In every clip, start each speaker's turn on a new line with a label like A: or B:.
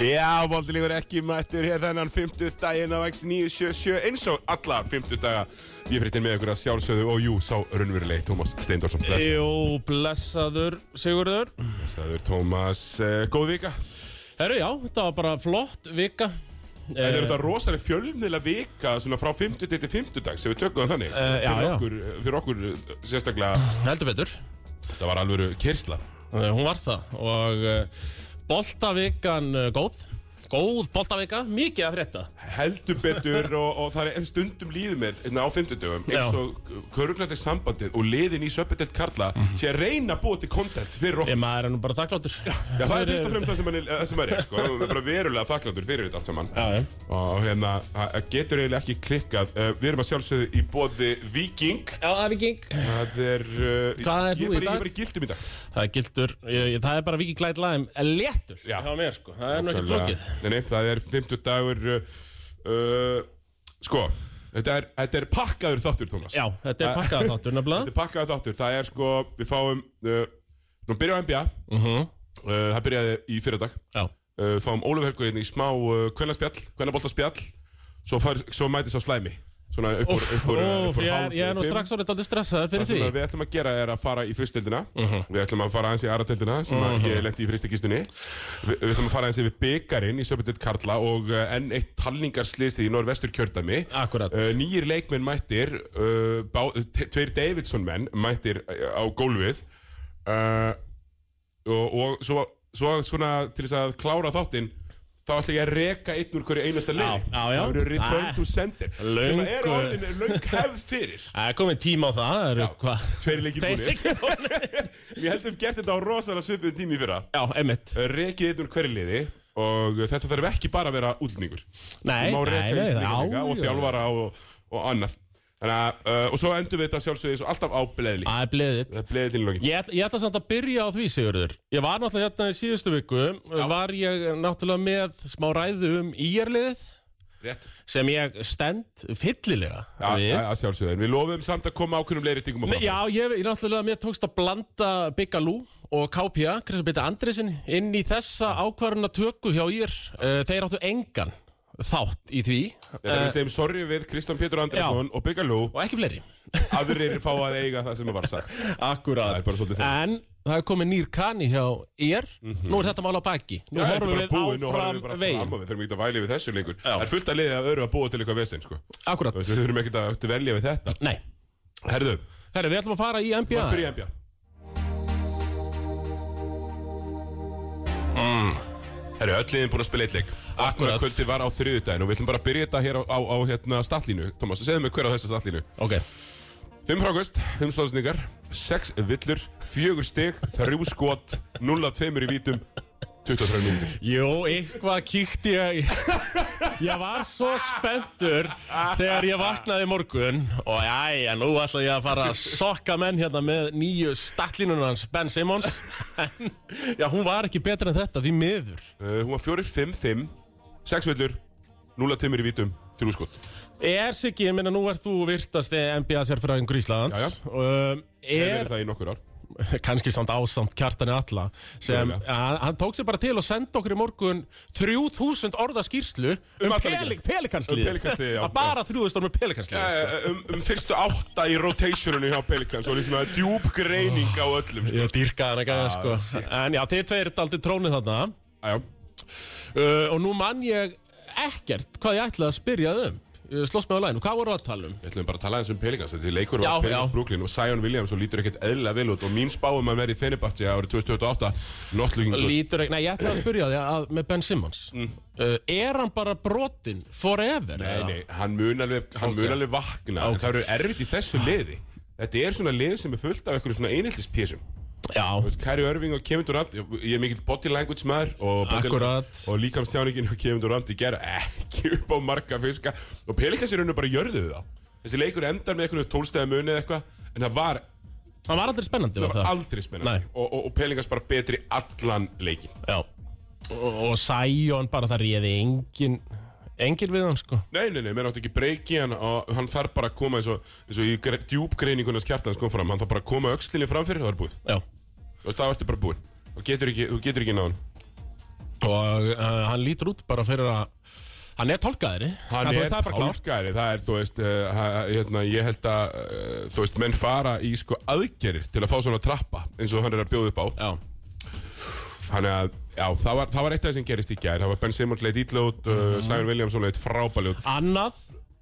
A: Já, voldilíkur ekki mættur hér þennan 50 daginn af X977 eins og alla 50 daga Ég frittir með ykkur að sjálfsögðu og jú, sá raunverulegi Tómas Steindorsson Blessaður,
B: Jú, blessaður Sigurður
A: blessaður Tómas, eh, góð vika
B: Herru, já, þetta var bara flott vika
A: Þetta er
B: Eh,
A: þetta rosalega fjölnilega vika svona frá 50 til 50 dags sem við tökum það þannig
B: Eh, já,
A: fyrir,
B: já.
A: okkur, fyrir okkur eh, sérstaklega
B: Heldur betur
A: það var alveg kyrsla
B: Eh, Hún var það og uh, boltavikan uh, góð Góð boltavika, mikið að frétta
A: heldur betur og, og það er stundum líður mér hérna á 50 dögum eins
B: Já.
A: og köruglættir sambandið og liðin í söpudelt Karla
B: Mhm.
A: sé að reyna að búa til content fyrir okkur
B: Ég maður er nú bara þakkláttur
A: Já, það er
B: Fyrir-
A: fyrst og fremst það sem, manni- það sem maður er, sko. Það er bara verulega þakkláttur fyrir þetta allt saman.
B: Já, já.
A: Og hérna, það getur eiginlega ekki klikkað. Eh, Við erum að sjálfsögðu í bóði Viking.
B: Já, það er viking
A: Það er... Uh,
B: Hvað er
A: ég,
B: þú í dag?
A: Ég er bara í gildum í dag.
B: Það er gildur, ég, ég, það er bara vikið glæð læðum Léttur,
A: Já.
B: hjá mér sko Það er nú ekkert
A: Nákvæmlega.
B: flókið
A: Nei, nei, það er 50 dagur... Uh, uh, sko, þetta er, þetta er pakkaður þáttur, Tómas.
B: Já, þetta er pakkað
A: Þetta
B: þáttur nefnilega
A: er pakkaður þáttur. Það er sko, við fáum... Uh, nú byrjum á NBA.
B: Mhm.
A: uh, það byrjaði í fyrirdag.
B: Já,
A: uh, fáum Ólaf Helgu hérna í smá uh, kvennaspjall, kvennaboltaspjall svo, far, svo mætist á slæmi svona upp úr, upp úr,
B: Úf,
A: upp úr
B: ég, er-
A: hálf
B: ég er nú
A: fimm.
B: strax orðið aldrei stressaður
A: Það
B: fyrir
A: sem
B: því Mhm.
A: að við ætlum að gera er að fara í fyrstöldina Við ætlum að fara aðeins í aðratöldina sem að ég lendi í fristikistunni Vi, Við ætlum að fara aðeins yfir byggarinn í Söpindit Karla og uh, enn eitt talningarsliðsið í norðvestur kjördæmi
B: Akkúrat.
A: uh, Nýjir leikmenn mættir, uh, bá, te- tveir Davidson menn mættir uh, á gólfið uh, og, og svo, svo svona til þess að klára þáttinn Þá ætla ég að reka einn úr hverju einasta leik
B: já, já.
A: Það eru return to sender Sem að er
B: Löngu.
A: orðin löng hefð fyrir
B: Það er komið tíma á það, það eru hvað
A: Tveir leikir
B: Tveir
A: búinir
B: leikir búnir.
A: Við heldum gert þetta á rosalega svipuðum tími í fyrra
B: Já, einmitt
A: Rekið einn úr hverju liði og þetta þarf ekki bara að vera útlendingur
B: Nei,
A: Má
B: nei,
A: reka
B: nei, já,
A: íslendinga og
B: já.
A: þjálfara og, og annað Þannig að, uh, og svo endur við þetta sjálfsögði eins og alltaf á bleðli
B: Það er bleðitt
A: Bleðli til í lokin
B: Ah. Ég, ætla- ég ætla samt að byrja á því, Sigurður Ég var náttúrulega hérna í síðustu viku Var ég náttúrulega með smá ræðu um íjarliðið
A: Rétt,
B: Sem ég stend fyllilega
A: Já,
B: við.
A: að sjálfsögði Við lofum samt að koma ákveðnum leiritingum á
B: Nei,
A: fram
B: Já, ég, ég náttúrulega mér tókst að blanda Bigga Lú og KPA, Kristján Bita Andresin inn í þessa ákvarðuna tökku hjá ír Eh, Þeir áttu engan þátt í því Eh,
A: Þannig
B: uh,
A: að við segjum sorry við Kristján Pétur Andersson og Bigga Lú
B: Og ekki fleiri
A: Aðrir fá að eiga það sem var sagt
B: Akkurat
A: Það er bara svolítið þannig. Mhm.
B: En það er komið nýr kanni hjá ér Nú er þetta mál á baki Nú
A: Já, þetta er
B: horfum
A: bara
B: við
A: búið, nú horfum
B: áfram
A: við bara fram
B: veginn
A: og við þurfum ekki að væli við þessu lengur
B: Já.
A: Það er fullt að liðið að öru að búa til eitthvað vesinn sko.
B: Akkurat,
A: Þú veist, Við þurfum ekki að velja við þetta
B: nei
A: Herðu,
B: Herru, við ætlum að fara í NBA
A: bara byrja NBA Herru, öll liðin búin að spila eitt leik Akkurat kvöldi var á þriðjudaginn og við ætlum bara að byrja þetta hér á, á, á hérna statlínu Tómas, segðu mig hver á þessa statlínu
B: Ok,
A: 5 frákust, 5 slóðsningar, 6 villur, 4 stig, 3 skot, 0 af 2 í vítum, 23 mínútur
B: jú, eitthvað kíkti ég Ég var svo spenntur Þegar ég vaknaði í morgun Og jæja, nú ætla ég að fara að sokka menn hérna Með nýju staklínunum hans Ben Simmons En, já, hún var ekki betur en þetta Því miður
A: uh, Hún var 4-5-5, 6 villur, 0 af 2 í vítum, 3 skot
B: Er Siggi, ég meina nú ert þú virtast NBA
A: Já, já.
B: sérfræðingur Íslands um,
A: Það
B: Er,
A: verið það í nokkur ár
B: kannski samt ásamt kjartani alla sem,
A: Mögulega.
B: hann, hann tók sér bara til og sendi okkur í morgun 3000 orða skýrslu um, um
A: alla leikina.
B: pelikansliðið
A: Um Pelicansliðið, já.
B: Að bara 3000 orða pelikansliðið sko.
A: Eh, um, um fyrstu átta í rotationinu hjá Pelicans og líka svona djúb greining á öllum sko.
B: Ég dýrkaði hana gæða sko En já, þið tveir er aldrei trónið þarna
A: Æjá,
B: uh, Og nú mann ég ekkert hvað ég ætlaði að spyrja þau um Ég Slóst með á læginu, hvað voru að tala um?
A: við ætlum bara að tala aðeins um Pelicans Þetta er leikur
B: Já,
A: á
B: já.
A: Pelicans Brooklyn og Zion Williams og lítur ekkert eðla vel út og mín spáum að vera í Fenerbahce árið 2028 Nottlökingur
B: Lítur ekki, nei ég ætlaði að spyrja því að með Ben Simmons uh, Er hann bara brotinn forever?
A: Mm. Nei,
B: eða?
A: nei, hann mun alveg, hann mun alveg vakna okay. Það eru erfitt í þessu liði Þetta er svona lið sem er fullt af einhverjum svona einheltispésum
B: Já,
A: Kæri Örving og Kevin Durant Ég ég er mikill body language maður Og, body-
B: Akkurat.
A: og líkamstjáningin og Kevin Durant Ég gera ekki upp á marga fiska Og Pelikans er rauninu bara jörðuðu það Þessi leikur endar með einhvern tólstæða muni eða eitthvað En það var,
B: hann var aldrei spennandi
A: það
B: var
A: var aldrei spennandi
B: Nei.
A: Og, og, og Pelikans bara betri allan leikin
B: Já, og, og Sæjón bara það réði engin engin við hann sko
A: Nei, nei, nei, menn átti ekki breyki hann og hann þarf bara að koma eins og, eins og í gre- djúpgreiningunars kjartans kom fram, hann þarf bara að koma aukslinni fram fyrir það er búið.
B: Já
A: Þú veist, það ertu bara búið. Þú getur ekki, þú getur ekki náðan.
B: Og uh, hann lítur út bara fyrir að Hann er tólkaðri
A: Hann
B: þú
A: er
B: veist, það bara klárt.
A: pálkari, það er, þú veist, uh, ha- hérna, ég held að, uh, þú veist, menn fara í sko aðgerir til að fá svona trappa eins og hann er að bjóða upp á.
B: Já
A: Þannig að, já, það var, það var eitt af þessum gerist í gær, það var Ben Simmons leitt ítljót, uh,
B: Mhm.
A: Simon Williamson leitt frábæljót.
B: Annað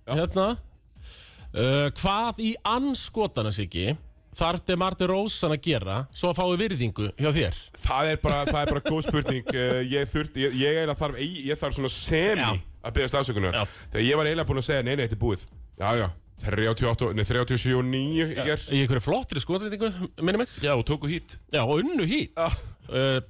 B: Hérna uh, Hvað í anskotana siki Þarf þið Marti Rósan að gera Svo að fái virðingu hjá þér
A: Það er bara, það er bara góð spurning, uh, ég þurft, ég, ég eiginlega þarf, ég, ég þarf svona semi
B: Já.
A: að byggja stafsökunar.
B: Já.
A: Þegar ég var eiginlega búinn að segja, nei, nei, þetta er búið. Já, já, 38, nei, 37 og 9 í gær.
B: Í einhverju flottri skotlendingu Minni mig
A: Já, og tóku hít.
B: Já og unnu hít
A: Já.
B: uh,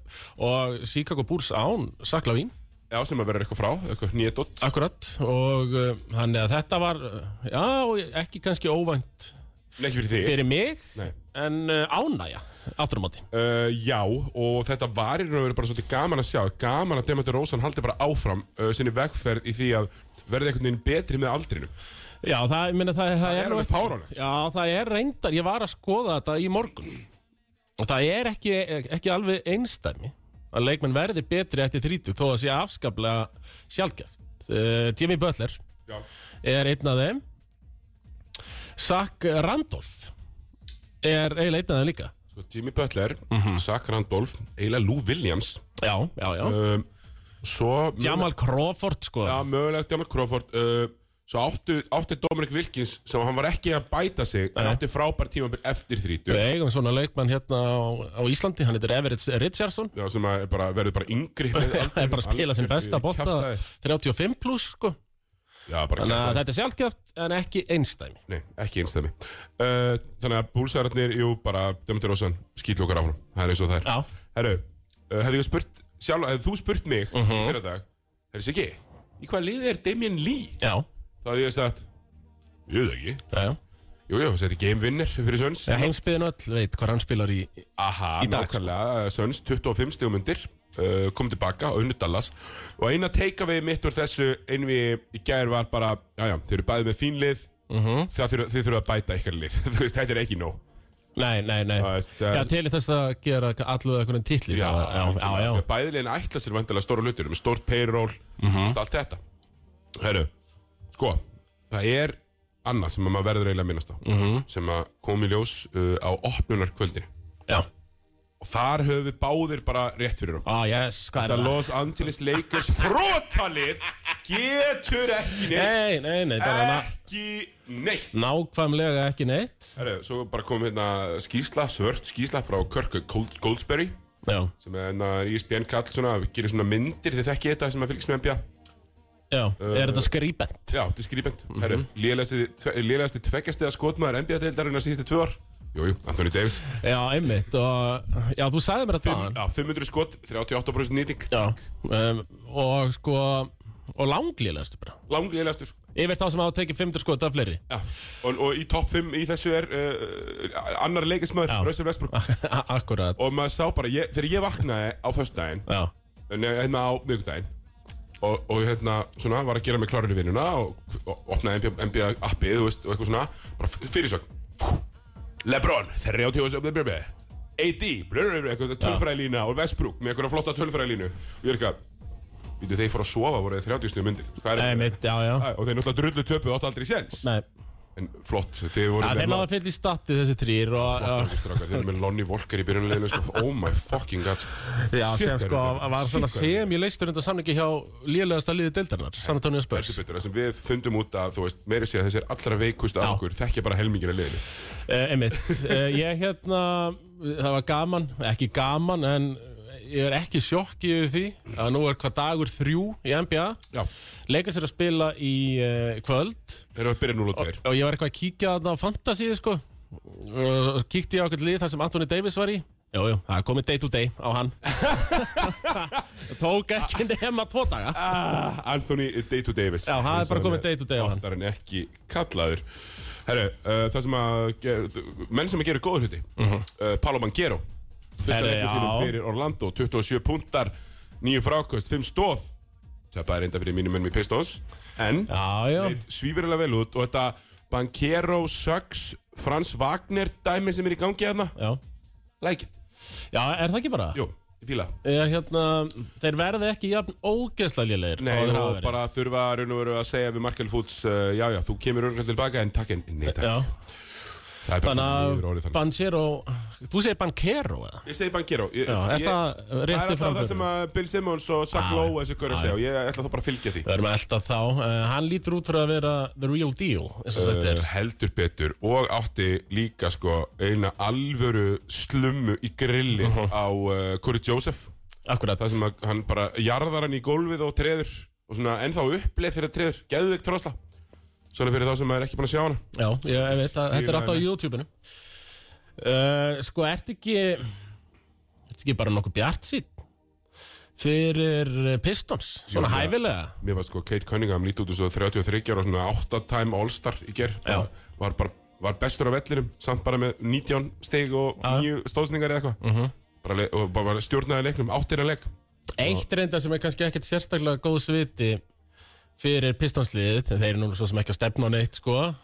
B: Og Chicago Bulls án Saklavín
A: Já, sem að vera eitthvað frá, eitthvað nýjedott.
B: Akkurat Og uh, þannig að þetta var uh, Já og ekki kannski óvænt
A: Nei, ekki fyrir þig.
B: Fyrir mig
A: Nei.
B: En uh, ánæja Aftur á móti
A: Uh, já, og þetta var í raun og verið bara svolítið gaman að sjá gaman að Demetri Rósan haldi bara áfram uh, sinni vegferð í því að verði einhvern veginn betri með aldrinum
B: Já, það, ég meina, það, það,
A: er
B: nú
A: alveg
B: ekki-
A: fáránlegt.
B: Já, það er reyndar, ég var að skoða þetta í morgun Og það er ekki, ekki alveg einstæmi Að leikmenn verði betri eftir 30 Þó að sé afskaplega sjálfgeft uh, Jimmy Butler
A: Já,
B: er einn af þeim Zach Randolph Er eiginlega einn af þeim líka
A: sko Jimmy Butler, mm
B: Mhm.
A: -hmm. Zach Randolph eiginlega Lou Williams
B: Já, já, já
A: um, svo
B: Jamal Crawford, sko
A: Já, mögulegt Jamal Crawford uh, svo áttu, átti Dominic Wilkins sem hann var ekki að bæta sig en átti frábær tímabil eftir 30
B: Við eigum svona leikmann hérna á, á Íslandi Hann heitir Everett Richardson
A: Já, sem að bara, verður bara yngri með
B: Það er bara að spila sinn
A: aldrinum.
B: besta bolta
A: Kjaftaði.
B: 35 pluss, sko
A: Já, bara
B: Þannig
A: kjaftaði.
B: að þetta er sjálfgeft en ekki einstæmi
A: Nei, ekki einstæmi uh, Þannig að búlsæðarnir, jú, bara Dömdur Rósan, skýtlu okkar áfram Það er eins og það er
B: Já.
A: Herru, uh, hefði, ég spurt, sjálf, hefði þú spurt mig uh
B: Mhm.
A: -huh. fyrir dag Herru Siggi, í hvað liði er Damien Lee?
B: Já,
A: Það hefði ég sagt Ég veit það ekki
B: já, já.
A: Jú, jú, þetta er gamevinner fyrir Söns
B: Já, heimsbyðin öll veit hvað hann spilar í
A: Aha,
B: í dag, sko.
A: nákvæmlega, Söns 25 stegum undir uh, kom tilbaka og unnu Dallas og eina takeaway mitt úr þessu einu við í gær var bara já, já, þeir eru bæðið með fín lið uh
B: Mhm.
A: -huh. þurfa, þið þurfa að bæta ykkar lið Þú veist, þetta er ekki nóg
B: Nei, nei, nei
A: Það veist, það-
B: Já, til í þess að gera allu einhvern titli
A: Já,
B: það- já, já, já.
A: Bæðilegin ætla sér vandilega stóra hlutir með stórt payroll,
B: Mhm.
A: mm allt þetta Herru, sko það er annað sem að maður verður eiginlega að minnast á, -hmm.
B: Mhm.
A: sem að kom í ljós uh, á opnunarkvöldinu
B: já.
A: og þar höfum við báðir bara rétt fyrir okkur
B: Á, yes, hvað
A: Það
B: er það?
A: Los Angeles Lakers frótalið getur ekki neitt
B: Nei, nei, nei, það
A: Eh.
B: var ná-
A: ekki neitt
B: nákvæmlega ekki neitt
A: Herru, svo bara kom hérna skýsla, svört skýsla frá Kirk Gold- Goldsberry
B: Já,
A: sem er hérna ESPN kall svona, gerir svona myndir þið þekki þetta sem að fylgst með NBA
B: já, er þetta skrýbent?
A: Já, þetta er skrýpend.
B: Mhm.
A: Herru, lélægasti tveggjastega skotmaður NBA-deildarinnar síðustu tvö ár. Jújú, Anthony Davis.
B: Já, einmitt og, Já, þú sagði mér þetta
A: Fimm,
B: þaðan
A: já, 500 skot, 38% nýting.
B: Já, um, og sko og langlýlegastu bara
A: Lang lélægastur.
B: Yfir þá sem hafa tekið 50 skot af fleiri
A: Já. Og, og í topp 5 í þessu er uh, annar leikismöður,
B: Já.
A: Russell Westbrook.
B: Akkurat
A: Og maður sá bara, ég, þegar ég vaknaði á föstudaginn,
B: Já,
A: Nei, hérna á miðgudaginn og, og hérna, svona, var að gera mig klárinu vinnuna og, og opnaði NBA appið, þú veist, og eitthvað svona bara f- fyrirsögn Lebron, 30 og sem þeir AD, blablabla, eitthvað tölfræðilína og Westbrook með eitthvað flotta tölfræðilínu og ég er eitthvað, veitu þeir fóru að sofa voru þeir 30 snuðum undir Hvað er-
B: einmitt, já, já
A: Æ, og þeir náttúrulega drullu töpu átt aldrei séns
B: Nei,
A: en flott, þeir voru
B: Já, þeir náðu
A: með
B: að fylla í statið þessi trýr og
A: Flottar okkur strákar, þeir eru með Lonnie Walker í byrjunleginu sko. Oh my fucking god
B: já,
A: Shit, hvað er
B: sem sko
A: þetta?
B: var svona
A: Shit, hvað er þetta?
B: sem ég leistur undan samningi hjá lélegasta liði deildarnar, San Antonio Spurs
A: Heldur betur, það sem við fundum út að, þú veist, meiri sé að þessir allra veikustu af
B: Já.
A: okkur þekkja bara helmingir að liðinu.
B: Eh, Einmitt, Eh, ég hérna það var gaman, ekki gaman en ég er ekki sjokki yfir því að nú er hvað dagur þrjú í NBA,
A: Já.
B: leikar sér að spila í eh, kvöld
A: Þeir eru að byrja 0 og 2.
B: og ég var eitthvað að kíkja þarna á Fantasíu sko og kíkti ég á eitthvað lið þar sem Anthony Davis var í Jú, jú, það er komið day to day á hann Tók ekki nema tvo daga
A: Ah, Anthony Day-to Davis.
B: Já, það er
A: Eins og
B: bara komið
A: hann
B: day to day á hann.
A: Oftar en ekki kallaður. Herru, uh, það sem að, ge- menn sem að gera góður hluti, uh Paolo Manguero, fyrsta
B: Herru,
A: leiknum sínum
B: Mhm. já.
A: fyrir Orlando, 27 puntar, 9 frákvöst, 5 stóð, Tapaði reynda fyrir mínum mönnum í Pistons En
B: Já, já.
A: leit svífurilega vel út Og þetta Bankero, Suggs, Frans Wagner dæmi sem er í gangi hérna. þarna
B: Já.
A: Like it
B: Já, er það ekki bara?
A: Jú, ég fíla
B: Eða, hérna, þeir verði ekki jafn ógeðslega lélegir
A: Nei,
B: og þeir hafa
A: og
B: verið.
A: bara þurfa raun og veru að segja við Markel Foods uh, Já, já, þú kemur örgulega tilbaka en takk en Nei, takk
B: Já,
A: Það er bara
B: þannig
A: mjög orðið
B: að
A: þannig
B: Banchero Þú segir Banchero eða?
A: Ég segi Bankero ég,
B: Já, er
A: ég-
B: það
A: Það er
B: rétti
A: alltaf það sem
B: framförum?
A: að Bill Simmons og Zach
B: Já,
A: Lowe og þessi gaur að
B: já,
A: segja og ég ætla þá bara að fylgja því
B: Við erum alltaf þá uh, Hann lítur út fyrir að vera the real deal eins og
A: uh,
B: þetta er
A: heldur betur og átti líka sko eina alvöru slummu í grillið
B: Mhm.
A: á uh, Curry Joseph
B: Akkurat
A: Eh, það sem að, hann bara jarðar hann í gólfið og treður og svona ennþá uppleið þegar treður geðveikt tróðsla svona fyrir þá sem maður er ekki búin að sjá hana
B: Já, ég, ég veit að þetta er alltaf á
A: Fílaði.
B: YouTube-inu uh, Sko, ert ekki Ert ekki bara nokkuð bjart sín Fyrir eh, Pistons Svona
A: Jú, já.
B: hæfilega
A: mér var sko Kate Cunningham lítið út þessu 33 ára og svona 8 time all-star í ger
B: Já.
A: var bara var bestur á vellinum samt bara með 19 steg og 9 stóðsningar eða eitthvað
B: Mhm.
A: bara, le- og bara stjórnaði leiknum áttina leik
B: Eitt reynda sem er kannski ekkert sérstaklega góð sviti fyrir Pistonsliðið, þeir eru núna svo sem ekki að stefna á neitt sko,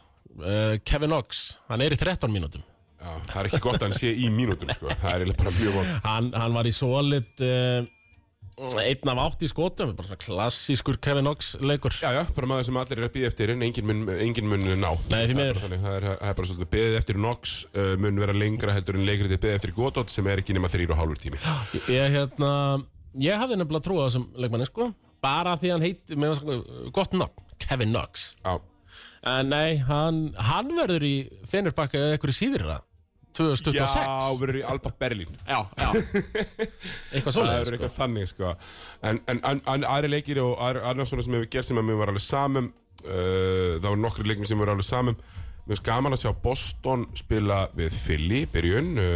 B: uh, Kevin Knox hann er í 13 mínútum
A: Já, það er ekki gott að hann sé í mínútum sko. það er eiginlega bara mjög von
B: hann, hann var í solid uh, einn af átt í skotum bara svona klassískur Kevin Knox leikur
A: Já, já, bara maður sem allir er að býða eftir en engin mun, engin mun ná
B: Nei, því
A: Það er
B: miður.
A: bara þannig, það, er, það er bara svolítið beðið eftir Nox uh, mun vera lengra heldur en leikritið beðið eftir Godot sem er ekki nema þrýr og hálfur tími
B: ég, ég, hérna, ég hafði nefnilega trúið á þessum leikmanni sko, bara því hann heiti með svona gott nafn, Kevin Knox
A: Já,
B: en nei, hann, hann verður í Fenerbahce eða einhverju síðir það 2026
A: já verður í Alba Berlín
B: já, já.
A: Það
B: eitthvað svoleiðis
A: verður eitthvað þannig sko En, en, en, en aðri leikir og aðri, aðri svona sem hefur gerst sem að mér var alveg samum uh, Það voru nokkri leikir sem voru alveg samum Mér finnst gaman að sjá Boston spila við Philly, byrjun uh,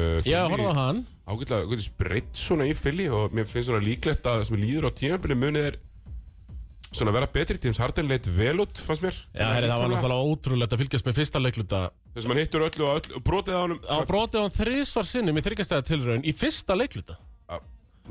A: Philly-
B: Já, horfðu á hann
A: ágætlega ágætlega spritt svona í fylli og mér finnst svona líklegt að það sem líður á tímabili munið er svona vera betri James Harden leitt vel út, fannst mér
B: Já, herri, það var náttúrulega ótrúlegt að fylgjast með fyrsta leikluta
A: Þess að hann hittur öllu og, öllu, og brotið á honum
B: Á brotið hann þrísvar sinnum í þryggjastæða tilraun í fyrsta leikluta
A: Ah,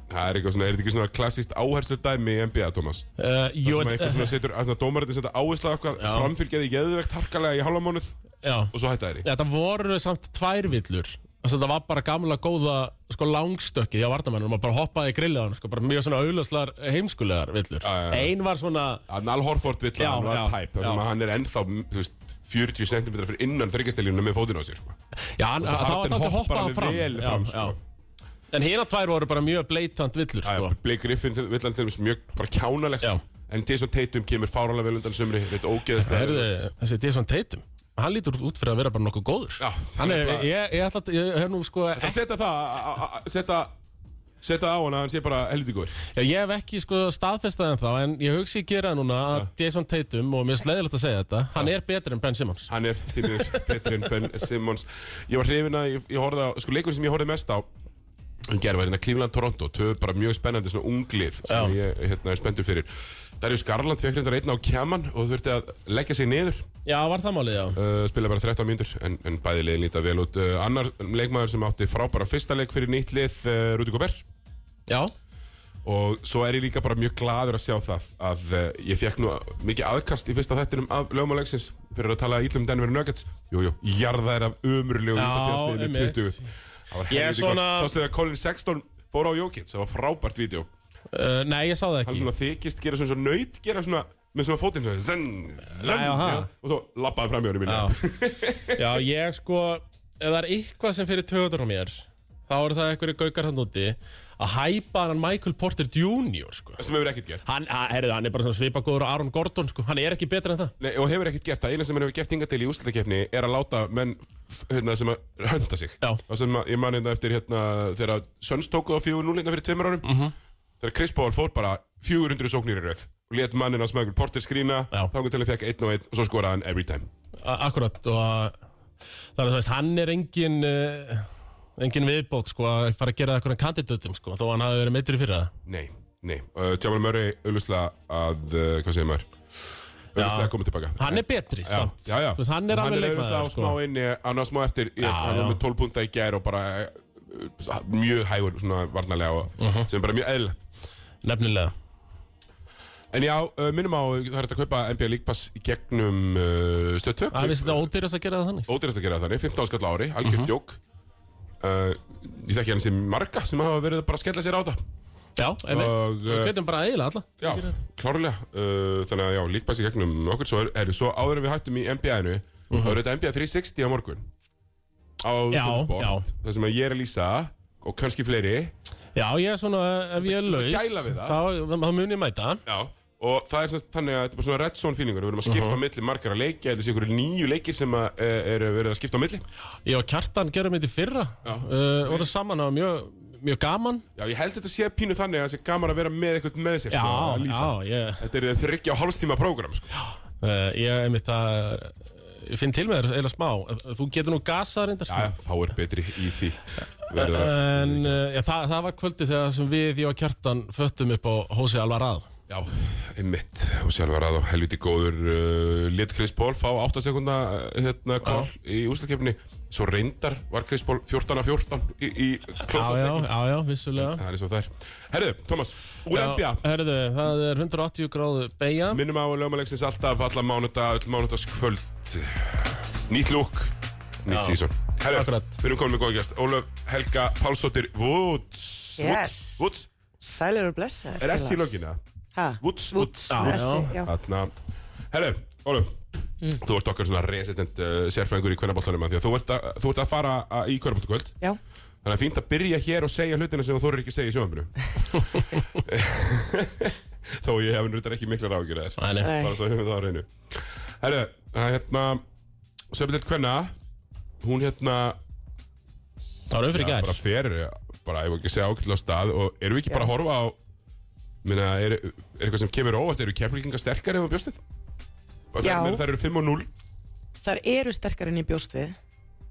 A: Það er eitthvað svona, er þetta ekki svona klassíst áherslu dæmi í NBA, Thomas?
B: uh,
A: Það
B: Jú,
A: sem að
B: en-
A: eitthvað svona setur, að dómarinn setja áherslu á eitthvað framfylgjaði geðvegt harkalega í halva mánuð og
B: já
A: svo hætta þeirri
B: Þetta voru samt tvær villur Þess að þetta var bara gamla góða sko, langstökkið hjá vartamennum og bara hoppaði í grillið á hann sko, bara mjög svona auðlagslar heimskulegar villur
A: já, já.
B: Ein var svona
A: að Nal Horford vill að
B: Já,
A: hann var
B: já,
A: tæp þar sem
B: já.
A: að hann er ennþá, þú veist, 40 cm fyrir innan þryggjasteljunum með fótinn á sér sko.
B: Já, hann, það var
A: Harden
B: þetta
A: hoppar
B: hoppað
A: alveg
B: fram,
A: vel
B: já,
A: fram, sko.
B: já. En hérna tvær voru bara mjög bleitant villur
A: Já,
B: sko.
A: já, Blake Griffin til- vill hann til dæmis mjög bara kjánalegt
B: Já.
A: En Jason Tatum kemur fáralega vel undan sömri Þetta er ógeðislega
B: Herðu, þessi Jason Tatum Hann lítur út fyrir að vera bara nokkuð góður
A: Já,
B: Hann er,
A: nefnilega.
B: ég, ég ætla að, ég hef nú sko
A: Það setja það a- a- a- Setja Setja á hann að hann sé bara helviti góður
B: Já, ég hef ekki sko staðfestað en þá en ég hugsi að gera það núna að Jason Tatum og mér er sleiðilegt að segja þetta hann er betri en Ben Simmons
A: Hann er því miður betri en Ben Simmons Ég var hrifin að ég, ég horfði á Sko leikurinn sem ég horfði mest á Hann gerði var hérna Cleveland Toronto Tvö bara mjög spennandi svona unglið Sem ég hérna, er spenntur fyrir Darius Garland fekk reyndar einn á kjaman Og þurfti að leggja sig niður
B: Já, var það málið, já
A: uh, spila bara 13 mínútur en, en bæði liðin líta vel út uh, annar leikmaður sem átti frábæra fyrsta leik fyrir nýtt lið uh, Rudi Gobert
B: Já,
A: og svo er ég líka bara mjög gladur að sjá það að uh, ég fekk nú mikið aðkast í fyrsta þettinum af lögmáleiksins fyrir að tala ítlum Denver Nuggets jújú, jú, jarðaðir af ömurlegu
B: Já,
A: vítatíðasteginu
B: einmitt.
A: 20 það var
B: Ég
A: helviti
B: svona-
A: gott sástu þegar Colin Sexton fór á Jokic það var frábært vídeo
B: uh, nei, ég sá það
A: hann
B: ekki
A: svona þykist gera svona svona nöyt gera svona með svona fótinn svona zen, zen,
B: Já, ha.
A: og svo lappaði fram í honum minni
B: Já, já ég sko ef það er eitthvað sem fyrir töður á mér þá eru það einhverju gaukar hann úti að hæpa hann Michael Porter Jr. sko
A: sem hefur ekkert gert
B: Hann, að- heyrðu, hann er bara svona svipagóður á Aaron Gordon sko hann er ekki betri en það
A: Nei, og hefur ekkert gert það, eina sem hann hefur gert hingað til í úslutakefni er að láta menn f- hérna, sem að hönda sig
B: Já.
A: og sem að, ég man hérna eftir hérna, þegar Söns tókuð á fjögur núleika fyrir tveimur árum
B: Mhm.
A: mm -hmm. þegar Chris Paul fór bara 400 sóknir í rauð og let mannin hans Michael Porter skrína
B: Já.
A: þangur til að fekk einn og einn og svo skoraði hann every time
B: A- Akkurat og þannig að þú veist, hann er engin uh, engin viðbót sko að fara að gera eitthvað kandidatum sko þó hann hafi verið meitri fyrir það
A: Nei, nei, uh, Jamal Murray auðvistlega að, uh, hvað segir maður auðvistlega að koma tilbaka
B: Hann er betri,
A: Já,
B: samt
A: já, já.
B: Þú veist, Hann er
A: Og
B: alveg
A: auðvitað á
B: leikmaður
A: smá
B: sko.
A: inni, hann á smá eftir já, hann
B: já.
A: var með 12 punta í gær og bara uh,
B: Mhm.
A: mjög hægur svona varnarlega og, sem er bara mjög eðlilegt
B: Nefnilega
A: En En já, uh, minnum á, það er hægt að kaupa NBA League Pass í gegnum uh, stöð 2
B: Það finnst þetta ódýrast að gera það þannig
A: Ódýrast að gera það þannig, 15 skall á ári, algjörn
B: Mhm.
A: djók uh, Ég þekki hann sem marga sem hafa verið að bara skella sér á þetta
B: Já, ef við
A: Og,
B: Við
A: eh,
B: hvetjum bara eiginlega alla
A: Já, klárlega uh, Þannig að já, League Pass í gegnum okkur Svo er, er svo áður en við hættum í NBA-inu Það eru þetta NBA 360 á morgun Á
B: Mhm. Já,
A: Stofnsport Það sem að ég er að lýsa og kannski fleiri
B: Já, ég er svona, ef ég er
A: þú
B: laus
A: gæla við það.
B: Þá, þá mun ég mæta
A: Já Og það er semst þannig að þetta er bara svona red zone feelingur Við erum að skipta á milli margar að leikja Þetta sé ykkur nýju leikir sem að, eh, eru verið að skipta á milli
B: Ég og Kjartan gerum þetta í fyrra
A: Já.
B: uh, Voru saman á mjög, mjög gaman
A: Já, ég held þetta sé pínu þannig að það sé gaman að vera með eitthvað með sér
B: Já,
A: sko, að
B: já,
A: lýsa.
B: ég
A: Þetta er þryggja og hálfstíma prógram sko.
B: uh, Ég er mitt að Ég finn til með þér eða smá Þú getur nú gasað reyndar
A: Já, já, þá er betri í því Verður það
B: En uh, já, það, það var kvöldi þegar sem við, ég og Kjartan Föttum upp á Hósi Alvarað
A: Já, einmitt og sjálfur að á helviti góður uh, let Chris Paul fá 8 sekunda uh, hérna kól í úslakefni svo reyndar var Chris Paul 14 af 14 í, í
B: Já, já,
A: klósatleik
B: já, já, vissulega
A: Það er eins og það er Herðu, Thomas, úr NBA
B: Herðu, það er 180 gráðu beigja
A: minnum á lögmalegsins alltaf alla mánuda, öll mánudagskvöld nýtt lúk nýtt sísón Herðu,
B: Akkurat.
A: við erum komin með góða gæst Ólöf Helga Pálsdóttir Woods Woods,
C: Yes.
A: Woods,
C: Sælir og blessa
A: er S í lögina Woods, Woods
B: Já.
C: Essi, já Mm.
A: Þarna, herru, Óluf Þú ert okkar svona resident uh, sérfræðingur í kvennabóltanum Því að þú ert að, þú ert að fara að, í kvennabóltakvöld
C: Já,
A: Þannig að fínt að byrja hér og segja hlutina sem þú þorir ekki að segja í sjónvambinu Þó ég hef nýttar ekki mikla ráðgjur þess
B: Nei, nei.
C: Nei.
A: Bara svo höfum við það á reynu Herru, það er hérna Söpildelt kvenna Hún hérna
B: Það var umfyrir gær
A: bara fer Bara, ég voru ekki að segja ákveðlega stað Og erum við ekki bara að horfa á Minna, er, er eitthvað sem kemur á óvart Eru kemlingar sterkar ef við bjóstið?
C: Já.
A: Það eru 5 og 0
C: þar eru sterkar en ég bjóst við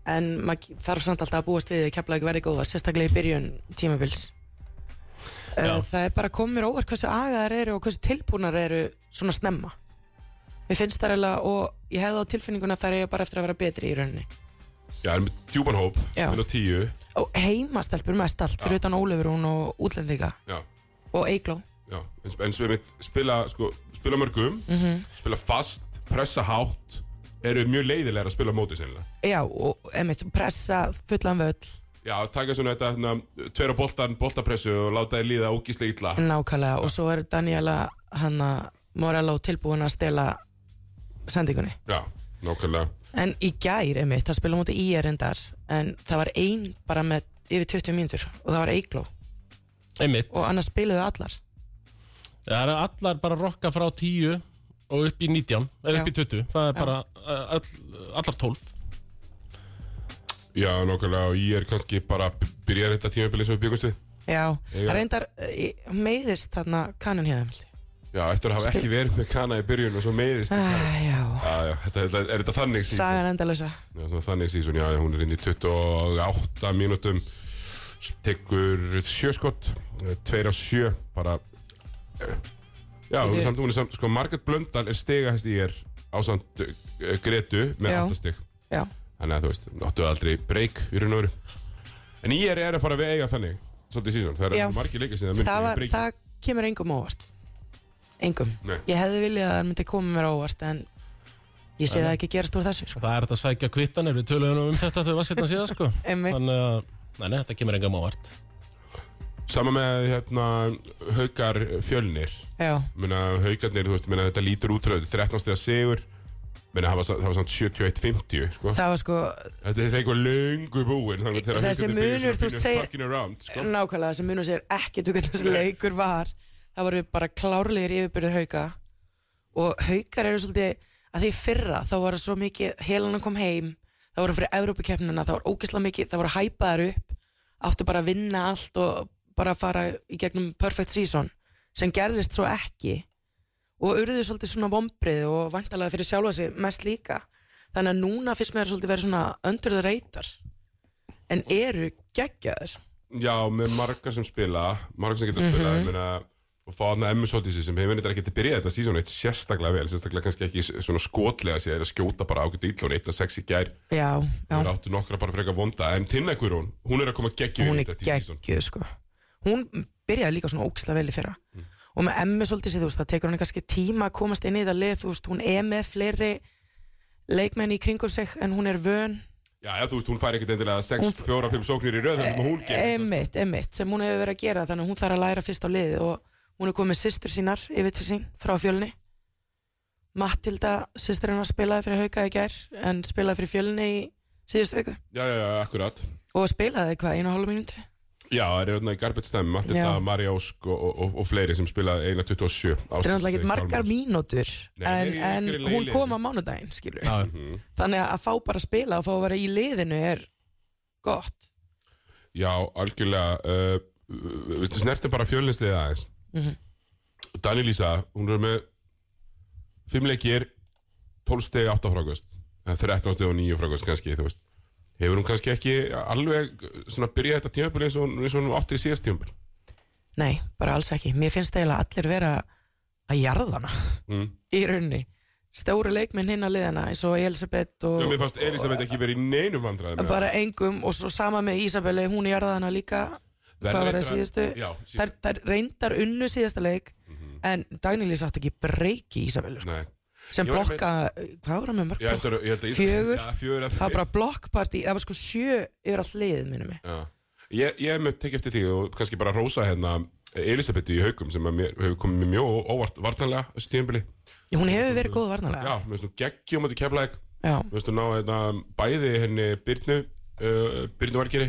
C: En maður þarf samt alltaf að búast við að kepla ekki verði góða, sérstaklega í byrjun tímabils
B: Já.
C: Uh, Það er bara komið mér óvart hversu agaðar eru og hversu tilbúnar eru svona snemma Mér finnst það eiginlega og ég hefði á tilfinninguna að það er bara eftir að vera betri í rauninni
A: Já, erum með djúpan hóp,
C: Já.
A: minn og tíu
C: Og heimastelpur mest allt, fyrir utan Ólefur hún og útlendinga
A: Já,
C: og Eigló
A: já En, en sem mitt, spila, sko, spila mörgum
C: Mhm.
A: Spila fast, pressa hátt Eru mjög leiðilegar að spila á móti sennilega
C: Já, og emitt, pressa fullan völl
A: Já, taka svona þetta hérna, Tveir á boltan, boltapressu og láta þér líða ógíslega illa
C: Mm. Nákvæmlega og svo er Daniela hanna Morello tilbúin að stela sendingunni.
A: Já, nákvæmlega
C: En í gær, einmitt, það spila múti í erindar en það var ein bara með yfir 20 mínútur og það var Eigló
B: Einmitt
C: og annars spiluðu allar.
B: Það eru allar bara rokka frá 10 og upp í 19, eða upp
C: Já.
B: í 20 Það er bara uh, all, allar 12
A: Já, nákvæmlega, og ég er kannski bara Byrjar þetta tímabili sem við byggumst við
C: Já,
A: Já.
C: það reyndar eh, meiðist þarna kanun hér.
A: Já, eftir að hafa ekki verið með kana í byrjun og svo meiðist
C: Æ,
A: Já,
C: já,
A: já, þetta, þetta, er þetta þannig season?
C: Ah. sagan endalösa.
A: Já, svona þannig sísun, já, hún er inn í 28 mínútum tekur sjöskott tveir á sjö, bara eh, já, hún er samt, hún er samt sko, Margaret Blöndal er stegahæst í er á samt uh, Gretu með
C: Já.
A: aftastig
C: Já,
A: þannig að þú veist, áttu aldrei break í raun og veru en ég er, er að fara að vega þannig svolítið sísun, það
C: Já.
A: eru margir leikir sem það myndi
C: það, var,
A: break
C: það kemur engum á óvart. Engum.
A: Nei.
C: Ég hefði viljað að það myndi koma mér á óvart en ég sé það ekki gerast úr þessu. Sko.
B: Það er þetta að sækja kvittanir, við töluðum nú um þetta þegar við varum setna síðan sko
C: Einmitt.
B: Þannig að, nei, nei, þetta kemur engam ávart
A: sama með hérna, haukar fjölnir
C: Já,
A: Muna, haugarnir, þú veist, muna, þetta lítur útröðu 13 stiga sigur muna, það var sa- það var samt 71-50 sko.
C: það var sko
A: þetta er eitthvað löngu búin þannig að þegar
C: Þessi
A: Haukarnir byrja
C: munur,
A: svona
C: þú
A: pínu
C: segir-
A: fucking around, sko.
C: nákvæmlega sem munum sér ekkert um hvernig þessi leikur var það voru bara klárlegir yfirbyrður hauka og haukar eru svolítið að því í fyrra þá voru svo mikið helan að kom heim það voru fyrir Evrópukeppnina, það voru ógeðslega mikið það voru hæpaðar upp, áttu bara að vinna allt og bara að fara í gegnum perfect season, sem gerðist svo ekki og urðu svolítið svona vombrið og vantalega fyrir sjálfa sig mest líka, þannig að núna fyrst með er svolítið verið svona under the radar en eru geggjaður
A: já, með margar sem spila margar sem geta mm -hmm. spila
C: Mhm.
A: muna, og fá þarna Emmu Soldísi sem hefur verið ekki að byrja þetta sísón eitt sérstaklega vel, sérstaklega kannski ekki s- svona skotlega sér að skjóta bara ágættu íll hún eitt að sex í gær,
C: Já, já,
A: hún áttu nokkra bara frekar vonda en Tinnekvir hún, hún er að koma geggjum Mm.
C: hún er geggjuð sko Hún byrjaði líka svona óksla vel í fyrra og með emmi svolítið sér, þú veist, það tekur hann kannski tíma að komast inn í þetta lið, þú veist, hún er með fleiri leikmenn í kringum sig en hún er vön
A: Já, já, þú veist, hún fær ekkert endilega 6, 4, 5 sóknir í röð þar sem hún gerir sko.
C: einmitt, einmitt, sem hún hefur verið að gera þannig að hún þarf að læra fyrst á liðið og hún er komið sýstur sínar yfir til sín frá fjölni Mattilda sýstur hennar spilaði fyrir hauka í gær en spilaði fyrir fjölni í síðustu viku
A: Já, já, já, akkurat
C: og spilaði hvað, einu og hálfu mínútu
A: Já, það eru þarna í Garbage Stem, Matilda,
C: Já.
A: Marjásk og, og, og, og fleiri sem spila eina 27
C: það er náttúrulega ekkert margar mínútur
A: eh, Nei,
C: en,
A: nei,
C: en
A: ekki í
C: hún
A: liðinu.
C: kom á mánudaginn skilur
B: Já, já.
C: þannig að að fá bara að spila og fá að vera í liðinu er gott
A: Já, algjörlega uh, uh, Við snertum bara fjölinsliðið aðeins
C: Mhm.
A: Danílísa, hún er með 5 leikir 12 stegi 8 frákvöst 13 stegi Eh, og 9 frákvöst kannski, þú veist Hefur hún kannski ekki alveg uh, svona byrjað þetta tímabil eins og hún- eins og hún átti í síðast tímabil
C: nei, bara alls ekki, mér finnst eiginlega allir vera að jarðana
A: mm.
C: í rauninni stóru leikminn hinn að liðana eins og Elisabeth og
A: Já, mér fannst Elisabeth ekki verið í neinum vandræðum með
C: bara engum og svo sama með Ísabelli, hún jarðaði hana líka
A: Verður
C: hvað var það
A: reyndar-
C: síðustu
A: Já, síðustu. Mhm.
C: þær, þær reyndar unnu síðasta leik en Dagnýlis átti ekki breyki Ísabellu
A: það.
C: sko,
A: Nei
C: sem
A: Ég var að
C: blokka, hvað var það með
A: Ég held
C: mörg
A: að, ég held að
C: Fjögur.
A: Já, fjögur að
C: það var bara blokkparti, það var sko sjö yfir allt liðið minnum mig
A: Já. Ég, ég hef með tekið eftir því og kannski bara rósa hérna Elisabethu í haugum sem að mér hefur komið mér mjög ó- óvart vartanlega þessu tíðanbili.
C: hún hefur verið góð
A: Já,
C: varnalega
A: mér finnst þú geggjum að þú kemla ekki.
C: já,
A: Mér finnst þú ná hérna, bæði henni Byrnu, uh, Byrnu Valgeri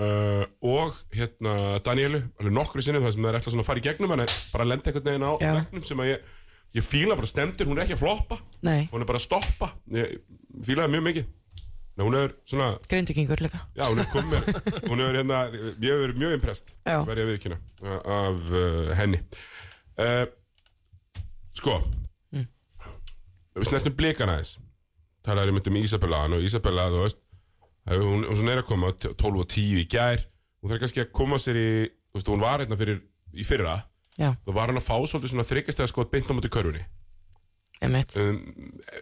A: uh, og hérna Danielu, alveg nokkru sinnum þar sem það er eitthvað svona að fara í gegnum hann bara að lenda einhvern veginn á
C: Já.
A: vegnum sem að ég, ég fíla bara stendur, hún er ekki að floppa,
C: nei,
A: hún er bara að stoppa. Ég fílaði mjög mikið. Ná, hún er svona
C: grindikingur líka
A: Já, hún er komið, hún er hérna, ég hef verið mjög imprest,
C: Já.
A: verið að viðkynna, af uh, henni. Uh, sko, við snertum blikana þess, talaðum um um Ísabella, hann og Ísabella, þú veist, það er- hún, hún er að koma t- 12 og 10 í gær, hún þarf kannski að koma sér í, þú veist, hún var hérna fyrir, í fyrra,
C: já,
A: þá var hann að fá svolítið svona þryggjastega skot beint á móti körfunni.
C: emitt,
A: Um,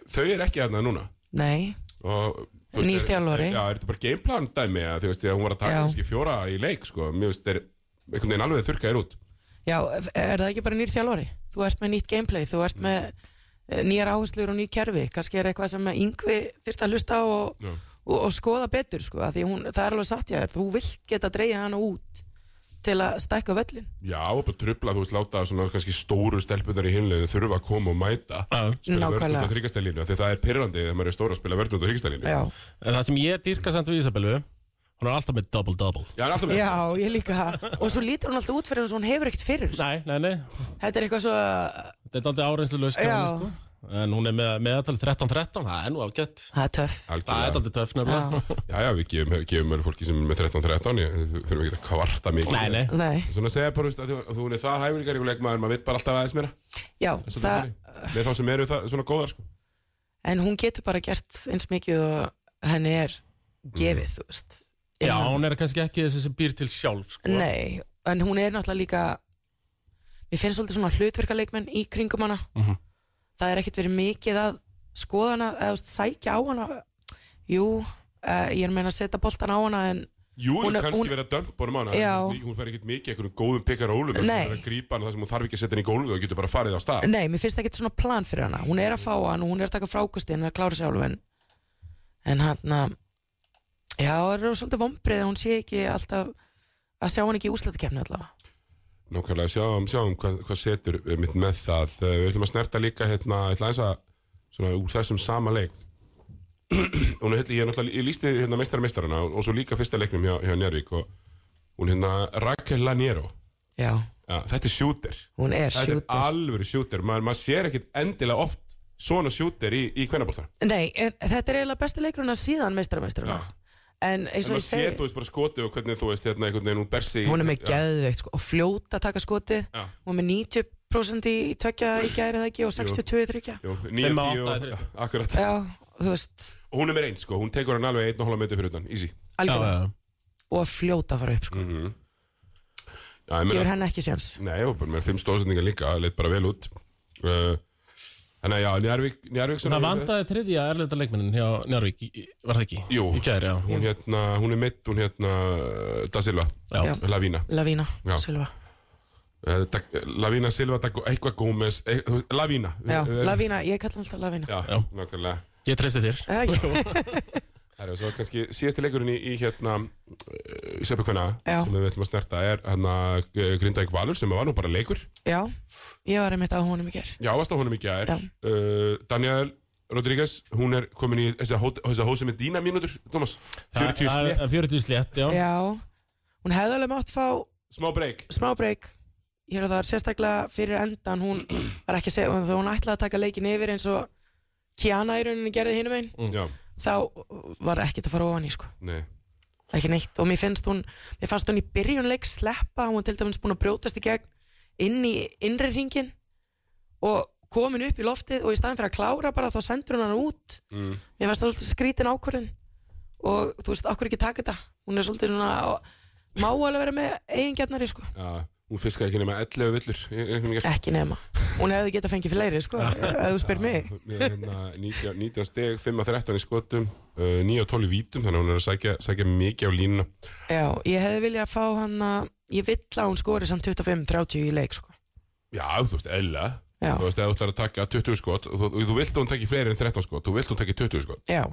A: þau er ekki hérna núna
C: nei
A: og þú
C: Nýr
A: er-
C: þjálfari.
A: Já, er þetta bara gameplan dæmi að þú veist því að hún var að taka
C: Já.
A: kannski fjóra í leik sko, mér veist þeir einhvern veginn alveg þurrkaðir út
C: Já, er það ekki bara nýr þjálfari? Þú ert með nýtt gameplay, þú ert með eh, nýjar áherslur og nýr kerfi kannski er eitthvað sem yngvi þyrst að hlusta á og,
A: Já.
C: og, og skoða betur sko, af því hún, það er alveg satt hjá þér þú vilt geta dreigja hana út til að stækka völlin
A: Já, og bara trubla, þú veist, láta svona kannski stóru stelpunar í hinleginu þurfa að koma og mæta
B: Já.
A: spila
C: Nákvæmlega.
A: vörðund á þryggastælínu því það er pyrrandi þegar maður er stóra að spila vörðund á þryggastælínu
C: Já,
B: En það sem ég dýrka samt við Ísabellu Hún er alltaf með double-double
A: Já, er alltaf með
C: já, ég líka og svo lítur hún alltaf út fyrir eins og hún hefur ekkert fyrir þessu.
B: Nei, nei, nei,
C: Þetta er eitthvað svo að-
B: þetta er aldrei áreynslu löst
C: Já.
B: sko. En hún er með, meðatalið 13-13 Það er nú ágætt
C: það er töff
B: Það er
A: Algjörlega.
B: aldrei töff nefnilega
A: Já, já, við gefum, gefum öll fólki sem er með 13-13 ég- við Fyrir ekki að kvarta mikið
B: Nei, nei
C: Nei,
A: Svona segja bara, þú veist, að þú- þú hún er það hæfileikar í leikmaður, maður veit bara alltaf aðeins meira
C: já,
A: Svolítið
C: það,
A: þannig. Með þá sem eru það, svona góðar, sko
C: en hún getur bara gert eins mikið og henni er gefið, þú veist
B: Mm. Já,
C: Innan-
B: hún er kannski ekki þessi sem býr til sjálf sko.
C: Nei, en hún er náttúrulega líka Mér finnst svolítið svona hlutverkaleikmenn í kringum hana
B: Mhm.
C: Það er ekkert verið mikið að skoða hana eða þú veist, sækja á hana Jú, uh, ég er að meina að setja boltan á hana en
A: Jú,
C: Hún
A: hún
C: er-
A: kannski
C: hún-
A: verið að dömpa honum hana
C: Já.
A: en Hún fær ekkert mikið einhverjum góðum pikkar ólum Það
C: Nei.
A: er að grípa hana þar sem hún þarf ekki að setja henni í gólfið og getur bara farið á stað
C: Nei, mér finnst ekkert svona plan fyrir hana Hún er að fá hann og hún er að taka frákusti en að klára sér álfin En hann að Já, það eru svolítið vombrið að hún sé ekki alltaf að sjá hann ekki í úslættakefni allavega
A: Nákvæmlega, sjáum, sjáum hvað, hvað setur eh, mitt með það Eh, Við ætlum að snerta líka hérna, ég ætla eins að svona úr þessum sama leik Hún er hérna, ég er náttúrulega, ég lísti hérna meistara meistarana og, og svo líka fyrsta leiknum hjá, hjá Njárvík og hún hérna Raquel Laniero
C: Já,
A: ja, Þetta er sjúter
C: hún er
A: Þetta er
C: sjútur
A: alvöru sjúter, maður mað sér ekkit endilega oft svona sjúter í, í kvennaboltar
C: Nei, en þetta er eiginlega besti leikurinn að síðan meistarameistrarna En eins
A: En
C: og
A: maður
C: ég segi
A: sér, þú veist, bara skotið og hvernig þú veist, hérna, einhvern veginn, hún ber sig í-
C: hún er með
A: Já,
C: geðveikt sko, og fljóta að taka skoti
A: Já.
C: hún er með 90% í í tveggja í gæri það ekki og 62 í þryggja
A: Jú, 9
B: Fimm á
A: og 10
B: átta í
A: og,
B: þriðju.
A: akkurat
C: já, þú veist,
A: Og hún er með eins, sko, hún tekur hann alveg einn og hóla metu fyrir utan, easy
B: Já,
C: algjörlega
B: já, já.
C: og að fljóta að fara upp sko,
A: Mm-hmm. Já, ég
C: gefur
A: meina,
C: henni ekki séns
A: nei, og bara með fimm stóðsendingar líka, það leitt bara vel út Uh, Þannig að já, Njarvík, Njarvík
B: Það vandaði þriðja erlenda leikmennin hjá Njárvík, í- í- var það ekki?
A: Jú.
B: Í kæri, já.
A: Hún hérna, hún er mitt, hún hérna, uh, Da Silva,
B: Já.
C: Já.
A: Lavína
C: Lavína,
A: Já.
C: Silva
A: Eh, Dag- Lavína Silva, Dag- eitthvað Gómez eh, þú veist, Lavína
C: Já,
A: Eh, eh,
C: Lavína, ég kalla hann alltaf Lavína
A: Já,
B: Já.
A: nákvæmlega
B: Ég treysti þér
C: Eða ekki?
A: Það er svo kannski síðasti leikurinn í, í hérna í Söpukvenna
C: Já.
A: sem við ætlum að snerta er hérna Grindavík Valur sem var nú bara leikur
C: Já, ég var einmitt á honum í ger
A: Já, varst á honum í gær
C: Já.
A: uh, Daniel Rodríguez, hún er komin í þessa, hó- þessa hósi með dína mínútur, Thomas 40
B: Það-
A: slétt,
B: það- 40 slétt, já,
C: Já, hún hefði alveg mátt fá
A: smá breyk
C: smá breyk hér og það er sérstaklega fyrir endan hún var ekki að segja, þó hún ætlaði að taka leikin yfir eins og Kiana í rauninni gerði hinum einn,
B: Mm.
A: Já,
C: þá var ekkert að fara ofan í sko,
A: nei
C: ekki neitt og mér finnst hún, mér fannst hún í byrjun leik sleppa, hún var til dæmis búin að brjótast í gegn inn í innri ringin og komin upp í loftið og í staðin fyrir að klára bara þá sendur hún hann út
A: mm.
C: mér fannst það svolítið skrítin ákvörðin og þú veist, okkur ekki taka þetta hún er svolítið svona, má alveg vera með eigingjarnari sko
A: Já, hún fiskaði ekki nema 11 villur í- í- í- í-
C: ekki nema hún hefði getað fengið fleiri sko ef þú spyr mig
A: með hérna 19, 19 steg, 5 að 13 í skotum uh, 9 að 12 í vítum, þannig að hún er að sækja, sækja mikið á línuna
C: já, ég hefði viljað fá hann að ég vill að hún skori samt 25-30 í leik sko.
A: Já, þú veist, eðla
C: já,
A: Þú veist, ef þú ætlar að taka 20 skot og þú, þú vilt að hún taki fleiri en 13 skot þú vilt að hún taki 20 skot
C: já,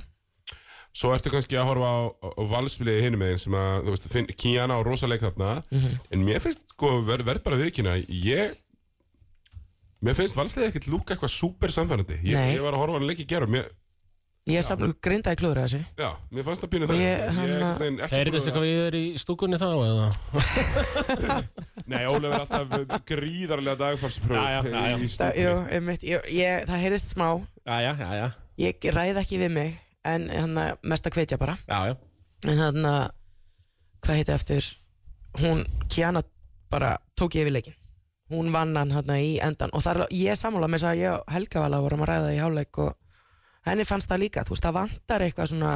A: Svo ertu kannski að horfa á, á valsfiliði hinum meginn sem að, þú veist, finn, Kíana á rosaleg þarna
C: Mhm.
A: En mér finnst, sko, ver, verð bara viðkynna Ég Mér finnst valsliðið ekkert lúka eitthvað super samfærandi ég,
C: Nei.
A: ég var að horfa á hann leik í gera mér,
C: ég samt grindaði klúður þessu
A: Já, mér fannst það pínu
C: Og
A: það
C: ég, hann-
A: nein, ekki
B: Er
A: búin að-
B: þetta eitthvað við er í stúkunni þá eða?
A: Nei, Ólef er alltaf gríðarlega
B: Já,
A: dagfarspröð
B: já, já, já.
A: í
C: það,
A: stúkunni
C: jú, einmitt, ég, ég, það heyrðist smá
B: Já, já, já, já,
C: ég ræð ekki við mig en hann að mest að hvetja bara
B: já, já.
C: en hann að, hvað heiti eftir hún, Kiana bara tók yfir leikin hún vann hann hann í endan og þar, ég sammála með þess að ég og Helga vala vorum að ræða í hálfleik og henni fannst það líka, þú veist, það vantar eitthvað svona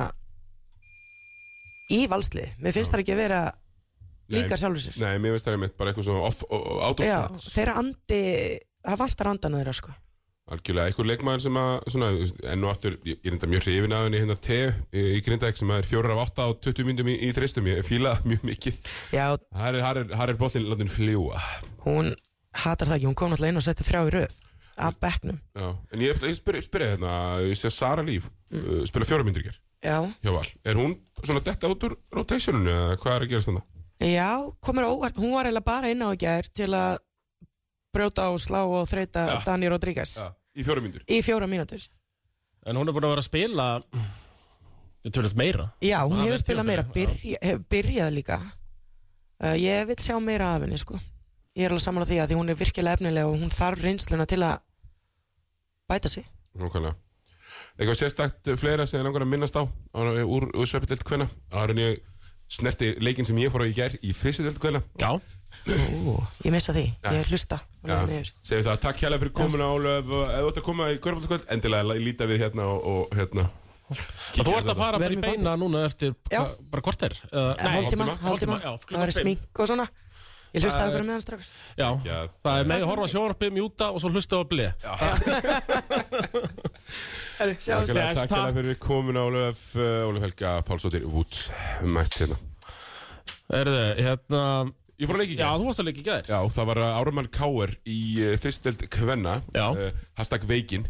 C: í valsli, mér finnst það ekki að vera líka sjálfur sér
A: Nei, mér finnst það einmitt bara eitthvað svona off, o- out of
C: Já,
A: sorts.
C: þeirra andi, það vantar andan þeirra sko
A: Algjörlega, einhver leikmaður sem að svona, þú veist, enn og aftur, ég ég er enda mjög hrifin að henni hérna te í Grindavík sem að er fjórar af átta á 20 myndum í, í þristum, ég fíla það mjög mikið
C: Já,
A: Þar er, þar er, þar er bóttin látin fljúa
C: hún hatar það ekki, hún kom náttúrulega inn og setti þrjá í röð af bekknum,
A: Já. En ég, ég spyrir spyr, hérna, ég sé að Sara Líf uh, spila fjórar myndur hér
C: já
A: hjá Val Er hún svona detta út úr rotationinu eða hvað er að gerast þannig?
C: Já, komur óvart, hún var eiginlega bara inn á í gær til að brjóta og slá og þreita
A: Já.
C: Dani Rodríguez
A: Í fjórar myndur
C: í fjóra mínútur.
B: En hún er búin að vera að spila Þetta verður meira
C: Já, hún
B: Það
C: hefur
B: er
C: spilað meira,
B: tímabilið,
C: byrja, hefur byrjað líka. Uh, ég vil sjá meira af henni, sko. Ég er alveg saman á því að því hún er virkilega efnilega og hún þarf reynsluna til að bæta sig.
A: Nákvæmlega Eitthvað sérstakt uh, fleira sem ég langar að minnast á á- úr, úr sveppidelt kvenna Það er ég snerti leikin sem ég fór á í gær í fyrstidelt kvenna
B: Já,
C: Ú, ég missa því,
A: Já.
C: ég hlusta.
A: Já,
C: Já.
A: segjum það, takk hérlega fyrir komuna Ólaf, eða þú ert að koma í Körbáttakvöld endilega la- líta við hérna og, og hérna
B: Kíkja þú ert að fara bara
C: Verðum
B: í
C: í
B: beina núna eftir
C: Já.
B: hva- bara korter eða-
C: En hálftíma,
A: hálftíma,
C: hálftíma,
B: já,
C: það
B: klukkan
C: verið
B: fimm.
C: smink og svona. Ég hlusta
B: Það
C: okkur
B: er-
C: meðan strafur.
B: Já,
A: Já.
B: það er með að horfa á sjónvarpið, mjúta og svo hlusta á bli
A: Takk
C: Sjáumst.
B: Bless,
A: hérlega
B: takk.
A: fyrir komuna Ólaf, eh, Ólaf Helga Pálsóttir Woods mætt hérna
B: Erðu, hérna
A: Ég fór að leiki
B: Já,
A: ekki
B: þú varst að leika í gær
A: Já, það var Árumann Káer í uh, fyrstdelt Kvenna
B: Já.
A: eh, Hashtag Veikin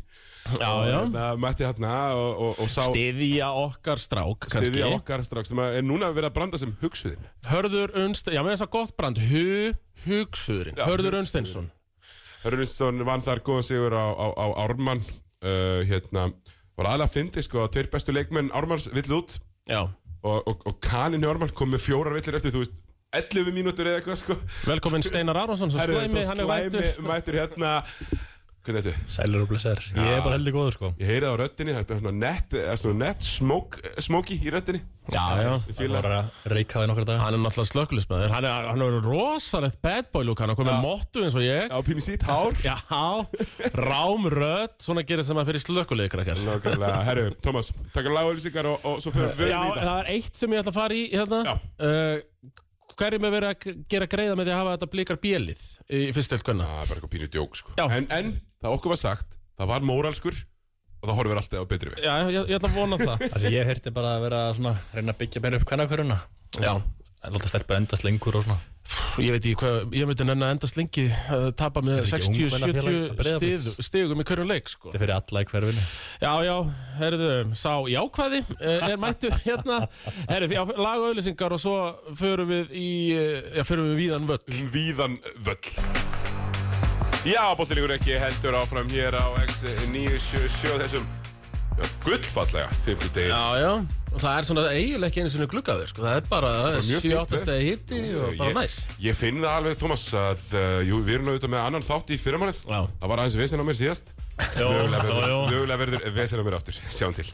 B: Já,
A: Og
B: já
A: hérna, Mætti hérna og, og, og sá
B: Stiðja okkar strák, kannski
A: stiðja okkar strax sem að er núna verið að branda sem hugsuðin
B: Hörður Unst, já, með þess að gott brand Hu, hugsuðurinn,
A: Já,
B: Hörður
A: Hugsuðurinn.
B: Unsteinsson
A: Hörnvinsson vann þar góðan sigur á, á, á Ármann uh, hérna, var aðlega að fyndi sko að tveir bestu leikmenn Ármanns vill út
B: Já,
A: og, og, og kaninu Ármann kom með fjórar villir eftir þú veist 11 mínútur eða eitthvað sko
B: velkomin Steinar Aronsson Svo
A: Herðu,
B: slæmi,
A: svo
B: hann er
A: slæmi
B: vættur
A: mættur hérna hvernig er þetta?
D: Sælur og blessar Ég er bara heldig góður sko
A: Ég heyrið á röddinni, það er svona nett, eh, svona nett smók, smóki í röddinni
B: Já, já
D: Það var að reika það í nokkra daga
B: Hann er náttúrulega slökulismæður Hann er, hann er rosalegt bad boy lúk Hann er komið mottu eins og ég
A: á pínu sítt hár
B: Já, rám rödd, svona gerir sem að fyrir slökulegir krakkar.
A: Nákvæmlega, herru, Tómas, takk að lágu öllisíkar og, og svo fyrir við
B: Já,
A: í þetta
B: það er eitt sem ég ætla að fara í hérna. Uh, hverjum er verið að g- gera greiða með því að hafa þetta blikar bjelið í fyrstöld kvenna?
A: Það er bara eitthvað pínu djók sko
B: Já.
A: en, en það okkur var sagt, það var móralskur og það horfir alltaf á betri við
B: Já, ég, ég ætla að vona það.
D: Það sem ég heyrti bara að vera svona Reyna að byggja meira upp kannakverjuna
B: Já.
D: Láta stelpur endast lengur og svona
B: ég veit ekki hvað, ég myndi nenni að endast lengi að tapa með
D: Er ekki ungmennafélag
B: 60-70
D: Breiðabliks?
B: stig- stigum í hverju leik sko.
D: Þetta er fyrir alla í hverfinu
B: Já, já, herðu, sá jákvæði eh, er mættur hérna herðu, já, lagauðlýsingar og svo förum við í, eh, já, förum við víðan völl
A: víðan völl Já, bóttilegur ekki heldur áfram hér á X977 þessum já, gullfallega fimmtudegi
B: Já, já, og það er svona eiginlega ekki einu sinni gluggaður, sko, það er bara
A: bara mjög fínt,
B: 7-8
A: eh?
B: stegi hitti og bara
A: ég,
B: næs
A: ég finn það alveg, Thomas, að uh, jú, við erum auðvitað með annan þátt í fyrramálið
B: Já.
A: Það var aðeins vesen á mér síðast Mögulega verður- mögulega verður vesen á mér aftur, sjáum til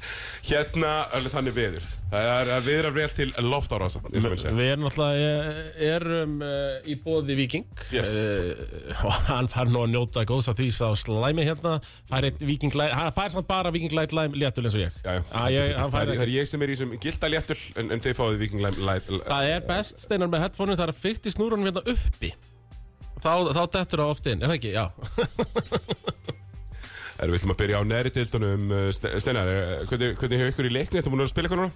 A: Hérna, alveg þannig veður Það er að viðra rétt til loftárása eins og menn segja.
B: Við erum náttúrulega, eh, erum eh, í bóði Viking
A: Yes.
B: Eh, og hann fær nú að njóta góðs að því sá slæmi hérna, fær eitt Viking Light, hann fær samt bara Viking Light Lime léttul eins og ég.
A: Já, já.
B: Ah, ég hann
A: Það
B: fær
A: er, það
B: ekki.
A: er ég sem er í þessum gilda léttul en, en þeir fáið Viking Lime Light
B: Það er best, Steinar, með headphone-u, það er að fykti snúrunum hérna uppi. Þá, þá dettur það oft inn, er það ekki? Já.
A: Erum við ætlum að byrja á neðri deildunum uh, Ste- Steinar, eh, hvernig, hvernig hefur ykkur í leikni Þetta múin að spila eitthvað núna?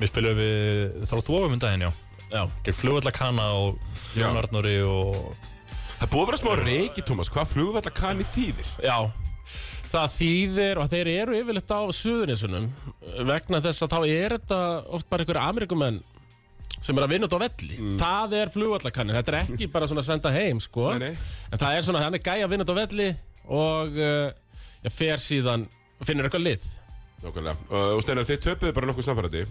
D: Við spilum við þrátt ofum um daginn, já
B: Já.
D: Gerð flugvalla Kana og Jón
A: Já.
D: Arnóri og
A: Það er búið að vera smá reiki, Tómas Hvað flugvalla kanni þýðir?
B: Já, það þýðir og þeir eru yfirleitt á suðunisunum vegna þess að þá er þetta oft bara einhverja Amerikumenn sem er að vinna út á velli
A: Mm.
B: það er flugvallakannin, þetta er ekki bara svona að senda heim sko,
A: Nei, nei.
B: en það er svona hann er gæja að vinna út á velli og uh, ég fer síðan, finnur eitthvað lið
A: Nákvæmlega uh, Og Steinar, þeir töpuðu bara nokkuð samfærandi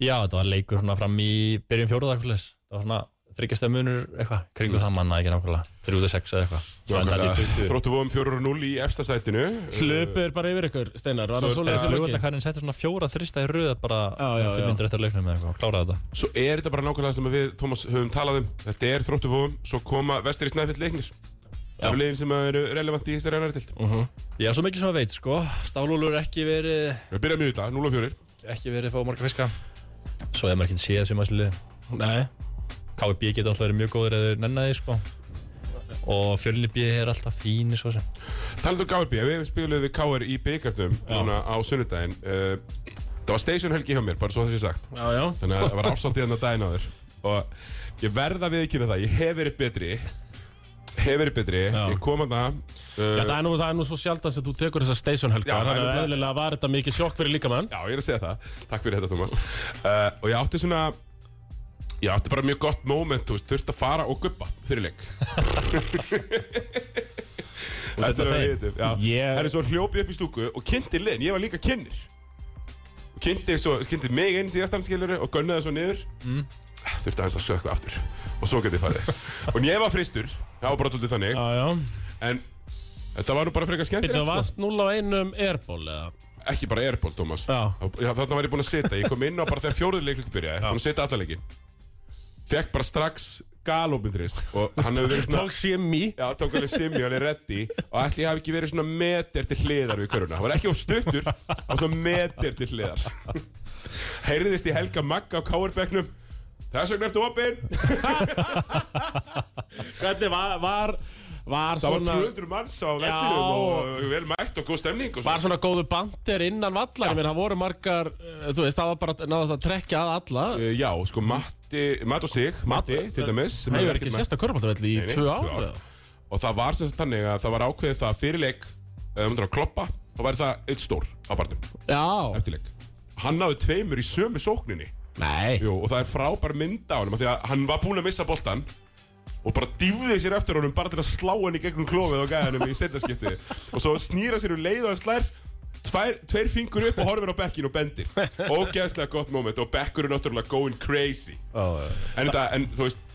D: Já, þetta var leikur svona fram í byrjun fjóruða eitthvað leis Það var svona þryggjastega munur eitthvað Kringu það manna ekki nákvæmlega 3-6 eða eitthvað Mm. Svo endaði í 20
A: Þróttu vóum 4-0 í efsta sætinu
B: hlupur bara yfir ykkur, Steinar var það
D: Svo er
B: svoleiðis
D: flugvalla
B: leiki?
D: Kanin setja svona fjóra þrista í röða bara
B: Já, já, já.
D: 500 eftir leiknum eða eitthvað og kláraði þetta
A: Svo er þetta bara nákvæmlega sem við, Tómas, höfum talað um Þetta er þróttu vóum, svo koma vestir í snæfitt leiknir Það eru liðin sem uh, eru relevant í þessari ennari deild
D: Já, svo mikið sem að veit, sko Stálúlur ekki verið
A: Við byrjaðum í þetta, 0-4
D: ekki verið að fá marga fiska Svo hefur maður ekki séð sem að sliði
B: Nei,
D: KVB geta alltaf verið mjög góðir eða nennaði sko og fjölinni B er alltaf fín svo sem
A: Talandi um KRB, við spilum við KR í byggarnum núna á sunnudaginn uh, Það var station helgi hjá mér, bara svo þessi sagt
B: já, já
A: Þannig að það var ásáttið hann að daginn áður Og ég verða við ekki það, ég hef verið betri Hef verið betri, ég kom að
B: Já,
A: það
B: það, er nú, það er nú svo sjaldan sem þú tekur þessa station helga
A: Já, það er
B: þannig að
A: nefnilega-
B: eðlilega var þetta mikið sjokk fyrir líkamann
A: Já, ég er að segja það, takk fyrir þetta Thomas uh, Og ég átti svona Ég átti bara mjög gott moment, þú veist, þurfti að fara og guppa fyrir leik Þetta er
D: þeim?
A: við vitum, já
B: Ég-
A: Það er svo hljópið upp í stúku og kynnti liðin, ég var líka kynnir Og kynnti, svo, kynnti mig inn síðastan skilur og gönnaði svo niður mm. Þurfti aðeins að skoða eitthvað aftur Og svo geti ég farið Og ég var fristur, það var bara tólið þannig
B: Já, já
A: En þetta var nú bara frekar
B: Þetta
A: skemmtilegt sko.
B: varst 0 á 1 um airball eða?
A: Ekki bara Airpool, Thomas
B: Já.
A: Já, Þarna var ég búinn að sita, ég kom inn á bara þegar fjóruði leiklut byrjaði Búinn að sita alla leikin Fekk bara strax galopin þrist Og hann hefur verið svona
B: Tók semi
A: Já, tók alveg simmi, hann er reddi og ætli ég hafi ekki verið svona meter til hliðar við köruna. Það var ekki á stuttur, það var svona meter til hliðar. Heyrðist í Helga Magga á Káurbegnum, þess vegna ertu opinn.
B: Hvernig var, var, var
A: Það var
B: svona
A: 200 manns á vellinum og vel mætt og góð stemning og
B: Var
A: svona.
B: svona góðu bandir innan vallar Ég meina, það voru margar eh, Þú veist, það var bara náðu að trekja að alla
A: Uh, já, sko, Matti, Matt og sig, Matti, til dæmis. sem
B: Það
A: hefur
B: hefur ekki
A: ekkert
B: sérst að körfaldavelli í
A: Nei, nei,
B: tvö
A: tvö
B: ár
A: ár.
B: eða?
A: Og það var sem sagt þannig að það var ákveðið það að fyrirleik, ef um, að kloppa, þá væri það eitt stór á barnum,
B: Já
A: eftirleik. Hann náði tveimur í sömu sókninni.
B: Nei
A: Jú, og það er frábær mynd á honum af Því að hann var búinn að missa boltan Og bara dýfði sér eftir honum Bara til að slá henni gegnum klófið á gæðanum í setnaskipti Og svo snýra sér um leið og hann slær Tvær, tveir fingur upp og horfir á bekkin og bendir Ógeðslega gott moment Og bekkur er náttúrulega going crazy En, þetta, en þú veist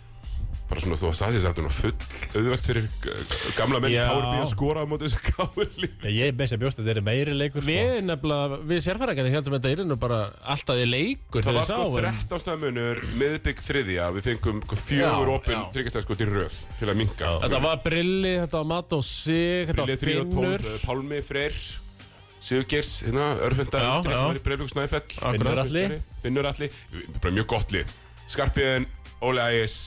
A: Bara svona þú að sagði þess að þetta er full Auðvelt fyrir uh, gamla menn
B: Já.
A: Káur býja að skora á móti þessu káurli
D: Ég meins að bjóst að þetta er meiri leikur sko.
B: Við nefnilega, við sérfæringarnir heldum þetta yrði nú bara alltaf í leikur
A: Það
B: þegar
A: var sko
B: við sáum.
A: 13 stæðmunur Miðbygg þriðja Við fengum sko, fjögur
B: Já,
A: opinn
B: já.
A: Tryggastæðskot í röð Til að minka
B: Þetta var Brilli, þetta var Matt og Sig, þetta
A: Billið
B: var
A: 3 og
B: Finnur
A: 12, Pálmi, Freyr Sigurgeirs, hérna, Örfenda
B: Já,
A: Andri
B: já.
A: sem var í Breiðbjörg Snæfell
B: Finnur Atli.
A: Finnur Alli, bara mjög gott lið Skarpiðin, Óli Ægis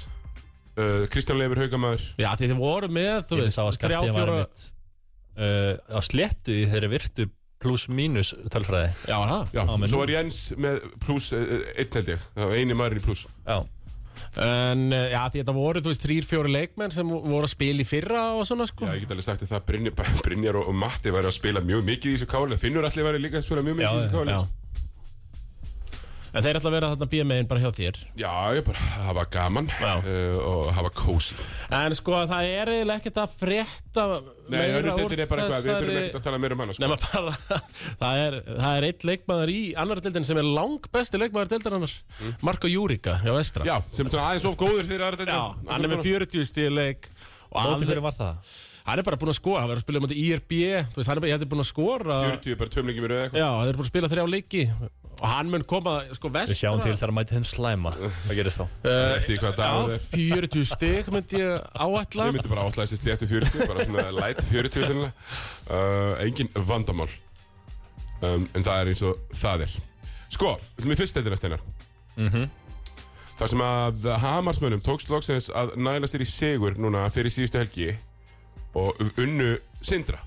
A: uh, Kristján Leifur Haugamæður
B: Já, því þið voru með, þú
D: Ég
B: veist,
D: sá að
B: þrjá,
D: skattið var
B: fjóra
D: einmitt uh, á sléttu í þeirri virtu pluss mínus tölfræði
B: Já, það
A: Já,
D: menn.
A: eh, svo var Jens með pluss uh, einn held ég, það var eini maðurinn í pluss
D: Já,
B: En eh, já, því þetta voru, þú veist, þrýr, fjóri leikmenn sem vo- voru að spila í fyrra og svona, sko.
A: Já, ég get alveg sagt þér það Brynjar, bara Brynjar og, og Matti væri að spila mjög mikið í þessu káli Finnur allir væri líka að spila mjög mikið í þessu káli
B: En þeir ætla að vera þarna BMA-in bara hjá þér.
A: Já, ég bara hafa gaman
B: Já.
A: uh, og hafa kósi
B: En sko, það er eiginlega ekkert að frétta
A: Nei, önnutildin er bara eitthvað, við þurfum ekkert að tala meira um hana sko.
B: Nefna bara, það er, það er eitt leikmaður í annar deildin sem er lang besti leikmaður deildarinnar Marko Júrika, hjá Vestra
A: Mm. Já, sem er svona aðeins of góður fyrir aðra
B: Já, hann er með 40 stíð leik og
D: Móti
B: alveg-
D: hverju var það?
B: hann er bara búin að skora, hann verður að spila mútið IRB þú veist, hann er bara, ég hefði búin að skora
A: 40, bara tveim leikir mér eða eitthvað
B: Já, hann er búin að spila þrjá leiki og hann mun koma, sko,
D: Við sjáum til
B: Vestra
D: þegar mæti þeim slæma Hvað gerist þá?
B: uh,
A: Eftir hvað
B: Já,
A: dag það er
B: 40 stíð myndi ég áætla
A: Ég myndi bara átlaði þessi stéttu 40, bara svona light 40 sennilega uh, Engin vandamál um, En það er eins og það er Sko, við erum í fyrst deildina steinar Þar sem að Hamarsmönnum tókst loksins að næla sér í sigur núna fyrir síðustu helgi og unnu Sindra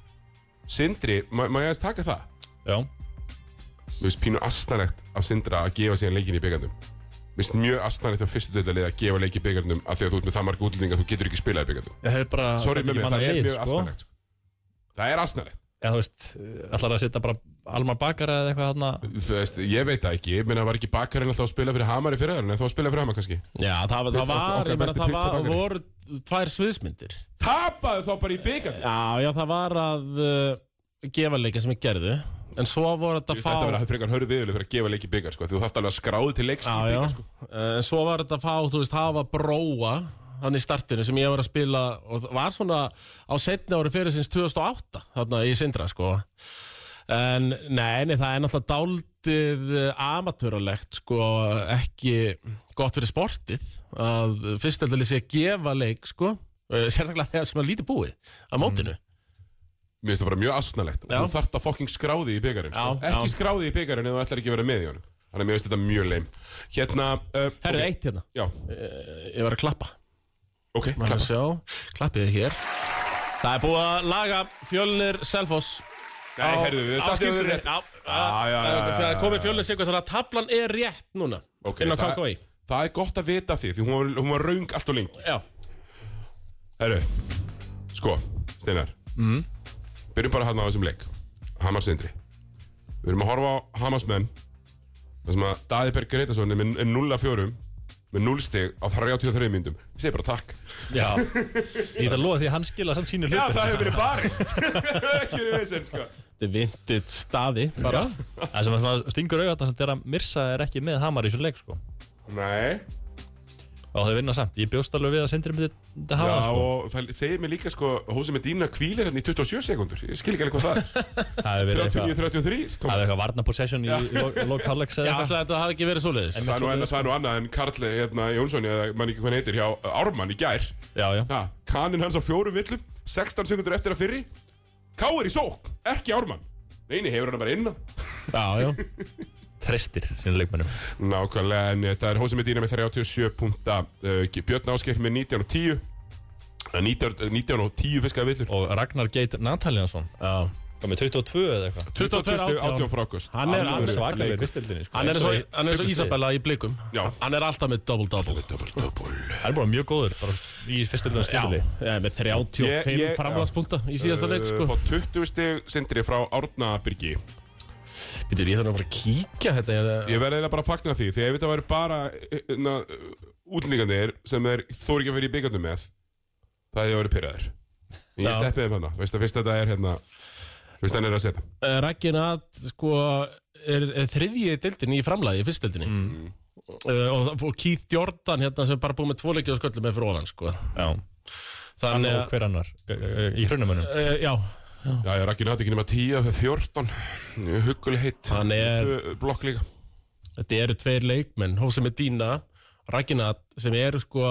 A: Sindri, má, má ég aðeins taka það?
D: Já,
A: Mér finnst pínu astanlegt af Sindra að gefa síðan leikin í byggandum Mér finnst mjög astanlegt af fyrstu deilalið að gefa leik í byggandum af því að þú ert með það marga útlendinga að þú getur ekki spilað í byggandum
D: það er bara
A: Sorry með mig, það er mjög
D: sko.
A: astanlegt sko. Það er astanlegt
D: Já, þú veist, eh, ætlar að setja bara Almar Bakara eða eitthvað þarna
A: Þú veist, ég veit það ekki, menn að var ekki bakarinn alltaf að spila fyrir Hamar í fyrraður en þá að spila fyrir Hamar kannski
B: Já, það, það
A: Pizza-
B: var,
A: okkar
B: ég meina,
A: besti
B: það var,
A: pizzabakari.
B: voru tvær sviðsmyndir
A: Tapaðu þá bara í byggandum
B: Já, já, það var að uh, gefa leika sem ég gerðu En svo voru þetta
A: Þú
B: að
A: veist, þetta verður
B: fá
A: að frekar hörðu viðurlega fyrir að gefa leik í byggar sko. Þú þarft alveg að skráðu til leiks í
B: Já, já,
A: byggar sko.
B: Eh, en svo var þetta að fá, þú veist, hafa bróa Þannig í startinu sem ég var að spila Og það var svona á setni ári fyrir sinns 2008 Þarna í Sindra, sko En nei, nei, það er náttúrulega dáldið eh, amatörulegt sko, ekki gott fyrir sportið að fyrstöldalið sé að gefa leik sko, eh, sérstaklega þegar sem er lítið búið á mótinu.
A: Mér finnst það bara mjög asnalegt
B: Já.
A: Þú þarft að fucking skráði í byggarinn sko.
B: Já,
A: Ekki
B: já.
A: skráði í byggarinn ef þú ætlar ekki að vera með í honum Þannig að mér finnst þetta mjög leim Hérna uh,
B: Herrið
A: ok.
B: eitt hérna,
A: Já,
B: ég var að klappa
A: ok,
B: Má
A: klappa
B: sjá, klappið er hér Það er búið að laga fjölnir Selfoss
A: Nei, herðu, við startum við rétt Já, já, já, já, já,
B: Það
A: já.
B: komið fjölnir sigur þannig að tablan er rétt núna
A: Ok,
B: Inn á
A: það-
B: KKI
A: Það er gott að vita af því, því hún var, hún var raung allt og lengi
B: Já,
A: Herru, sko, Steinar Byrjum bara hérna á þessum leik Hamar Sindri Við erum að horfa á Hamarsmenn Það sem að Daði Per Gretason er með er 0 af 4 Með 0 stig á 33 myndum Ég segi bara takk
D: Já, ég ætla að lofa því að hann skila samt sínu hlutur
A: hefur verið barist Ekki verið vissinn, sko
B: þetta er vintage staði bara
D: Það sem er svona stingur auðvitað samt er að Mirsa er ekki með Hamar í þessum leik sko.
A: Nei
D: og þau vinna samt, ég bjóst alveg við að Sindri myndi myndi
A: Já,
D: hafa hann sko.
A: og það segir mér líka, sko Hósi með dýna kvílir hérna í 27 sekundur Ég skil ekki alveg hvað það
D: Það hefur
A: er
D: verið eitthvað
A: 39-33,
D: Það er
A: Tómas
D: eitthvað varna possession í lokallegs
B: Já,
D: eða
B: ætlaði
D: eitthvað
B: að þetta hafi ekki verið svoleiðis
A: Það er nú enn- það er nú annað en Karl hérna, Jónsson, eða mann ekki hvað hann heitir, hjá uh, Ármann í gær
D: Já, já,
A: Ha, kaninn hans á fjórum villum 16 sekundur eftir að fyrri Káir í sók, ekki ármann Neini, hefur hann bara inn á.
B: Já, já
D: trestir sínu leikmennum
A: Nákvæmlega, en þetta er Hósi Medina með 37 punta uh, Björn Áskeir með 19 og 10 Eh, 19, 19 og 10 fiskaði villur
D: Og Ragnar Geit Nataljansson
B: Já.
D: Hvað með 22 eða eitthvað
B: 22,
A: 18 frá august
B: Hann er- hann er
D: Svakalega vistildinni sko.
B: Hann er svo,
D: Eins og í-
B: hann er svo
D: Byggusti.
B: Ísabella í blikum
A: Já.
B: Hann er alltaf með double-double
A: Double, double
D: Hann er bara mjög góður bara í fyrstildinni
B: Já,
D: stili
B: eh, með
A: Ég-
B: 35
A: ég-
B: framlagspunkta í síðasta leik sko.
A: Eh, Fá 20 stig sindri frá Árnabyrgi
B: Býtur, ég þarf nú bara að kíkja þetta ég-
A: Ég verði eiginlega bara að fagna því Því ef þetta væri bara eh, na, útlendingandir sem er þóri ekki að fyrir í byggandum með það hefði ég verið pyrraður En Ég
B: Já.
A: steppið um hana, veist að fyrst þetta er hérna Veist að hann er að setja
B: Eh, Raggi Nat sko, er, er þriðji deildin í framlagi í fyrst deildinni
D: Mm.
B: uh, og, og Keith Jordan hérna, sem er bara búið með tvo leikið og sköllum með fyrir ofan sko.
D: Já, hann
B: þannig
D: og
B: að
D: hver annar G- g- í hraunamönnum
B: uh, já,
A: Já, ég rakkin hatt ekki nema 10 af 14 Hugguleg heitt
B: Hann er-
A: Tvö Blokk líka
B: þetta eru tveir leikmenn Hóse Medina, Raggi Nat sem eru sko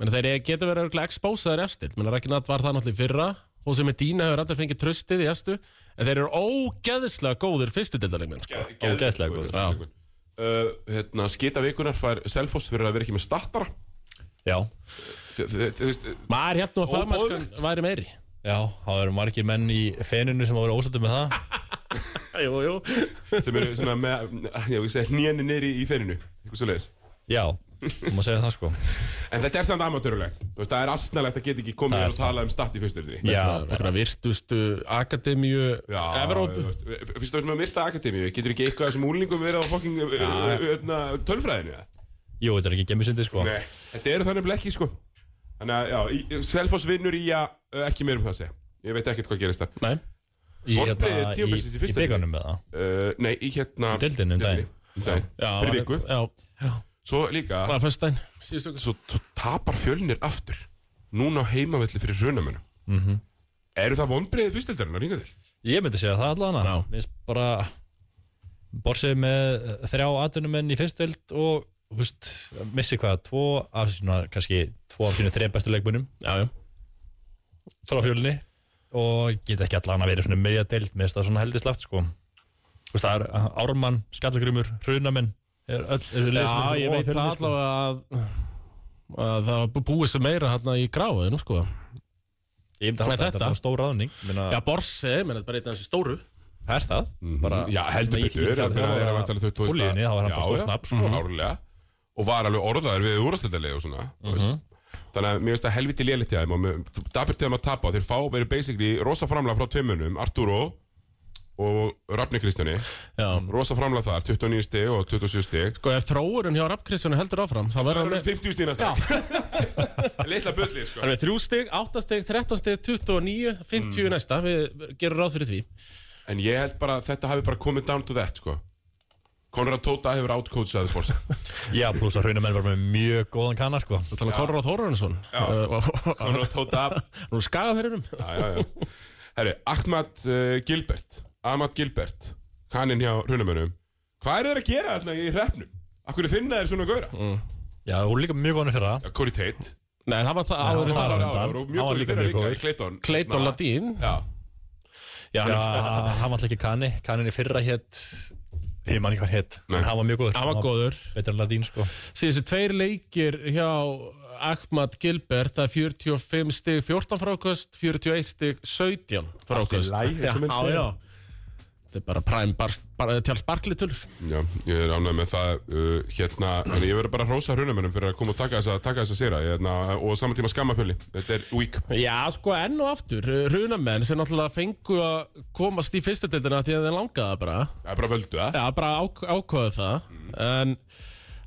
B: menn, þeir eru- geta verið örugglega expósaðir efstil menn Raggi Nat var það náttúrulega í fyrra Hóse Medina hefur aldrei fengið tröstið í efstu en þeir eru ógeðslega góðir fyrstu deildarleikmenn sko.
D: Ógeðslega góður.
A: Já. Uh, hérna, skita vikunar fær Selfoss fyrir að vera ekki með startara
D: Já,
A: Þi- þi- Þú veist,
B: maður hérna og fagmannskan væri meiri
D: já, það eru margir menn í feninu sem voru ósættu með það
B: jú, jú.
A: sem eru svona með Já, ég segi hnjéni niðri í ferinu Eitthvað svo leiðis
D: Já, þú maður segja það sko
A: En þetta er samt amatörulegt Þú veist, það er asnalegt að geta ekki komið
D: Það er
A: og tala um start í fyrstöldinni
D: Já,
B: Það er að virtustu akademíu Evrópu
A: Fyrst og með myrta akademíu Getur ekki eitthvað af þessum úlingum verið á fokking uh, uh, uh, tölfræðinu eða?
D: jú, þetta er ekki gemmisindi sko
A: Nei, þetta eru þannig blekki sko Þannig að, já, Selfoss vinnur í að uh, ekki meir um það að segja Ég veit ekkert hvað gerist þar
B: Nei
D: Í,
A: Vonbrigði
D: hérna,
A: tímabilsins í
D: í, í
A: fyrsta
D: byggarnum með það
A: uh, Nei, í hérna
D: Deildinni um daginn.
A: um daginn. Fyrir viku
B: Já,
A: Svo líka,
B: það var fyrstæn Síðustu
A: svo, svo tapar fjölnir aftur Núna á heimavelli fyrir raunamönnum mm -hmm. Eru það vonbreiðið fyrstildarinn að ringa til?
D: Ég myndi segja það allavega
B: Já.
D: Mér finnst bara Borsið með eh, þrjá atvinnumenn í fyrstild og þú veist, missi hvað, tvo af svona, kannski tvo af sínu þreim bestu leikmunum
B: Já, já
D: frá fjölni og get ekki allan að vera svona meðja deild með þetta svona heldislegt sko Þú veist, það er eh, Ármann, Skallagrimur, Hrunamenn er öll, er
B: Já, ég veit
D: sko.
B: það allavega að, að það var búið sem meira hérna í gráðinu, sko.
D: Ég myndi að
B: Þetta?
D: halda að þetta er bara stór ráðning Minna,
B: Já, Mhm. Borsi, menn þetta er bara einn af þessu stóru.
D: það er það bara,
A: Já, heldur
D: Í- í-
A: betur
D: í- í-
A: Það er að vantala þau tóðist
D: Olíunni, þá var hann bara stórt nafn, sko.
B: Mhm.
A: Árlega Og var alveg orðaður við úrastildalegi og svona þú veist.
D: Mhm.
A: Þannig að mér finnst það helviti lélitt í þeim og mér- dapurt til þeim að tapa þeir fá verið basically rosa framlega frá tveimunum Arturo og Rafni Kristjáni
B: Já.
A: rosa framlega þar, 29 stig og 27 stig
B: Sko, ef þróurinn hjá Rapp Kristjánu heldur áfram, þá verður
A: Það
B: hann
A: eru 50
B: með...
A: stína steg Leitla bulli, sko
B: Það er með þrjú stig, átta stig, 13 stig, 29, 50 næsta, við gerum ráð fyrir því.
A: En ég held bara að þetta hafi bara komið down to that, sko Konrad Tóta hefur outcoachað Borsa
D: Já, pluss að Hrunamenn var með mjög góðan kanna sko
B: Þú talar um Konrad Þórarinsson. Já.
A: Konrad Tóta
B: Nú skagafyrirum.
A: já, já, já. Herri, Ahmad uh, Gilbert Ahmad Gilbert Kaninn hjá runamönnum Hvað eru þeir að gera þarna í hreppnum? Akkur finna þeir svona góra? Mm.
D: Já, hún er líka mjög góðan fyrir það
A: Corey Tate
B: Nei, það var það áður
D: hann
B: en
D: var-
B: það.
A: Klárar
D: reyndar.
A: ára og
D: Hann
A: mjög
D: var
A: góður
D: líka
A: fyrir
D: mjög
A: líka
D: góður.
A: í Clayton
B: Clayton Ladín.
A: Já,
B: Já,
D: Já,
B: hann-
D: hann var alltaf ekki kanni Kannin í fyrra hétt Ég man ekki hvað hétt
A: Nei.
D: En hann var mjög góður
B: hann var góður.
D: Betur en Ladín sko
B: Síðan þessi tveir leikir hjá Ahmad Gilbert það er 45 stig 14 frákvöst 41 stig 17
A: Allt
B: frákvöst
A: í lagi, eins og menn segja.
B: Þetta er bara præm bar, bara tjáls barklitur
A: já, ég er ánægð með það uh, Hérna, en ég verður bara að rósa runamönnum fyrir að koma og taka þessa, taka þessa séra hérna, og saman tíma skammafjöli Þetta er week
B: Já, sko enn og aftur runamenn sem náttúrulega fengu að komast í fyrstu deildina því að þeir langaða bara
A: Það er bara völdu, eh? það?
B: Já, bara ák ákvaðu það en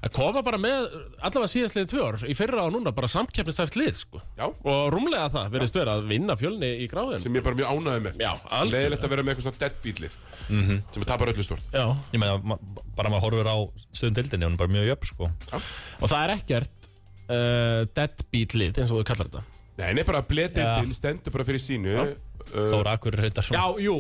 B: að koma bara með allavega síðastliðin tvö ár í fyrra og núna bara samkeppnistæft lið sko
A: Já.
B: og rúmlega það verðist vera að vinna fjölni í gráðin
A: Sem ég er bara mjög ánægð með
B: Já, algjörlega.
A: Leiðilegt að vera með eitthvað svona deadbeatlið Sem tapar öllu stort
B: Já,
D: Ég meina, ma- bara maður horfir á stöðum deildinni Hún er bara mjög jöfn sko
B: Og það er ekkert uh, deadbeat lið, eins og þú kallar þetta.
A: Nei, nei, bara bledeildin stendur bara fyrir sínu uh,
D: Þóra Akur reyndar
B: Já,
D: svona
B: jú.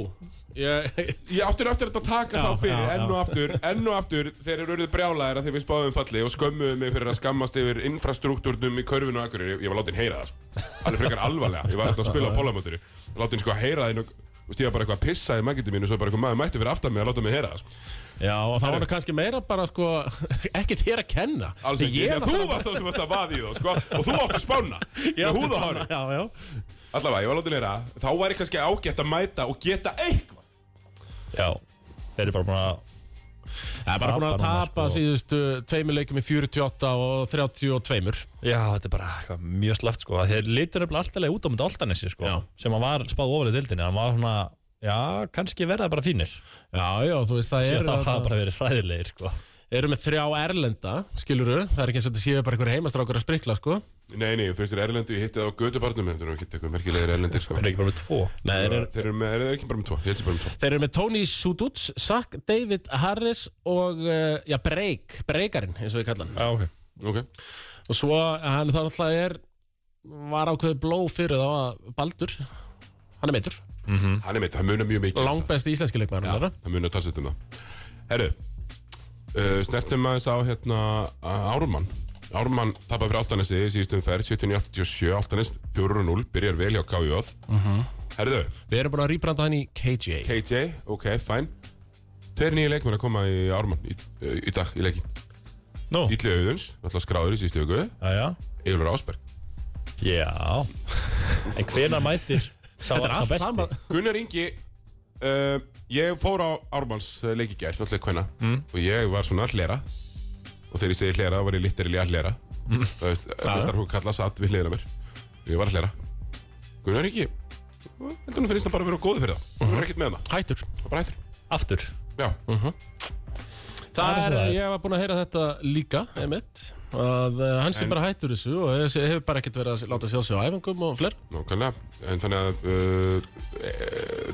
B: Ég,
A: Ég áttur eftir að taka þá fyrir
B: já,
A: enn og aftur, enn og aftur þeir eru auðvitað brjálæðir að þeim við spáðum falli og skömmuðu mig fyrir að skammast yfir infrastruktúrnum í körfinu og akkurir, ég var látin heyra það sko. alveg frekar alvarlega, ég var alltaf að spila á pólamóturu látin sko að heyra það inn og og stíða bara eitthvað að pissa í mækindum mínu svo bara eitthvað maður mættu fyrir aftan mig að láta mig heyra það sko.
B: já, og það voru kannski meira bara, sko, ekki þér að kenna.
A: alls
B: Því
A: ekki,
B: ég
A: þegar þú varst þá sem varst að vaði í þá sko, og þú átti spána
B: Ég
A: með
B: átti
A: húð og
B: svona-
A: hári
B: Já, já.
A: allavega, ég var látin heyra það. þá væri kannski ágætt að mæta og geta eitthvað
D: Já Þeir eru bara búin að
B: Það er bara búin að
D: Tapan hann,
B: tapa
D: sko.
B: síðustu tveimur leikum í 48 og 32.
D: Já, þetta er bara eitthvað mjög slæft sko að Þeir litur nefnilega alltaf leið út á myndi Altanessi sko
B: Já.
D: sem að var spáð ofalega deildinni hann var svona, já, kannski verða bara fínir
B: Já, já, þú veist, það
D: Sér
B: eru
D: það
B: þarna-
D: hafa bara verið hræðilegir sko
B: eru með þrjá erlenda, skiluru. Það er ekki eins og þetta séu bara einhver heimastrákar að sprikla, sko.
A: Nei, nei, þú veist, þeir eru erlendu, ég hitti það á gödubarnum þetta eru ekki eitthvað merkilegir erlendir sko.
D: Þeir eru ekki bara með tvo
B: Nei, þeir eru,
A: Þeir eru með, er þeir ekki bara með tvo? Ég held sér bara með tvo.
B: Þeir eru með Tony Suduts, Zach David Harris og, uh, já, Break, Breakarinn, eins og við kalla hann.
D: Já, ok
A: Ok.
B: Og svo, hann það náttúrulega er, var ákveðið bló fyrir þá að Baldur, hann er meitur,
A: Hann er meitt, það munar mjög mikið. um
B: langbæsti íslenski leikmaður hann
A: það.
B: þeirra.
A: Já, Það munar talsett um það. Herru, uh, snertum aðeins á hérna Árumann. Árumann tapar fyrir Altanesi í síðustu umferð, 79-87, Altanes 4-0, byrjar vel hjá KJ.
B: Mhm.
A: Herru,
B: Við erum búin að rýbranda hann í KJ.
A: KJ, ok, fæn. Tveir nýja leikmenn að koma í Árumann í, uh, í dag, í leikin.
D: Nú,
A: Ítli Auðuns, alltaf skráður í síðustu viku,
D: já, já
A: Eilur Ásberg.
D: Já En hvena mætir sá,
B: Þetta er
D: sá
B: allt
D: besti?
B: saman.
A: Gunnar Ingi uh, Ég fór á Ármanns leikigær Náttúrulega hvenna mm. Og ég var svona að hlera og þegar ég segi hlera þá var ég litterili að hlera þú veist, mestarfólk kalla satt við hlera mér ég var að hlera Gunnar Ríki heldur hann finnst það bara að vera góði fyrir það hann er ekkert með það,
B: Hættur,
A: það er bara hættur Mm.
D: Aftur
A: já,
B: það er,
D: er svo það er.
B: ég var búin að heyra þetta líka einmitt, að uh, hann sé bara hættur þessu og hefur hefur bara ekkert verið að láta sjá sig á æfingum og fleira
A: nákvæmlega en þannig að uh, e,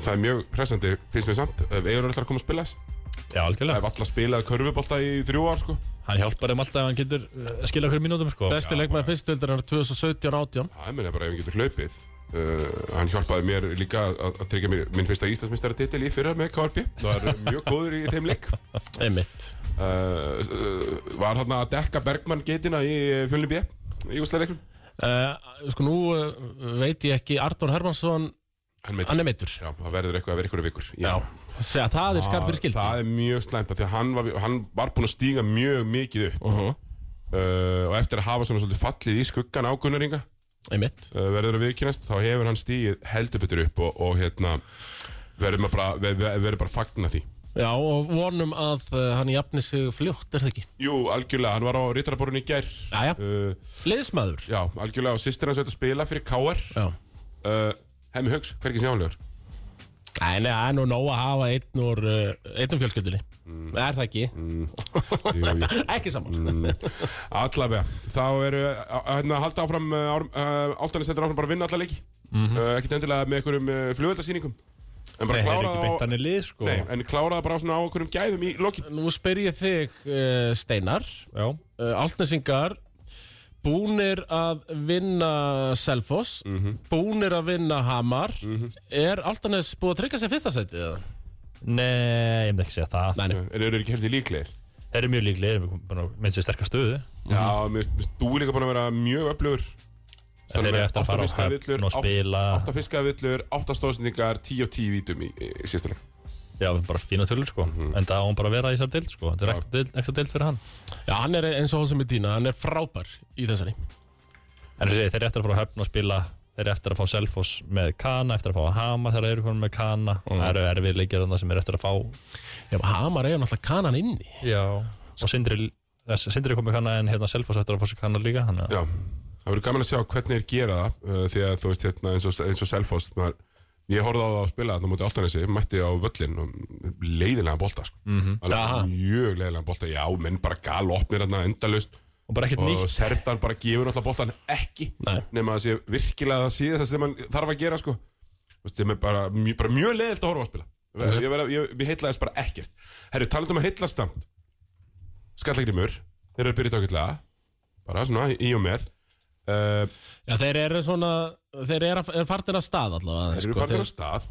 A: það er mjög pressandi, finnst mér samt ef Eyrur ætlar að koma að spila þess
D: Já,
A: það
D: algjörlega
A: er valla að spila körfubolta í þrjú ár sko.
D: Hann hjálpar þeim alltaf ef hann getur uh, skila hverjum mínútum sko
B: Besti leikmaður fyrstöldurinn 2017-18
A: það er mér bara ef hann getur hlaupið Uh, hann hjálpaði mér líka að að tryggja mér minn fyrsta Íslandsmeistara titil í fyrra með KRP það er mjög góður í þeim leik
B: Einmitt
A: uh, uh, var hann að dekka Bergmann geitina í eh, fjölni B í úsleikleiknum
B: uh, Sko nú uh, veit ég ekki Arnór Hermansson,
A: hann meitur,
B: hann er meittur
A: Já, það verður eitthvað að vera ykkur vikur
B: Já, segja það er skarp fyrir skildi
A: það er mjög slæmt af því að hann var, hann var búin að stíga mjög mikið upp
B: uh -huh.
A: uh, og eftir að hafa svona svolítið fallið í skuggan á Gunnaringa
B: Einmitt
A: uh, verður að viðkynast þá hefur hann stígið heldur betur upp og, og hérna verður maður bara, ver, ver, verður bara að fagna því
B: Já, og vonum að uh, hann jafni sig fljótt, er það ekki?
A: Jú, algjörlega, hann var á Rittarborun í gær
B: Jæja,
A: uh,
B: liðsmaður
A: Já, algjörlega og sýstir hans veit að spila fyrir KR
B: Já
A: uh, Hemmi Hugs, hvergi sjánlegur
B: Nei, nei, það er nú nóg að hafa einn úr uh, einn um fjölskyldinni Er það ekki? ekki saman
A: Allavega, þá eru að hérna, halda áfram áltanis þetta áfram bara að vinna alla leiki uh, ekkert endilega með einhverjum uh, flugöldarsýningum en bara
D: Mhm. Nei, það er
A: klára
D: ekki
A: það
D: beint
A: á
D: hann í lið sko
A: Nei, en klára það bara á svona á einhverjum gæðum í lokin
B: Nú spyr ég þig, uh, Steinar
D: Já,
B: uh, Altnesingar Búnir að vinna Selfoss Búnir að vinna Hamar Er Altanes búið að tryggja sér fyrsta sæti? eða?
D: nei, ég myndi ekki segja það
B: Nei, nei.
A: Uh, En eru þeir ekki heldur líklegir
D: Þeir eru mjög líklegir, við komum bara að meint sér sterkar stöðu
A: Já, mér finnst þú líka búin að vera mjög öflugur
D: Þeir eru eftir að fara á höfn og spila
A: Átta fiskavillur, átta stóðsendingar, tíu og tíu vítum í, í, í síðasta leik
D: Já, bara fína tölur sko En það á hann bara að vera í þessar deild sko Þetta er ekta deild- ekstra deild fyrir hann
B: Já, hann er eins og hún sem er dína Hann er frábær í þessari
D: En þessi, þeir eru eftir að fara á höfn og spila Þeir eru eftir að fá Selfoss með Kana Eftir að fá Hamar, þeir eru konum með Kana Það eru erfið leikir þarna sem eru eftir að fá
B: Já, Hamar eiga náttúrulega kanan inni
D: Já Og Sindri, eh, Sindri komið Kana en hérna Selfoss eftir að fá sér Kana líka Þannig að
A: Já, það verður gaman að sjá hvernig þeir gera það uh, því að þú veist hérna eins og, eins og Selfoss maður, ég horfði á það að spila þarna á móti Altanesi, mætti á völlin og leiðinlega bolta sko. mm
B: Aha.
A: -hmm. mjög leiðinlega bolta, já, menn bara galopnir þarna endalaust
D: Og bara ekkert
A: og
D: nýtt
A: Serdan bara gefur alltaf boltan ekki
B: Nei.
A: nema að sé virkilega það síðast sem hann þarf að gera sko. Þú veist, sem er bara, mjö, bara mjög leiðilt að horfa að spila okay. ég, ég, ég, ég heitlaðist bara ekkert herru, talandi um að heitlaðst samt Skallagrimur, þeir eru að byrja tókillega bara svona í- í og með uh,
B: Já, þeir eru svona Þeir eru er fartir af stað allavega sko,
A: þeir eru farin á stað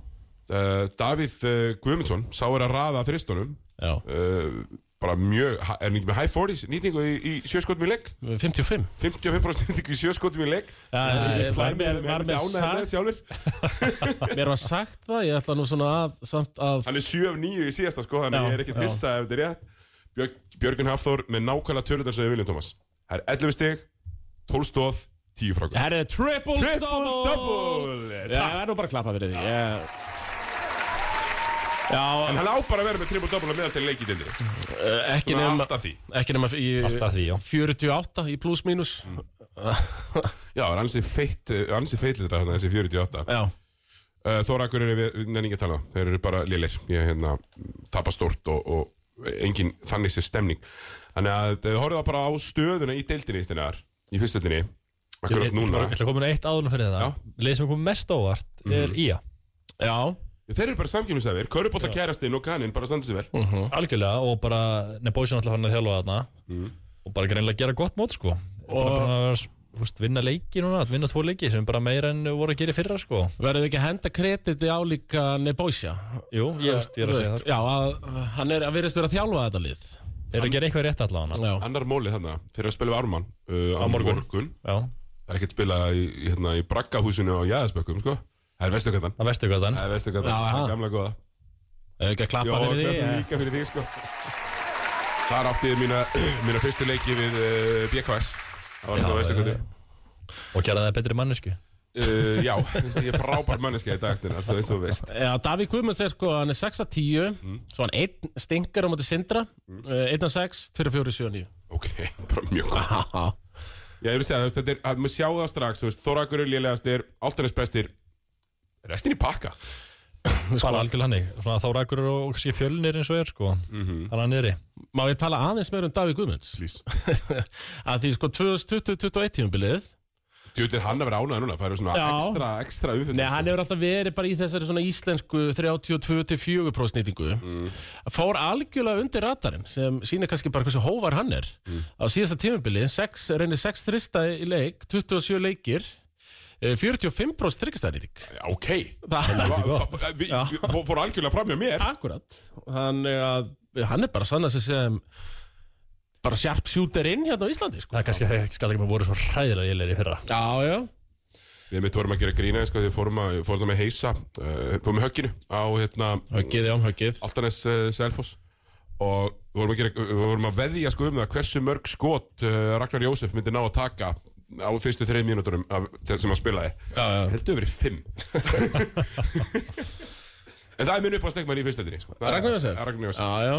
A: uh, Davíð uh, Guðmundsson sá er að raða þristunum
B: Já,
A: uh, bara mjög, ha- er hann ekki með high 40s nýtingu í, í sjöskotum í legg
B: 55
A: 55% nýtingu í sjöskotum í legg
B: Já,
A: það sem
B: ég
A: við
B: var
A: slæmið
B: mér- var
A: með
B: mér
A: ánægð með
B: sagt-
A: sjálfur
B: Mér var sagt það, ég ætla nú svona að Samt að
A: hann er 7 af 9 í síðasta sko þannig
B: Já,
A: ég er ekkert
B: já.
A: hissa ef þetta er rétt Björg, Björgun Hafþór með nákvæmlega tölundar sem við viljum Thomas það er 11 stig, 12 stóð 10 frákvæmst
B: Herri, triple,
A: triple double
B: Já, það er nú bara að klappa fyrir því ég... Já,
A: en hann á bara að vera með triple double að meðal til leikidildri
B: eh, ekki
A: svona
B: nema
A: alltaf því
B: Ekki nema í
D: Alltaf því, já
B: 48 í pluss mínus
A: já, það er ansi feitt eh, ansi feitlitra þarna þessi 48
B: Já,
A: uh, Þóra, hver eru við nenni ekki að tala um þeir eru bara lélir ég hérna tapa stórt og, og engin þannig sér stemning þannig að þau horfðu bara á stöðuna í deildinni í stinnar í fyrstöldinni
D: Ég
A: akkurat
D: ég- ég
A: núna
D: ætla að koma með eitt áðunum fyrir
A: Já. Mhm.
D: þetta Leið sem kom mest á óvart er Ía
B: já,
A: Þeir eru bara samkjöfnisæðir, körubólta kærastinn og kaninn bara standa sér vel
B: Mhm.
D: Algjörlega og bara Nebojsen alltaf farin að þjálfa þarna
A: Mhm.
D: og bara greinlega gera gott mót sko og bara búin að vera, þú veist, vinna leiki núna að vinna tvo leiki sem er bara meira en voru að gera í fyrra sko
B: verðum við ekki að henda krediti á líka Nebojsa
D: Jú, ég, veist, ég er að segja það sko.
B: Já, að, hann er að virðist vera að þjálfa þetta lið
D: er að gera eitthvað rétt allavega
B: Já,
A: Annar móli þarna, þeir eru að spila við Ármann uh, á
D: morgun. Já,
A: Það er ekkert spila í, í, hérna, í braggahúsinu á Jæðasbökkum sko. Það er vesturgatan
D: það veistu hvað þann
A: Það er vesturgatan,
B: Já,
A: það
B: ha.
A: er gamla góða
B: hefur ekki að
A: Já,
B: klappa fyrir því
A: klöfum
B: eh.
A: líka fyrir því sko. Þar átti ég mína, mína fyrstu leiki við uh, BKS Það var hérna á vesturgatan
D: og gera það betri mannesku
A: uh, Já, ég er frábær manneska í dagstinnar Það er eins og þú veist
B: Já, Davík Guðmunds er sko, Eh, hann er 6 að 10 Svo hann einn stingar á móti sindra mm. 1 að 6, 2 að 4, 7 að 9
A: Ok, bara mjög gott Já, ég vil segja, þú veist, þetta er að maður sjá það strax, þú veist, Þorakur er lélegastir, Altanes bestir, restin í pakka.
B: Sko-
D: bara algjörlega hannig svona þá rækur og kannski fjölnir eins og er sko mm -hmm. þannig að niðri
B: Má ég tala aðeins meir um Davík Guðmunds?
A: Please.
B: að því sko 2020-2021 tímabilið
A: Djóttir hann að vera ánæður núna, það eru svona
B: Já.
A: ekstra, ekstra umfjöndum.
B: Nei, hann hefur alltaf verið bara í þessari svona íslensku 32-4% nýtingu Fór algjörlega undir radarinn sem sýnir kannski bara hversu hóvar hann er Á síðasta tímabili, sex, reynir 6 þrista í leik, 27 leikir eh, 45% þryggastæðnýting
A: Ok,
B: Það
A: Va- va- va- vi- vi- fó- fór algjörlega fram hjá mér.
B: Akkurat Þannig að hann er bara sann að sem bara sjarpsjúterinn hérna á Íslandi sko.
D: það er kannski þegar skallingum voru svo hræðilega lélir í fyrra
B: Já, já
A: Við mitt vorum að gera grína, sko, því við fórum að, fórum að með heisa, uh, fórum með högginu á, hérna,
B: Höggið, já, höggið
A: Altanes uh, Selfoss og við vorum, að gera, við vorum að veðja sko um það hversu mörg skot uh, Ragnar Jósef myndi ná að taka á fyrstu þreim mínúturum af þeim sem hann spilaði
B: Já, já
A: heldur verið fimm en það er minn upp á stegmann í fyrstöldinni sko. Það er-
B: Ragnar Jósef?
A: Ragnar Jósef
B: Já, já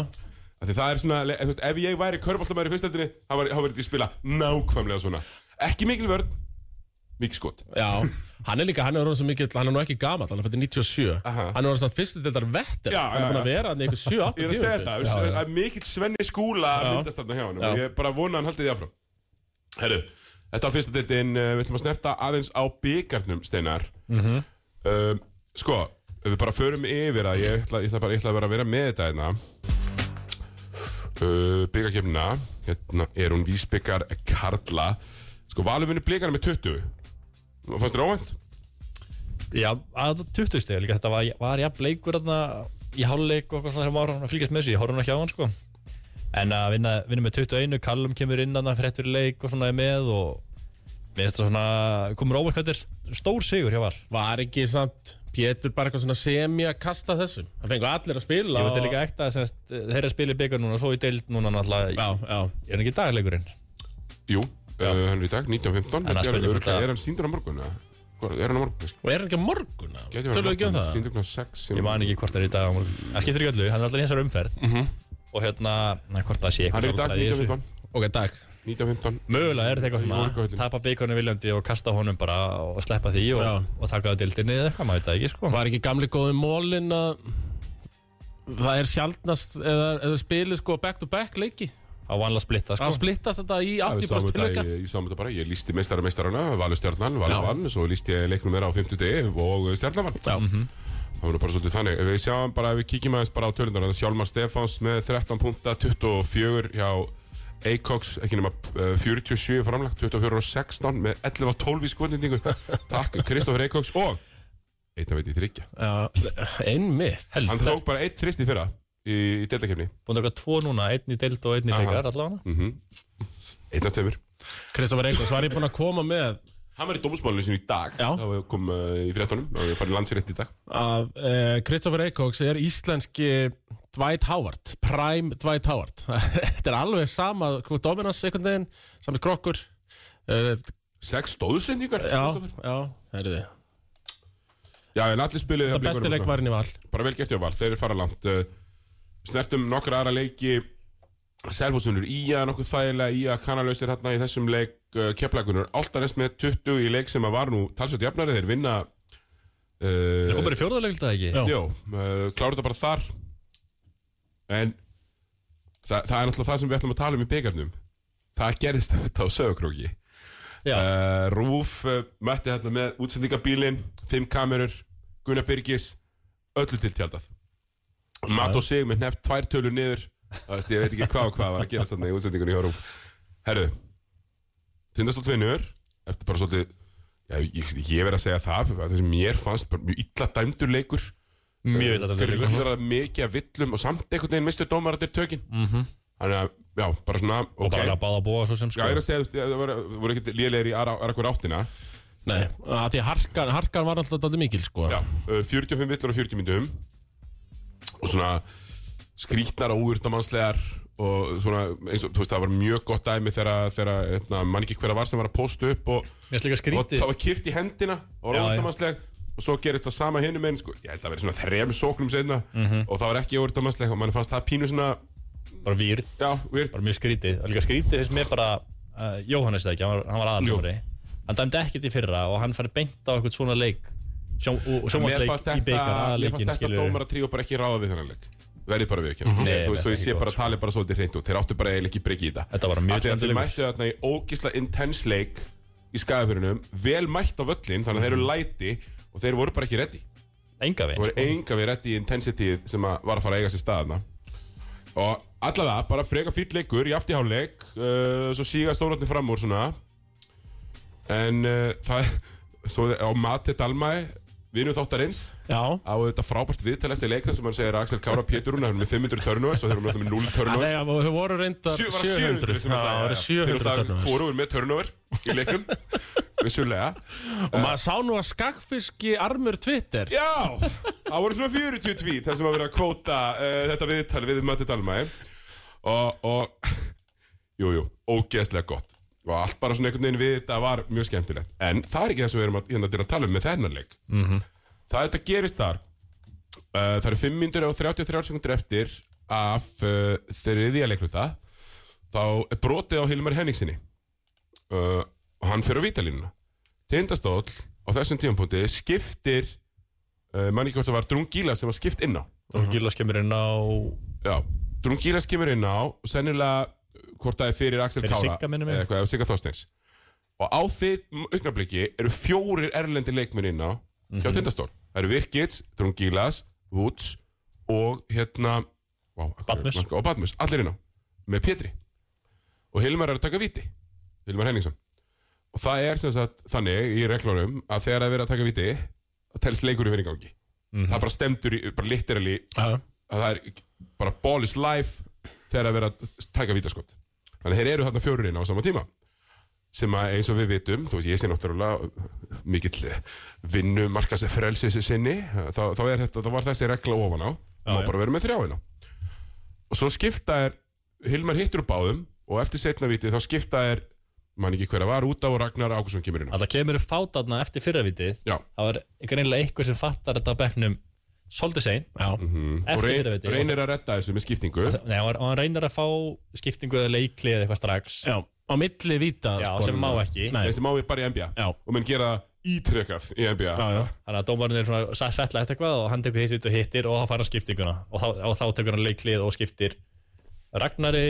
A: Af því það er svona, le- þú veist, ef ég væri körbóltamæður í fyrstöldinni þá væri- þá verið ég að spila nákvæmlega svona ekki mikil vörn, mikil skot
B: Já, hann er líka, hann er orðin svo mikill, hann er nú ekki gamall, hann er fættið 97
A: Aha.
B: Hann er orðin svona fyrstu deildar vettir,
A: Já, já,
B: hann er búin að
A: já.
B: vera hann í einhver 7-8
A: Ég er að segja það, það er mikill Svenni Skúla að myndast þarna hjá hann og
B: Já.
A: ég bara vona að hann haldi því áfram Herru, þetta var fyrsta deildin uh, við ætlum að snerta aðeins á byggarnum steinar
D: Mhm.
A: um, Sko, ef við bara förum yfir að ég ætla, ég ætla, bara, ég ætla að vera að vera með þetta hérna uh, Byggarkjöfnina, hérna er hún Vísbyggar Karla Sko, valufinu blikar með 20 Og Fannst þér óvænt?
D: já að 20 steg líka þetta var, var jafn leikur þarna í háluleik og eitthvað svona þegar maður var að fylgjast með þessu ég horfði hann ekki á hann sko en að vinna, vinna með 21 Callum kemur inn hann fyrir fyrir leik og svona er með og mér finnst það svona komur óvægt hvað þetta er stór sigur hjá var
B: Var ekki samt Pétur bara eitthvað svona semi að kasta þessum Það fengur allir að spila
D: ég veit
B: og-
D: líka ekta að semst, þeirra spili byggar núna svo í deild núna náttúrulega
B: Já, já,
D: er hann ekki dagleikurinn
A: Jú, uh, hann er í dag, 19.15
D: En að
A: Þetta er
D: spurning hvort
A: örugglega-
D: að-
A: Er hann síndur á morgun? eða? Hvað Er hann á morgun?
B: og er hann ekki á morgun að?
A: Gæti verið
B: Tölum við ekki um
A: morgun,
B: það?
A: Sýndu klukkan 6
D: Ég man ekki hvort það er í dag á morgun. Það skiptir ekki öllu, hann er alltaf í þessari umferð Og hérna, na, hvort það sé
A: Mhm. Hann er
D: eitthvað
A: í dag
D: sálfræði í þessu.
A: 19.15
B: Ok, dag
A: 19.15
D: Mögulega er þetta eitthvað
A: Í
D: svona
A: morgunhöllinni.
D: Tapa beikonum viljandi og kasta honum bara Og sleppa því
B: Já.
D: og, og taka á dildinni eða eitthvað, maður veit það ekki sko
B: Var ekki gamli góði mólin að Það er sjaldnast eða, eða spilið sko back to back leiki
D: Á vanlega splitta sko
B: Það splittast þetta í
A: Já,
B: 80
A: við sáum
B: bara
A: þetta,
B: tilöka
A: í- ég sáum þetta bara, ég lísti meistara meistarana, valur stjarnan, valur
B: Já.
A: vann, svo lísti ég leiknum þeirra á 50 degi og stjarnan vann. Mhm.
B: Já,
A: Það var nú bara svolítið þannig. Ef Við sjáum bara, ef við kíkjum aðeins bara á tölundar, þannig að Hjálmar Stefáns með 13.24 hjá Acox, ekki nema eh, 47 framlagt, 24 og 16 með 11 og 12 í skotnýtingu. Takk, Kristoffer Acox og eitt af veit í þryggja.
B: já, einmitt
A: Hann
D: Helst,
A: tók bara eitt trist í fyrra í, í deildakefni.
D: búin að taka tvo núna, einn í dild og einn í
A: Aha.
D: byggar allavega
A: Mhm. Einn af tveimur.
B: Kristoffer Engels, var ég búinn að koma með
A: Hann var í dómsmálinu sinu í dag,
B: Já.
A: þá kom uh, í fréttunum og ég farið landsrétt í dag.
B: að eh, Kristoffer Eikóks er íslenski Dwight Howard, prime Dwight Howard þetta er alveg sama dominans einhvern veginn, samt krokkur uh,
A: Sex stóðsendingar,
B: já,
A: Kristoffer?
B: já, herðu þið
A: Já, en sko. allir spiluðu
B: það besti leikvarinn í val
A: Bara vel gert hjá val, þeir eru fara langt uh, Snertum nokkra aðra leiki Selfossunur Ía, nokkuð þægilega Ía kanalausir hérna í þessum leik uh, Keflagunur, Altanest með 20 í leik sem að var nú talsvöld jafnari, þeir vinna
D: Það kom
A: uh,
D: bara í fjórðarlegild það ekki
B: Já.
A: Jó, uh, klára þetta bara þar En það, það er náttúrulega það sem við ætlum að tala um í byggarnum Það gerðist þetta á sögurkróki
B: já,
A: uh, Rúf uh, mætti hérna með útsendingabílin Fimm kamerur, Gunnar Byrgis Öllu til tjaldað Matt og sig með nefnt tvær tölur niður Það veist, ég veit ekki hvað og hvað var að gera þarna í útsendingunni hjá Rúf Herðu Tindastótt vinnur Eftir bara svolítið Já, ég, ég verð að segja það það sem mér fannst bara mjög illa dæmdur leikur
D: Mjög illa dæmdur leikur.
A: Grunnar Eh, mikið af villum og samt einhvern veginn mistu dómaratir tökin Þannig að, já, bara svona
D: Mhm. Og
A: ok.
D: bara að báða búa svo sem sko
A: Já, ég er að segja, þú veist, það voru, voru ekkert lélegir í aðra aðra hver áttina
B: nei, að því að harkan, harkan var alltaf daldið mikil sko
A: Já, uh, 45 villur á 40 myndum og svona skrítnar og úvirtamannslegar og svona, eins og, þú veist, það var mjög gott dæmi þegar, þegar, hérna, mann ekki hverja var sem var að posta upp og,
D: Mér finnst líka
A: og
D: skrítið
A: það var kift í hendina og var
D: Já, já.
A: úvirtamannsleg og svo gerist það sama hinum
D: Mhm.
A: einn, sko, ég held að það verið svona þrem sóknum senna og það var ekki úvirtamannsleg og mann fannst það pínu svona
D: bara výrð,
A: Já, við erum
D: bara mjög skrítið og líka skrítið finnst mér bara uh, Jóhannes eða ekki, hann var, hann var aðaldómari hann dæmdi ekkert í fyrra og hann fær beint á eitthvað svona leik sjó, og
A: Mér
D: sjómasleik
A: fannst
D: í
A: þetta,
D: byggar
A: mér fannst
D: aðalegin
A: þetta dómar að tríu bara ekki ráða við þennan leik Verðið bara við ekki
D: Mhm. Nei,
A: Þú veist, þú
D: þetta er
A: ég sé
D: ekki sko.
A: bara að tala bara svolítið hreint út Þeir áttu bara eiginlega ekki breyki í þetta
D: Þetta var mjög
A: Af því að Þeir
D: slendilegur.
A: mættu þarna í ógisla intense leik í skæðafyrunum Vel mætt á völlin, þannig að
D: Mhm.
A: þeir eru læti Og þeir voru bara ekki reddi
D: enga
A: Það
D: veginn
A: voru enga við reddi í intensity sem að var að fara að eiga sér staðna Og allavega, bara freka fýll leikur í aftíháleik uh, Svo síga stóratni fram úr svona En uh, það Svo á Mati Dalmæ Vinu þáttarins
B: Já
A: á þetta frábært viðtal eftir leik þar sem hann segir að Axel Kára Pétur hún er með 500 törnus og þeir eru náttúrulega með 0
B: Nei,
A: törnus
B: já, og þau voru reyndar 700
A: sem hann
B: Já, það
A: sagði
B: voru
A: já, já. Þeir
B: 700
A: eru það
B: turnovers.
A: hvorugur með törnur í leikum vissulega
B: Og maður sá nú að skakfiski armur Twitter
A: já, það voru svona 40 tvít þar sem að vera að kvóta uh, þetta viðtal við Matti Dalmæ og, og jú, jú, ógeðslega gott og allt bara svona einhvern veginn við þetta var mjög skemmtilegt en það er ekki það sem við erum að, hérna, til að tala um með þennan leik það þetta gerist þar Uh, það eru 5 myndir og 33 sekundur eftir af uh, þriðja leikluta þá er brotið á Hilmar Henningsinni uh, og hann fyrir á vítalínuna tindastóll á þessum tímapunkti skiptir uh, mann ekki hvort það var Drún Gílas sem var skipt inn á
D: og Gillas kemur inn á
A: já, Drún Gílas kemur inn á og sennilega uh, hvort það er fyrir Axel
D: Fyrir
A: Kára
D: Sigga, minnum ég.
A: eða eitthvað, eða Sigga Þorsteins og á því augnabliki eru fjórir erlendi leikmenn inn á
D: Mhm.
A: hjá tindastól það eru Virkits, Drún Gílas, Woods og hérna wow,
D: Badmus.
A: og Badmus, allir inn á með Pétri og Hilmar er að taka viti Hilmar Henningsson og það er sem sagt þannig í reglunum að þegar það er verið að taka viti það telst leikur í verið gangi
D: Mhm.
A: það er bara stemtur í, bara literally
B: Já
A: að það er bara ball is life þegar að vera að taka vítaskott þannig að þeir eru þarna fjórurinn á sama tíma sem að eins og við vitum þú veist ég sé náttúrulega mikill vinnu markas frelsis sinni þá, þá, er þetta, þá var þessi regla ofan á má
D: já.
A: bara vera með þrjáin á og svo skipta er Hilmar hittur úr báðum og eftir setna vitið þá skipta er mann ekki hverja var út á og Ragnar Ákusson kemur inn á
D: að það kemur upp fátarna eftir fyrravitið
A: Já.
D: það var greinilega einhver sem fattar þetta á bekknum svolítið sein
A: og
D: eftir
A: reyn,
D: fyrravitið
A: reynir að redda þessu með skiptingu
D: og, nei, og hann- og hann reynir að fá skiptingu eða leikli eða eitthvað strax
B: Já, á milli víta
D: Já,
B: skorinu.
D: sem má ekki.
B: Nei,
A: þessi má við bara í NBA
B: Já.
A: og mun gera það ítrekkað í NBA
B: já, já
D: þannig að dómarinn er svona sa- settla eftir eitthvað og hann tekur hitt út og hittir og þá fær hann skiptinguna og þá, og þá tekur hann leiklið og skiptir Ragnari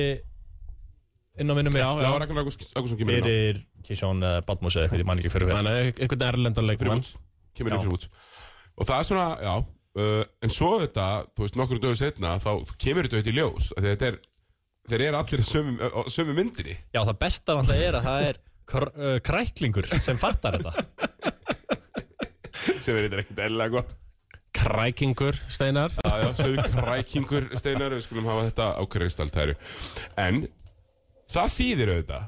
D: inn á minnum mig
A: Já, Ragnar Ágúst- Ágústsson kemur inn á
D: fyrir Kisjón eða Badmús eða eitthvað, ég man ekki fyrir hver
B: Þannig að einhvern erlendan
A: Fyrir
B: leikmann
A: Woods Kemur inn
D: Já.
A: fyrir Woods Og það er svona, já uh, En svo þetta, þú veist, nokkur dögur setna Þá kemur þetta auðvitað í ljós af því að Þetta er, þeir eru allir á sömu, á sömu myndinni
D: Já, það besta náttúrulega er að það er kr uh, kræklingur sem fattar þetta
A: Sem er þetta ekkert eðlilega gott
B: Krækingur, Steinar
A: Já, já, sögðu krækingur steinar Við skulum hafa þetta á kristaltæru En það þýðir auðvitað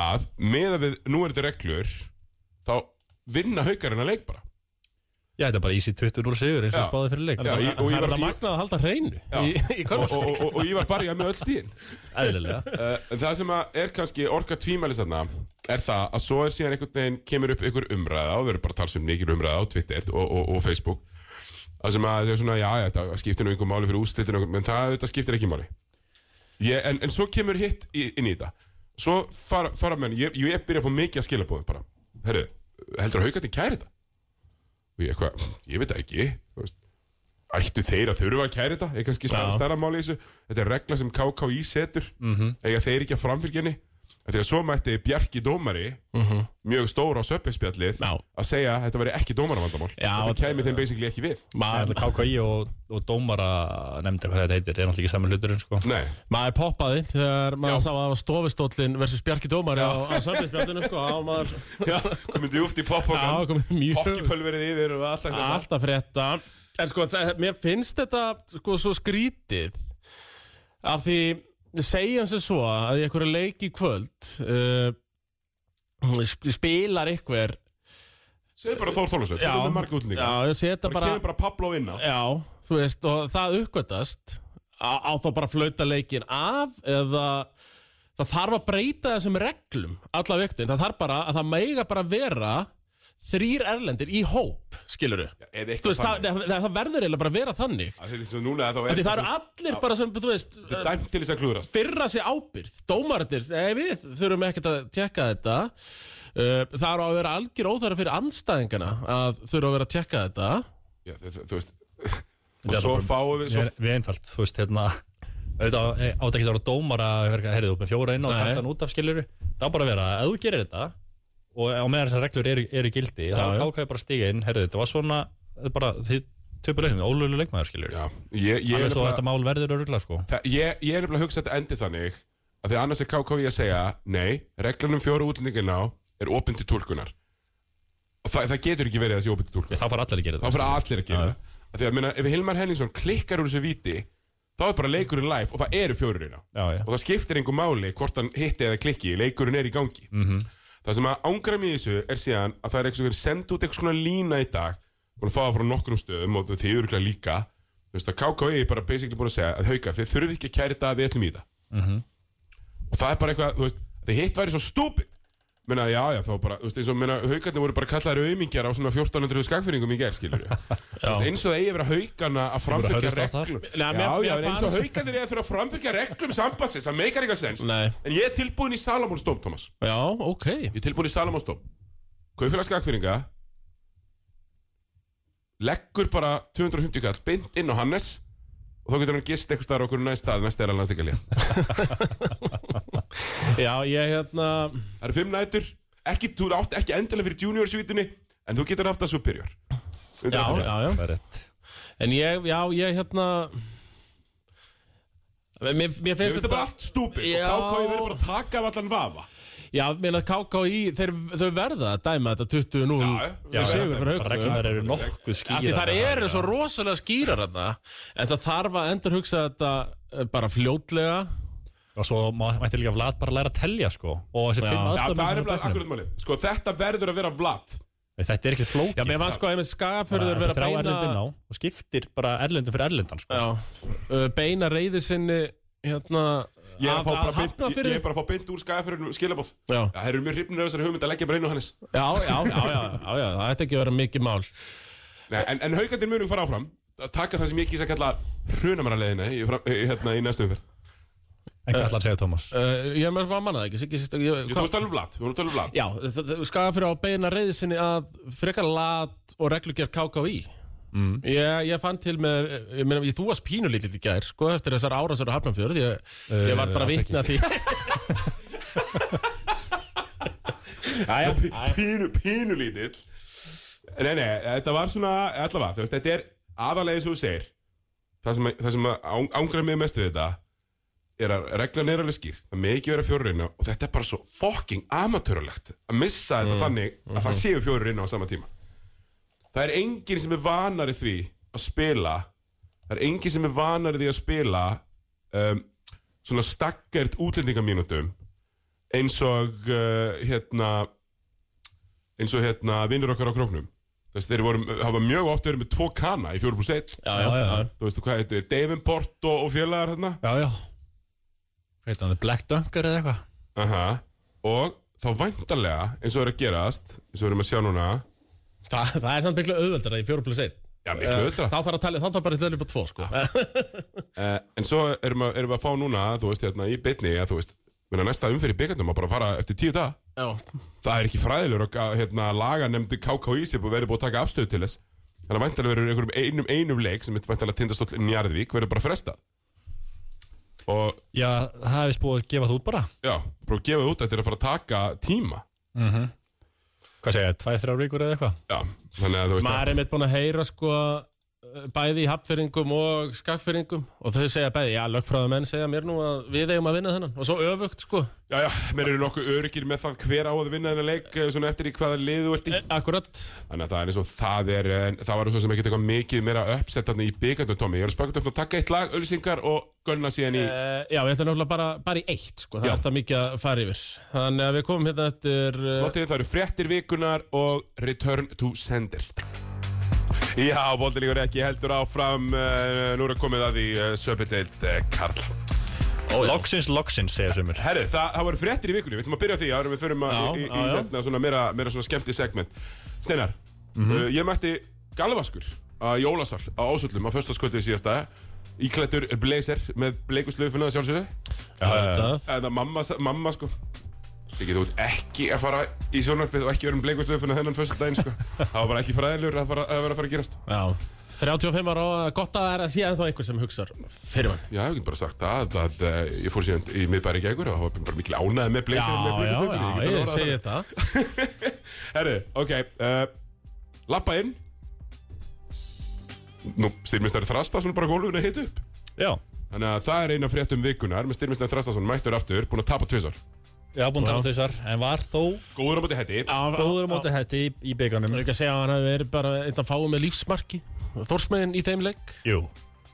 A: Að með að við nú er þetta reglur Þá vinna haukarinn að leik bara
D: Já, þetta er bara easy 20-0 sigur eins og
A: Já.
D: spáði fyrir leik
A: Já,
D: Það
A: í-
D: er
A: og
B: Það
A: ég
B: er
A: var-
B: það magnað að halda hreinu í, í
A: og,
B: körfu
A: og, og, og, og ég var bara í að með öll stíðin
D: eðlilega
A: Uh, það sem að er kannski orka tvímælis þarna er það að svo er síðan einhvern veginn kemur upp einhver umræða og við erum bara að tala um mikil umræða á Twitter og, og, og Facebook það sem að það er svona, já, já, þetta skiptir nú einhver máli fyrir úrslitinu, menn það þetta skiptir ekki máli ég, en, en svo kemur hitt í, inn í þetta svo fara, fara menn, ég, ég er byrjað að fá mikið að skila búið bara, herru, heldur að haukandi kæri þetta og ég eitthvað, ég veit það ekki þú veist, ættu þeir að þurfa að kæri þetta er kannski stærra,
D: Já.
A: stærra máli í þessu þetta er regla sem KKÍ setur eiga þeir ekki að framfylgja henni Af því að svo mætti Bjarki Dómari mjög stór á söpinspjallið
B: Já.
A: að segja að þetta væri ekki dómaravandamál
B: Já,
A: þetta kæmi þeim basically ekki við
D: Það
B: Maður
D: er KKI og, og dómara nefndi hvað þetta heitir, er náttúrulega ekki saman hluturinn sko.
A: Nei,
B: Maður poppaði þegar maður
A: Já.
B: sá að það var stofustóllin versus Bjarki Dómari á, á sömbinsbjörninu sko, á maður
A: já, komið djúft í
B: Já,
A: poppokan
B: komið mjög
A: Hokkipölverið yfir og allt þetta
B: Alltaf frétta En sko, það, mér finnst þetta sko svo skrítið af því, segjum sem svo að í einhverju leik í kvöld uh, sp- spilar einhver
A: Segðu bara Þór Þólasöf,
B: Já.
A: það er með marga útlendinga
B: Já, ég seta
A: Það
B: bara,
A: kemur bara Pablo inn á
B: Já, þú veist, og það uppgötast á, á þá bara að flauta leikin af eða það þarf að breyta þessum reglum alla viktin, það þarf bara að það meiga bara vera þrýr erlendir í hóp, skilur
A: eða
B: við
A: eitthvað
B: veist, það,
A: þannig.
B: það, það verður eiginlega bara að vera þannig
A: Af því Þetta er svo núna þá er
B: Því það eru
A: svo-
B: allir bara sem, þú veist
A: Þetta er dæmt til þess að klúðrast
B: fyrra sig ábyrð, dómararnir nei, við þurfum ekkert að tekka þetta Uh, það eru að vera algjör óþara fyrir anstæðingana að þurfa að vera að tekka þetta
A: Já, þú- þú- Þú veist
D: Þetta
A: Og
D: er
A: svo
D: bara-
A: fáum við
D: Svo...
A: svo,
D: Við, við einfalt, þú veist, hérna auðvitað á- átt ekki að vera dómar að herðu upp með fjóra inn og
B: Nei.
D: kæftan út af skiljuru það á bara að vera, að ef þú gerir þetta og á meðan þessar reglur eru, eru í gildi þá
B: já.
D: ákvæði bara að stíga inn, herðu, þetta var svona þetta er bara, þið töpur leiknum, ólölu leikmaður skiljuru
A: Já, ég, ég, er
D: annars svo
A: nefnilega-
D: þetta mál verður öruglega sko
A: það- ég, ég er nefnilega að hugsa að þetta endi þannig að því að annars er KK í að segja Nei, um reglunum fjóru útlendingina er opinn til tólkunar Og það, það getur ekki verið að þessi opinn til tólkunar
D: það fara allir að gera
A: þá
D: þetta
A: fyrir allir að gera það Af því að minna, ef Hilmar Henningsson klikkar úr þessu víti þá er bara leikurinn live og það eru hérna. fjórurina
D: Já, já.
A: og það skiptir einhver máli hvort hann hitti eða klikki, leikurinn er í gangi
D: Mhm.
A: -hmm. það sem að ángra mér í þessu er síðan að það er eitthvað senda út eitthvað svona lína í dag búin að fá það frá nokkrum stöðum og þið eru ekki líka þú veist að KKV er bara basically búin að segja að hauka, þið þurfið ekki að kæri þetta við ætlum í það
D: Mhm.
A: og það er bara eitthvað, þú veist, þið hitt væri svo stúpid Meina, já, já, þá bara, þú veist, eins og meina, haukarnir voru bara kallaðir auðmingjar á svona 1400 skagfinningu í gerð, skilur við. eins og það eigi að vera haukarna að framfylgja
D: hörðust á það.
A: reglum. Já,
B: Nei, mér-
A: já,
B: mér
A: en eins og
B: fannst-
A: haukarnir eigi að þurfa að framfylgja reglum sambandsins, það meikar eitthvað sens.
B: Nei.
A: En ég er tilbúin í Salamónsdóm, Thomas.
B: Já, ok
A: Ég er tilbúin í Salamónsdóm. Kaufélag skagfinninga leggur bara 250 kall beint inn á Hannes og þá getur hann gist eitthvað staðar okkur næst stað, næst er hann landstíkalja.
B: Já, ég hérna
A: Það eru fimm nætur ekki, Þú átt ekki endilega fyrir juniorsvítunni En þú getur haft það superior
B: Já, já, já
D: það er rétt
B: En ég, já, ég hérna Mér, mér finnst
A: Ég veist það bara allt stúpi Og
B: Já.
A: KK verður bara að taka af allan vafa
B: Já, meina KKÍ, þeir, þau verða að dæma þetta 20-0
A: Já,
B: Já,
A: já,
B: sigur fyrir
D: bara
B: haugur
D: reglunar eru nokkuð
B: Því
D: skýra
B: þar eru svo rosalega skýrar þarna En það þarf að endur hugsa þetta eh, bara fljótlega
D: og svo má- mætti líka Vlad bara læra að telja sko og þessi fimm
A: Já, það er nefnilega
D: aðstofnum
A: akkurat máli Sko þetta verður að vera vlad
D: þetta er ekki flókið
B: Já, mér fannst sko að einmitt skagaförður
D: Bara
B: vera að
D: þrá erlendin
B: beina
D: á og skiptir bara erlendum fyrir erlendan sko.
B: Já, eh, beina reyði sinni hérna
A: Ég er að fá bara beint-
B: hafna
A: ég- ég
B: fyrir
A: er bara að fá beint úr skæðafyrir skilabóð
B: Já.
A: Það eru mjög hrifnir af þessari hugmynd að leggja bara inn á Hannes
B: Já, já, já, já, já, já, það ætti ekki að vera mikið mál
A: Nei, En, en haugandir munum fara áfram að taka það sem ég kýsa að kalla hrunamaraleiðina í, fram- í, hérna, í næstu umferð
D: en hvað ætlar að segja Thomas?
B: Uh, ég er með að manna það ekki, Siggi sýst
A: Ég þú veist alveg um vlad, þú veist alveg vlad
B: Já, skaga fyrir á beina reyði sinni að frekar lat og reglugjör KKI mm. ég, ég fann til með, ég meina, ég- þú varst pínulítill í gær, sko, eftir þessar árásar á Hafnarfjörð, ég, ég var bara
D: Eh, alls
B: vitna að því Æja,
A: pínu, pínu lítill Nei, nei, þetta var svona allavega, þú veist, þetta er aðalega eins og þú segir Það sem, það sem ángrað mig mest við þetta er að reglan er alveg skýr það með ekki vera fjórir inn á og þetta er bara svo fucking amatörulegt að missa þetta þannig að það séu fjórir inn á á sama tíma Það er enginn sem er vanari því að spila það er enginn sem er vanari því að spila um, svona stakkert útlendingamínútum eins og uh, hérna eins og hérna vinnur okkar á króknum þess að þeir voru, hafa mjög oft verið með tvo kana í 4 pluss 1
B: já, já, já,
A: þú veistu hvað þetta er, Davenport og, og félagar hérna
D: já, já Hvað hann, The Black Dunker eða eitthvað?
A: Aha. og þá væntanlega eins og er að gerast, eins og við erum að sjá núna
B: Þa, það er samt miklu auðveldara í 4 plus 1
A: já, miklu auðvitað
B: Þá þarf að tala, þá þarf bara að tala upp á 2, sko
D: Ah.
A: uh, en svo erum, að, erum við að fá núna, þú veist, hérna í beinni að þú veist, minna næsta umferð í byggandum að bara fara eftir tíu dag
B: Eh, Já,
A: það er ekki fræðilegur og að, hérna, laganemdi KKÍ sem verður búið að taka afstöðu til þess þannig að væntanlega verður einhverjum einum, einum leik sem er væntanlega tindastóll Njarðvík verður bara frestað og
D: Já, það hefði spúið að gefa þú út bara
A: já, bara gefa út að þetta er að fara að taka tíma
D: Hvað segja, tvær, þrjár vikur eða eitthvað?
A: já, þannig að þú veist að
B: maður er mitt búin að heyra, sko eh, bæði í hapfyrringum og skagfyrringum og þau segja bæði, já, lögfræðumenn segja mér nú að við eigum að vinna þennan og svo öfugt, sko
A: já, já, mér eru nokkuð örgir með það hver á að vinna þennan leik eh, svona eftir í hvaða lið þú ert í
B: Eh, Akkurat,
A: þannig að það er eins og það er en, það var svo sem ekki eitthvað mikið meira uppsett þannig í byggandum Tommy, ég er spökkum að taka eitt lag, ölsingar og gunna síðan í
B: Uh, já, við ætlum náttúrulega bara, bara í eitt sko, það
A: Já.
B: er alltaf mikið að fara yfir Þannig að við komum hérna eftir uh,
A: Snottið það eru fréttir vikunar og Return to Sender Já, Eh, Bóldilíkur ekki heldur áfram uh, Nú er að komið að því uh, Söpindeild uh, eh, Karl
D: Loksins, loksins, segja sumur
A: Herri, það, það voru fréttir í vikunni, við ætlum að byrja á því áður en við förum að,
B: Já,
A: í, í, í
B: já, já.
A: hérna svona meira, meira svona skemmti segment Steinar,
B: Mhm.
A: uh, ég mætti galvaskur að Jólasal á Ásöllum á föstaskvöldið síðasta íklættur blazer með bleikuslöfuna að sjálfsögðu
B: Þetta-
A: en að mamma, sa- mamma sko Siggi, þú ert ekki að fara í sjónarpið og ekki verið um bleikuslöfuna þennan föstudaginn sko. það var bara ekki fræðilegur að, fara, að vera að fara að gerast
B: Já 35 ára og gott að það er að sé ennþá einhver sem hugsar fyrir mann
A: Já, ég get bara sagt það að, að eh, ég fór síðan í miðbæri gegur og það var bara mikil ánæði með
B: Já,
A: blazer með
B: já,
A: bleikuslöfuna
B: já, ég segi það
A: Herri, ok uh, Lappa inn Nú, styrmistari Þrastason bara gólfinu heit upp
D: Já,
A: Þannig að það er eina fréttum vikunar með styrmistari Þrastason mættur aftur, búin að tapa tvisar
D: já, búin að tala þessar En var þó
A: Góður á bóti hætti
D: góður á móti hætti í, í byggunum
B: Það er ekki að segja að hann hafi verið bara einn að fáið með lífsmarki Þórsmiðin í þeim leik
D: Jú,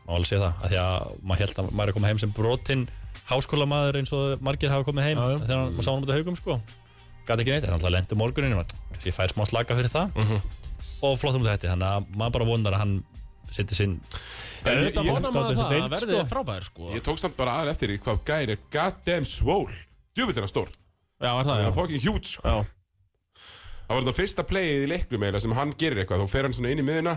D: má alveg segja það af Því að maður held að maður er að koma heim sem brotinn háskólamaður eins og margir hafa komið heim
B: Já, Mm. já.
D: Þegar maður sá hann á móti haugum sko Gat ekki neitt, hann alltaf lendi morgunin Kanski ég fær smá slaka fyrir það
B: Mhm.
D: Og flott á móti hætti, þannig að maður bara vonar að hann Sitti sinn
A: En ég-
B: Þetta
A: ég-
B: vonar
D: held á
B: maður
D: þessu
B: það
D: deild,
B: að verði
D: sko.
B: frábær sko
A: Ég tók samt bara aðeins eftir í hvað gæðin er goddamn svól Djöfull er hann stór
B: Já, er það,
A: Það
B: já
A: er fucking huge sko.
B: Já.
A: Það var þetta fyrsta playið í leiknum eiginlega sem hann gerir eitthvað Þá fer hann svona inn í miðina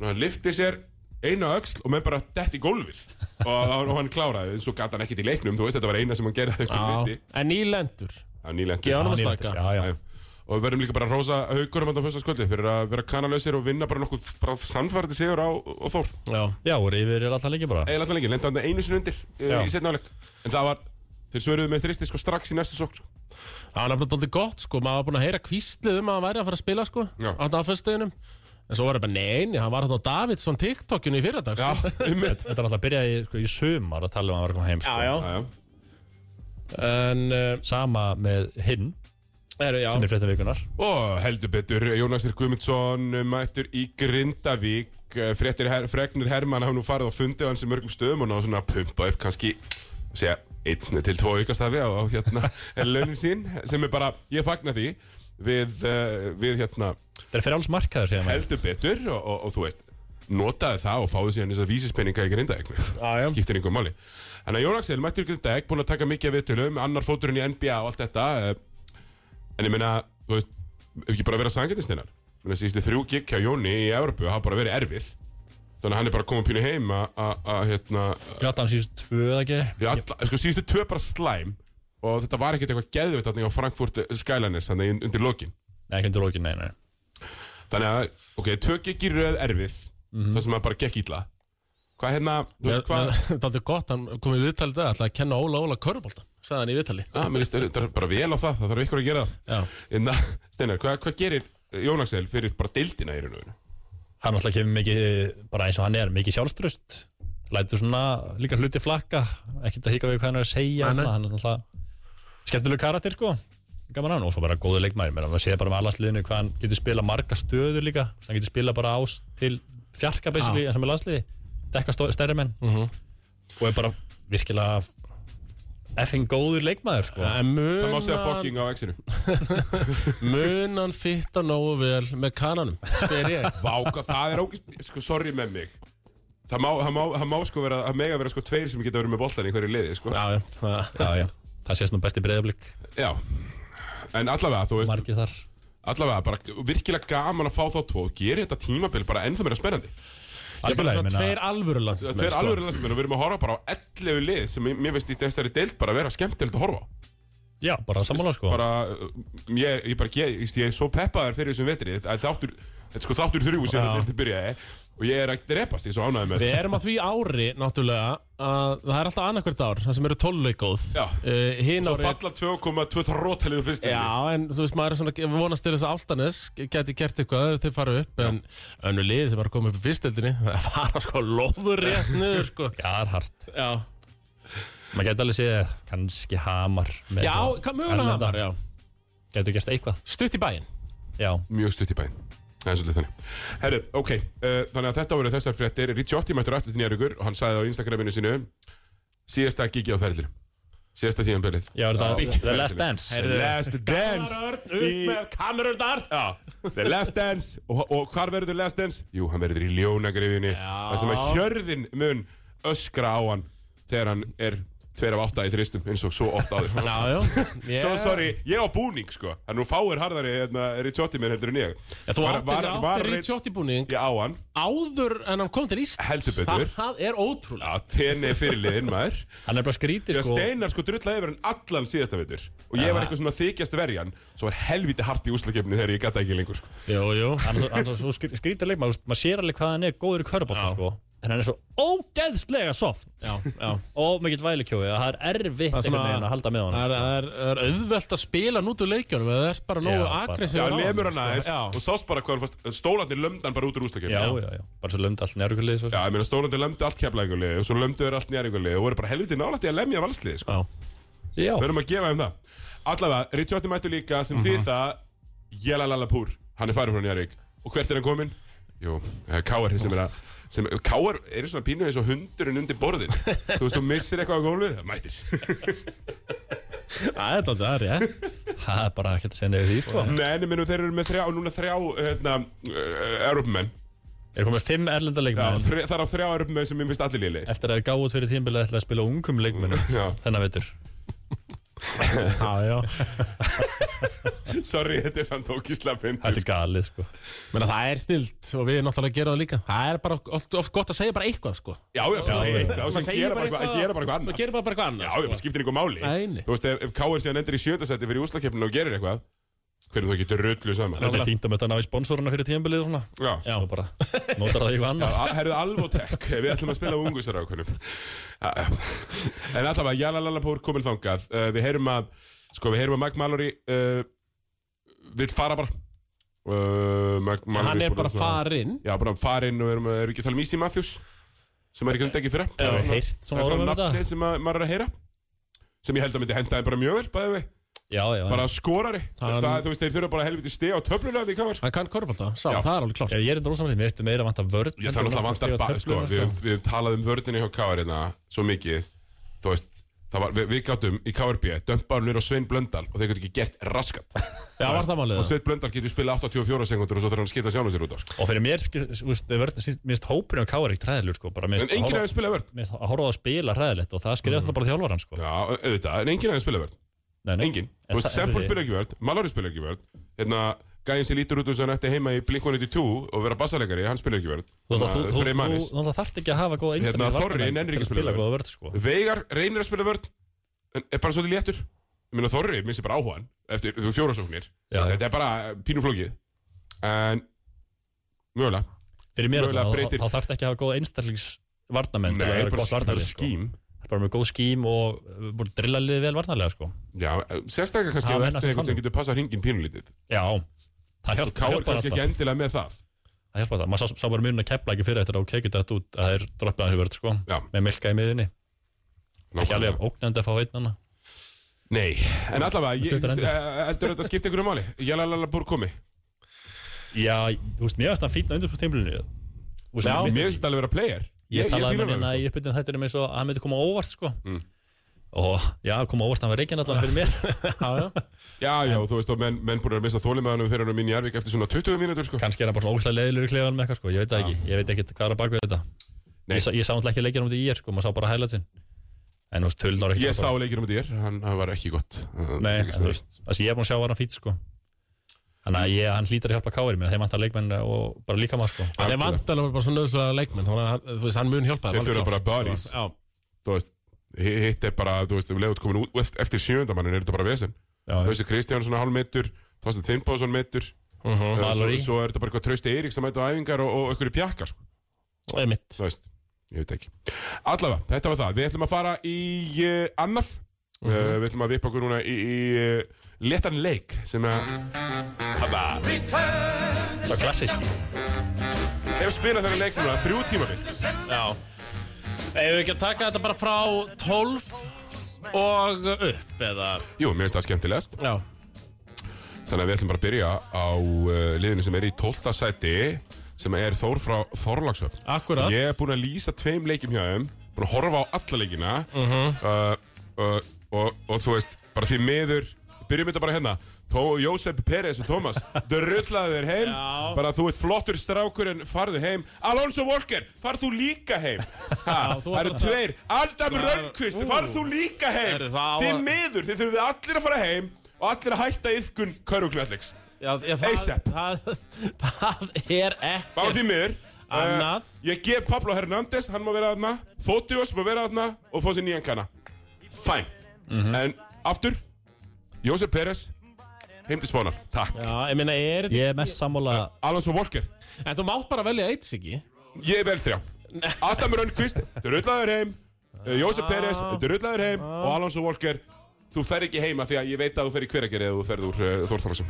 A: og hann liftir sér eina öxl og menn bara dett í gólfið og, og, og hann kláraði, svo gata hann ekkit í leiknum þú veist þetta var eina sem hann gerði að einhverjum
B: Já.
A: viti
B: En nýlendur
A: Það var nýlendur
B: Gefa honum að
D: Hann er-
B: slaka.
D: Já, já,
A: Já. Og við verðum líka bara að rosa haugurum á fyrsta skvöldi fyrir að vera kanalausir og vinna bara nokkuð bara samfærdi sigur á, á Þór.
B: Já
D: já, og yfir er alltaf líka bara
A: Eða alltaf lengi, lenda hann einu sinni undir Já. í setna áleik. En það var, þeir svöruðu með þristi sko strax í næstu sók. Sko.
B: Það var nefnilega aldrei gott sko, maður var búin að heyra kvíslið um að hann væri að fara að spila sko
A: Já.
B: á dagfestuðinum En svo var það bara, neini, hann var hann á Davidsson TikTokinu í fyrradag sko.
A: Já, um mitt.
D: Þetta er alltaf að byrja í, sko, í sumar að tala um að hann var að koma heim sko.
B: En, uh,
D: Sama með hinn
B: er, já,
D: sem er frétta vikunar
A: Og heldur betur, Jónasir Guðmundsson uh, mættur í Grindavík. Uh, Fréttir her, fregnir Hermann hafa nú farið á fundi á hans í mörgum stöðum og náðu svona að pumpa upp kannski, segja, einn til tvo aukastafi á, á hérna launin sín sem er bara, ég fagna því við, uh, við hérna
D: Þetta er fyrir alls markaður segja maður
A: heldur betur og, og, og þú veist notaði það og fáði síðan þess að vísispenninga í grindaðeg
B: já.
A: skiptir einhver máli þannig að Jón Axel mættur í grindaðeg búin að taka mikið af viðtölum annar fóturinn í NBA og allt þetta eh, en ég meina þú veist ef ekki bara að vera sangetinstinnar meina síðustu þrjú gikk hjá Jóni í Európu hafa bara verið erfið þannig að hann er bara komið pínu heim að- að að, hérna
D: Ég átti hann síðust tvö eða ekki
A: við alla, sko síðustu tvö bara slæm og þetta var ekkert eitthvað geðvitt þannig á Frankfurt Skyliners þannig undir lokin
D: Nei, ekki undir lókin, nei, nei
A: Þannig að, ok, tvö gig í röð erfið Það sem að bara gekk illa Hvað hérna, þú veist
B: Mér-
A: hvað
B: mér- Það er aldrei gott, hann kom í viðtalið það, ætlaði að kenna Óla Óla Körbólta, sagði hann í viðtalið.
A: ah, mér finnst þetta er bara vel á það, það þarf ykkur að gera það
B: Já.
A: En það, Steinar, hvað, hvað gerir Jón Axel fyrir bara deildina í raun og veru?
D: Hann alltaf kemur mikið, eh, bara eins og hann er, mikið sjálfströst Lætur svona líka hluti flakka Ekkert að hika við hvað hann er að segja
B: Nei, nei.
D: svona, Hann er alltaf skemmtileg karakter sko Gaman hann og svo bara góður leikmæri Mér sé bara með allarsliðinu hvað hann getur spila marga stöður líka Svo Hann getur spila bara ás til fjarka basically, eins og með landsliði Dekka stó- stærri menn
B: Mhm.
D: -hmm. Og er bara virkilega effing góður leikmæður sko
B: En
A: Það má segja
B: munan,
A: fokking á exinu
B: munan fitta nógu vel með kananum, spyr ég.
A: Vá, hvað, það er ógist, sko, sorry með mig Það má, það má, það má sko vera, það mega vera sko tveir sem geta verið með boltan í hverju liði, sko
B: Já, já, já.
D: Já, já, það sést nú besti breyðablík
A: Já, en allavega, þú veist,
D: Margir þar
A: allavega bara virkilega gaman að fá þá tvo Gerir þetta tímabil bara ennþá meira spennandi
B: Ég er bara
D: Algjörlega, ég
B: svona
D: meina-
B: tveir alvöru landsmenn.
A: Tveir alveg landsmenn og við erum að horfa bara á 11 lið sem ég- mér veist í þessari deild bara vera skemmtilegt að horfa á.
D: Já, bara sammála sko
A: Bara, uh, ég, ég bara, ég, ég, ég er svo peppaður fyrir þessum vetri að þáttur, þetta er sko þáttur þrjú sem
B: Já.
A: þetta byrjaði og ég er að drepast, ég er svo ánægði með
B: Við
A: þetta.
B: erum á því ári, náttúrulega, að það er alltaf annarkvært ár, það sem eru tólleikóð.
A: Já.
B: Uh, Hinn
A: Svo
B: árið...
A: falla 2,2 rótaliðu fyrst
B: Já, en þú veist, maður er svona, við vonast til þess að Altanes geti gert eitthvað ef þeir fara upp, en önnu liði sem var að koma upp í fyrstildinni, það fara sko lóður rétt niður, sko.
D: Já, það er hart
B: Já,
D: Maður geti alveg séð kannski hamar með
B: já
D: eitthvað
B: hvað mögulega
D: erlenda.
B: hann var, já.
D: Gætu gert eitthvað
B: Stutt í bæinn.
D: Já,
A: mjög stutt í bæinn. Það er svolítið þannig. Herru, ok, uh, þannig að þetta voru þessar fréttir. Ricciotti mættur aftur til nýjarugur og hann sagði á Instagraminu sínu síðasta gigi á ferðlir. Síðasta tímanbilið.
D: já er
A: Á
D: þetta The Last
A: ferlinum.
D: Dance
A: The Last Dance í-
B: kamerundar.
A: Já, The Last Dance og, og hvar verður Last Dance? Jú, hann verður í ljónagriðinni Það sem að hjörðin mun öskra á hann þegar hann er tveir af átta í þristum eins og svo oft áður
B: Já, já ég,
A: Svo sorry, ég á búning sko Það er nú fáir harðari hérna, Ricciotti minn heldur en ég
B: Já, Þú áttir var,
A: var-
B: áttir Ricciotti búning
A: Ég á hann,
B: áður en hann kom til Íslands
A: Heldur betur.
B: Það, það er ótrúlega
A: að tenni fyrirliðin maður
D: Hann er bara skrítið
A: Þegar
D: sko
A: Steinar sko drulla yfir hann allan síðasta veitur Og ég var eitthvað svona þykjast verjan Svo var helviti hart í úslakefni þegar ég gata ekki lengur sko.
B: Jú, jú
D: Hann er svo- hann er svo skrítið leik Maður maður sér alveg hvað hann er góður í körpátt
B: Já.
D: sko En hann er svo ógeðslega soft
B: Já, já
D: Og mikill vælikjói Það er
B: Það er
D: erfitt einhvern
B: svona-
D: veginn að halda með
B: Það
D: hann
B: er, það er, það er auðvelt að spila hann út úr leikjunum eða það ert bara nógu
D: Já, bara-
B: aggressív
A: Já,
B: á Sko,
A: lemur hann aðeins
B: Já.
A: Og sást bara hvað hann fast Stólandir lömdan bara út úr úslakefni
D: Já, já, já Bara svo lömd allt njárvíkulið
A: Já, ég meina Stólandir lömdi allt keflæðinguleg Og svo lömdu þeir allt njæringuleg Og voru bara helviti nálætti að lemja valslið sko.
B: Já,
D: Já
A: Við erum að gefa þeim það Allavega, Ricciotti mættu líka sem mm -hmm. því það Jelalallapúr, hann er farin frá Njarvík Og hvert er hann kominn? Jú, það er Káar sem er að sem, Káar er svona pínu eins og hundurinn undir borðin Þú veist, þú missir eitthvað á gólfið það Mættir
B: það er dálítið aðri, eh?
D: Það er bara ekkert að segja nefnir því sko
A: Nei, en ég minnum þeir eru með þrjá, núna þrjá hérna, uh, Európumenn
D: Er komið fimm erlenda
A: Já,
D: leikmenn
A: þre- Það er á þrjá Európumenn sem ég finnst allir lélegir
D: Eftir að þeir gáðu út fyrir tímbilið ætla að spila á ungum leikmennum
A: Já.
D: Þennan veitur
B: Já, já
A: Sorry, þetta er samt ókísla
D: Þetta er galið sko
B: Menna, Það er snilt og við erum náttúrulega að gera það líka Það er bara oft, oft gott að segja bara eitthvað, sko
A: Já, já, bara segja eitthvað og
B: Maður
A: sem
B: segir
A: gera bara eitthvað- gera bara eitthvað
B: Svo
A: annað
B: gerir bara bara eitthvað
A: Já,
B: annað sko.
A: ég bara skiptir einhver máli
B: Nei, nei.
A: Þú veist, ef, ef K.R. síðan endur í sjötasæti fyrir úslakefninu og gerir eitthvað Hvernig þú getur rullu saman
D: Þetta er fínt að mötta hann á í sponsoruna fyrir tímbilið og svona
A: Já,
D: Já Svo bara Nótar það í eitthvað annað
A: Al- herðu alvotek Við ætlum að spila ungusar á hvernig En allavega, Jala Lallapúr komin þangað uh, Við heyrum að Sko, við heyrum að Mike Mallory uh, Vill fara bara uh, Mike Mallory
B: Hann er
A: búinn að
B: bara
A: svona-
B: farinn
A: Já, bara farinn og erum, erum ekki að tala um Easy Matthews Sem er ekki um degi fyrra
D: Hefur
A: Það er
D: við heyrt
A: svona
D: svona orðum um þetta?
A: nafnið sem að, maður er að heyra Sem ég held að myndi hendaði bara mjög vel Bæði við
D: Já, já
A: bara skorari
B: Hann-
A: það, þú veist, þeir þurfa bara helviti stið á töfluna því hvað var sko.
B: Hann kann korfbalta, sá,
A: Já.
B: það er alveg klart
D: Já, ég er þetta ósamlega Mér veistu meira vant að vörn
A: ég þarf náttúrulega að vantar bara, sko, við höfum- við höfum talað um vördinni hjá Káarina svo mikið, þú veist það var, við, við gáttum í KRB dömparnir og Svein Blöndal og þeir gætu ekki gert raskat
B: Já, var það málið
A: og Svein Blöndal getur spila 84 sekundur og svo þarf hann að skipta sjálfum sér út af sko.
D: Og fyrir mér, skil- þú veist, við vörnum síst, minnst hópurinn á Káar ekkert hræðilur, sko, bara minnst
A: en enginn hefði spilað vörd
D: Mér finnst að horfa á að spila hræðilegt og það skrifast mm. bara þjálfaran sko.
A: já, auðvitað, en enginn hefði spilað vörd
D: Nei, nei.
A: enginn,
D: En
A: þú veist,
D: það- en
A: Sempol
D: við-
A: spila ekki vörd Malari spila ekki vörd hérna, gæðin sem lítur út um sem hann ætti heima í Blink-182 og vera bassalegari, hann spila ekki Hérna, vörd
D: Þú þú- þú- þú-
A: Freyr Manis.
D: þú- þú þarft ekki að hafa góða einstaklega
A: Hérna, Þorri nennir ekki að spila
D: góða vörð sko.
A: Veigar reynir að spila vörn en er bara svolítið léttur ég meina Þorri missi bara áhugan eftir þú fjórasóknir
D: Já, já.
A: þetta er bara pínuflókið en mögulega
D: Fyrir mér
A: Mögulega
D: allavega,
A: breytir-
D: þá, þá þarft ekki að hafa góða einstaklings varnamenn til að
A: Nei,
D: vera
A: bara
D: gott varnarlið sko.
A: skím
D: Það er bara með góð skím og uh, búin að drilla liðið vel varnarlega sko.
A: já, sérstaklega kannski
D: Það
A: að
D: menn
A: verða eitthvað
D: að tala
A: sem
D: um.
A: getur passað hringin pínulítið
D: Já, það hjálp- það
A: Káur
D: hjálpar
A: kannski
D: alltaf
A: ekki endilega með það
D: Það hjálpar alltaf, maður sá, sá bara munið að kepla ekki fyrir eftir að ok, geta þetta út að það er droppið hans í vörð sko,
A: Já.
D: með milka í miðinni ekki alveg
A: Nákvæmlega.
D: ógnandi að fá einn annað
A: nei, en allavega ég-
D: Stuttar endur.
A: eh, heldur þetta skipti einhverju máli Jalalala búr komi
D: Já, þú veist, mér varst það fínna undir frá tímlunni
A: mér finnst þetta alveg að vera player
D: ég, talaði
A: fíla
D: með
A: hann Mm.
D: hérna
A: alveg, sko.
D: í uppbytun þættinum eins og að hann myndi koma á óvart sko og já, koma á óvart, hann var reygin allan fyrir mér
B: Já, já
A: sko. já, já, þú veist, og menn, menn búin að missa þólimaðanum fyrir hann um minni Jarvik eftir svona 20 mínútur sko.
D: kannski er hann bara svona ógæslega leiðilur í klefanum með eitthvað sko, ég veit það ekki, ég veit ekki hvað er að baka við þetta
A: Nei.
D: ég, sá- ég sá náttúrulega ekki leikir um þetta í er sko, maður sá bara highlightsin en þú veist, tölnar ekki
A: ég sá
D: bara,
A: leikir um þetta ég hann hann var ekki gott að
D: nei,
A: fylgjast
D: en, þú
A: með.
D: veist, þessi ég er búin að sjá var hann fít sko þannig að ég, hann hlýtar að hjálpa káir mér, þeim vantar leikmenn og bara líka maður sko
B: Það er vandalega bara svona nöðslega leikmenn Þannig að hann- þú veist, hann mun hjálpa
A: Þeir
B: það er
A: þurfa
B: alveg
A: bara
B: klárt,
A: bodies.
B: sko. Já,
A: þú veist, hi- hitt er bara, þú veist, ef leiðut komin út eft- eftir sjöundamannin er þetta bara vesen.
D: Já,
A: Þú
D: já.
A: veist, Kristjánsson er hálf metur, Þorsten Finnbóðsson metur,
B: mhm,
A: uh, svo,
D: Valerie.
A: svo er þetta bara eitthvað trösti Eirík sem mæta á æfingar og, og ykkur í pjakka, sko,
B: einmitt
A: þú veist, ég veit ekki. Allavega, þetta var það, við ætlum að fara í uh, annað, uh, við ætlum að vipa okkur núna í, í uh, letan leik sem að
D: það er klassíski
A: hef spilað þennan leik núna þrjú tímabill.
B: Já Ef við ekki að taka þetta bara frá 12 og upp eða
A: Jú, mér finnst það skemmtilegast.
B: Já
A: Þannig að við ætlum bara að byrja á uh, liðinu sem er í 12. sæti sem er Þór frá Þorlagsöfn.
B: Akkúrat.
A: Ég er búin að lýsa tveim leikjum hjá þeim, búin
B: Mhm.
A: að horfa á alla leikina uh uh, og, og þú veist, bara því meður byrjum þetta bara hérna Tó, Jósef Pérez og Thomas drullaðu þér heim
B: Já.
A: bara þú ert flottur strákur en farðu heim Alonso Walker, farð þú líka heim ha,
B: þú
A: það eru
B: ætlar það.
A: tveir Adam Rönnqvist,
B: ú.
A: farð þú líka heim
B: Heyrðu, það á
A: þið
B: að-
A: miður, þið þurfið allir að fara heim og allir að hætta yfkun Körugljallix
B: Já, já, það,
A: ASAP.
B: það, það er ekki
A: bara því miður Eh,
B: Annað.
A: ég gef Pablo Hernández, hann má vera aðna Fotios má vera aðna og fá sér nýjan kanna fæn
B: Mhm.
A: en aftur, Jósef Pérez heim til spánar, takk
B: Já, ég meina, er
D: Ég er mest sammála
A: Alonso Walker
B: En þú mátt bara velja eitt, Siggi
A: Ég er vel þrjá Adam Rönnqvist, drullaður heim eh, Jósef Pérez,
B: Ah.
A: drullaður heim Og Alonso Walker, þú fer ekki heima Því að ég veit að þú fer í hveragerið Eða þú ferð úr uh, Þórþórsum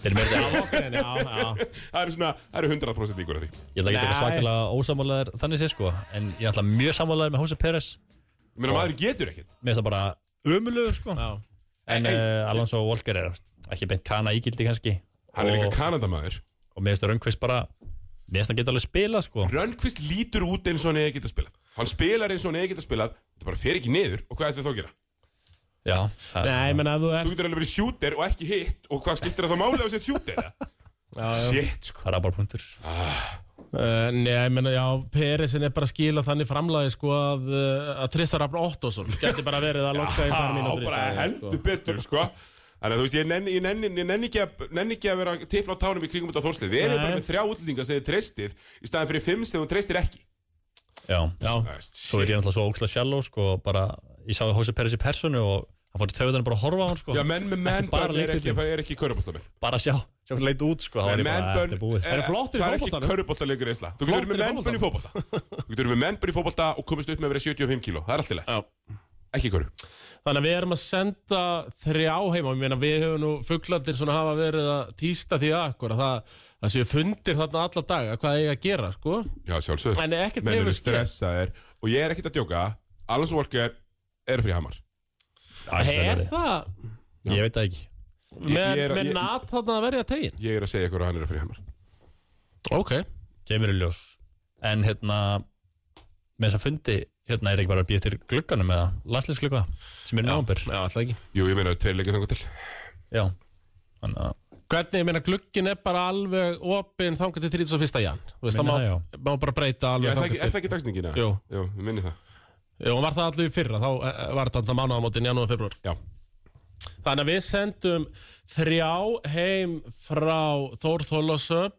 D: Þeir eru meira
B: Já, ok, já, já
A: Það eru svona, það eru 100% líkur að því
D: Ég ætla ekki
B: Nei.
D: að taka svakalega ósamálaðir þannig sé sko En ég ætla mjög samálaðir með Jose Pérez
A: Ég meina maður getur ekkert
D: Mér finnst það bara ömulugur sko
B: Já,
D: En
A: Ei, ei.
D: uh, Alonso Walker er ekki beint kana ígildi kannski
A: Hann er líka
D: Og-
A: kanadamaður
D: Og mér finnst það raungkvist bara Mér finnst það geta alveg spila sko
A: Rönnqvist lítur út eins og hann eigi geta spilað Hann spilar eins og hann eigi geta spilað Það bara fer ekki niður og hvað ætti þá að gera?
D: Já það-
B: Nei, ég meina, ef þú
A: Þú
B: ert
A: getur alveg verið shooter og ekki hitt Og hvað skiptir það þá máli á sér shooter? Shit sko
D: Það er bara punktur
B: uh, Nei, ég meina, já, Peresin er bara að skila þannig framlagi, sko, að, uh, að Tristar Rappar Ottosson Gæti bara verið að lokka í
A: Já,
B: þar mínu
A: bara heldur betur, sko Þannig að þú veist, ég nenni, ég nenni, ég nenni, ekki, að, nenni ekki að vera að tipla á tánum í kringum þetta þórslið Við erum
B: Nei.
A: bara með þrjá útlendinga sem þið treystið Í staðan fyrir fimm sem þú treystir ekki
D: Já
B: Já,
A: Það veist,
D: Svo er ég náttúrulega svo ókslega sjálf sko og Bara Ég sá Jose Pérez í personu og Hann fór til tauðan bara að horfa á hann sko
A: Já, menn með menn
D: Ekki bara
A: börn er ekki,
D: leikstjórn.
A: er ekki körubóltamenn
D: Bara sjá Sjá hann leit út sko þá var ég bara, "Þetta er búið."
A: eh, það
B: eru flottir í
A: er ekki
B: fótboltanum.
A: körubóltalegur eisla Þú getur
B: Flottir
A: með
B: í
A: mennbönn í fótbolta Þú getur með mennbönn í fótbolta og komist upp með að vera 75 kíló Það er alltaf leið,
B: já
A: ekki í köru
B: Þannig að við erum að senda þrjá heima og ég meina við höfum nú fugglandir svona hafa verið að týsta því að akkur að það, það séu fundir þarna alla daga hvað eiga að gera sko
A: Já, sjálfsögð
B: En ekkert
A: Menn
B: hefur
A: eru
B: skeð.
A: stressaðir Og ég er ekkert að djóka Alonso Walker er fyrir hamar
D: Já, þetta
B: Er
D: verið.
B: það
D: Ég veit það ekki
A: Ég-
B: með,
A: ég er-
B: með
A: ég-
B: nat þarna að verja tegin?
A: Ég er að segja ykkur að hann er fyrir hamar
B: Ok
D: kemur í ljós en hérna með þess að fundi, hérna er ekki bara að býja til glugganum eða landslýsglugga sem er náumbyr
B: Já, alltaf ekki
A: Jú, ég meina tveir leikir þangar til
D: já, þannig að
B: Hvernig, ég meina glugginn er bara alveg opinn þangað til 31. jan Þú veist, það
D: Minna,
B: má,
D: já.
B: má bara breyta
A: Já,
B: alveg
A: er það ekki, er það
B: þangað til
A: ekki dagsningina?
B: Jú.
A: Jú, við minni það
B: Jú, og var það allir í fyrra, þá eh, var þetta mánuðamótin janúar februar
A: Já,
B: Þannig að við sendum þrjá heim frá Þór Þólasöp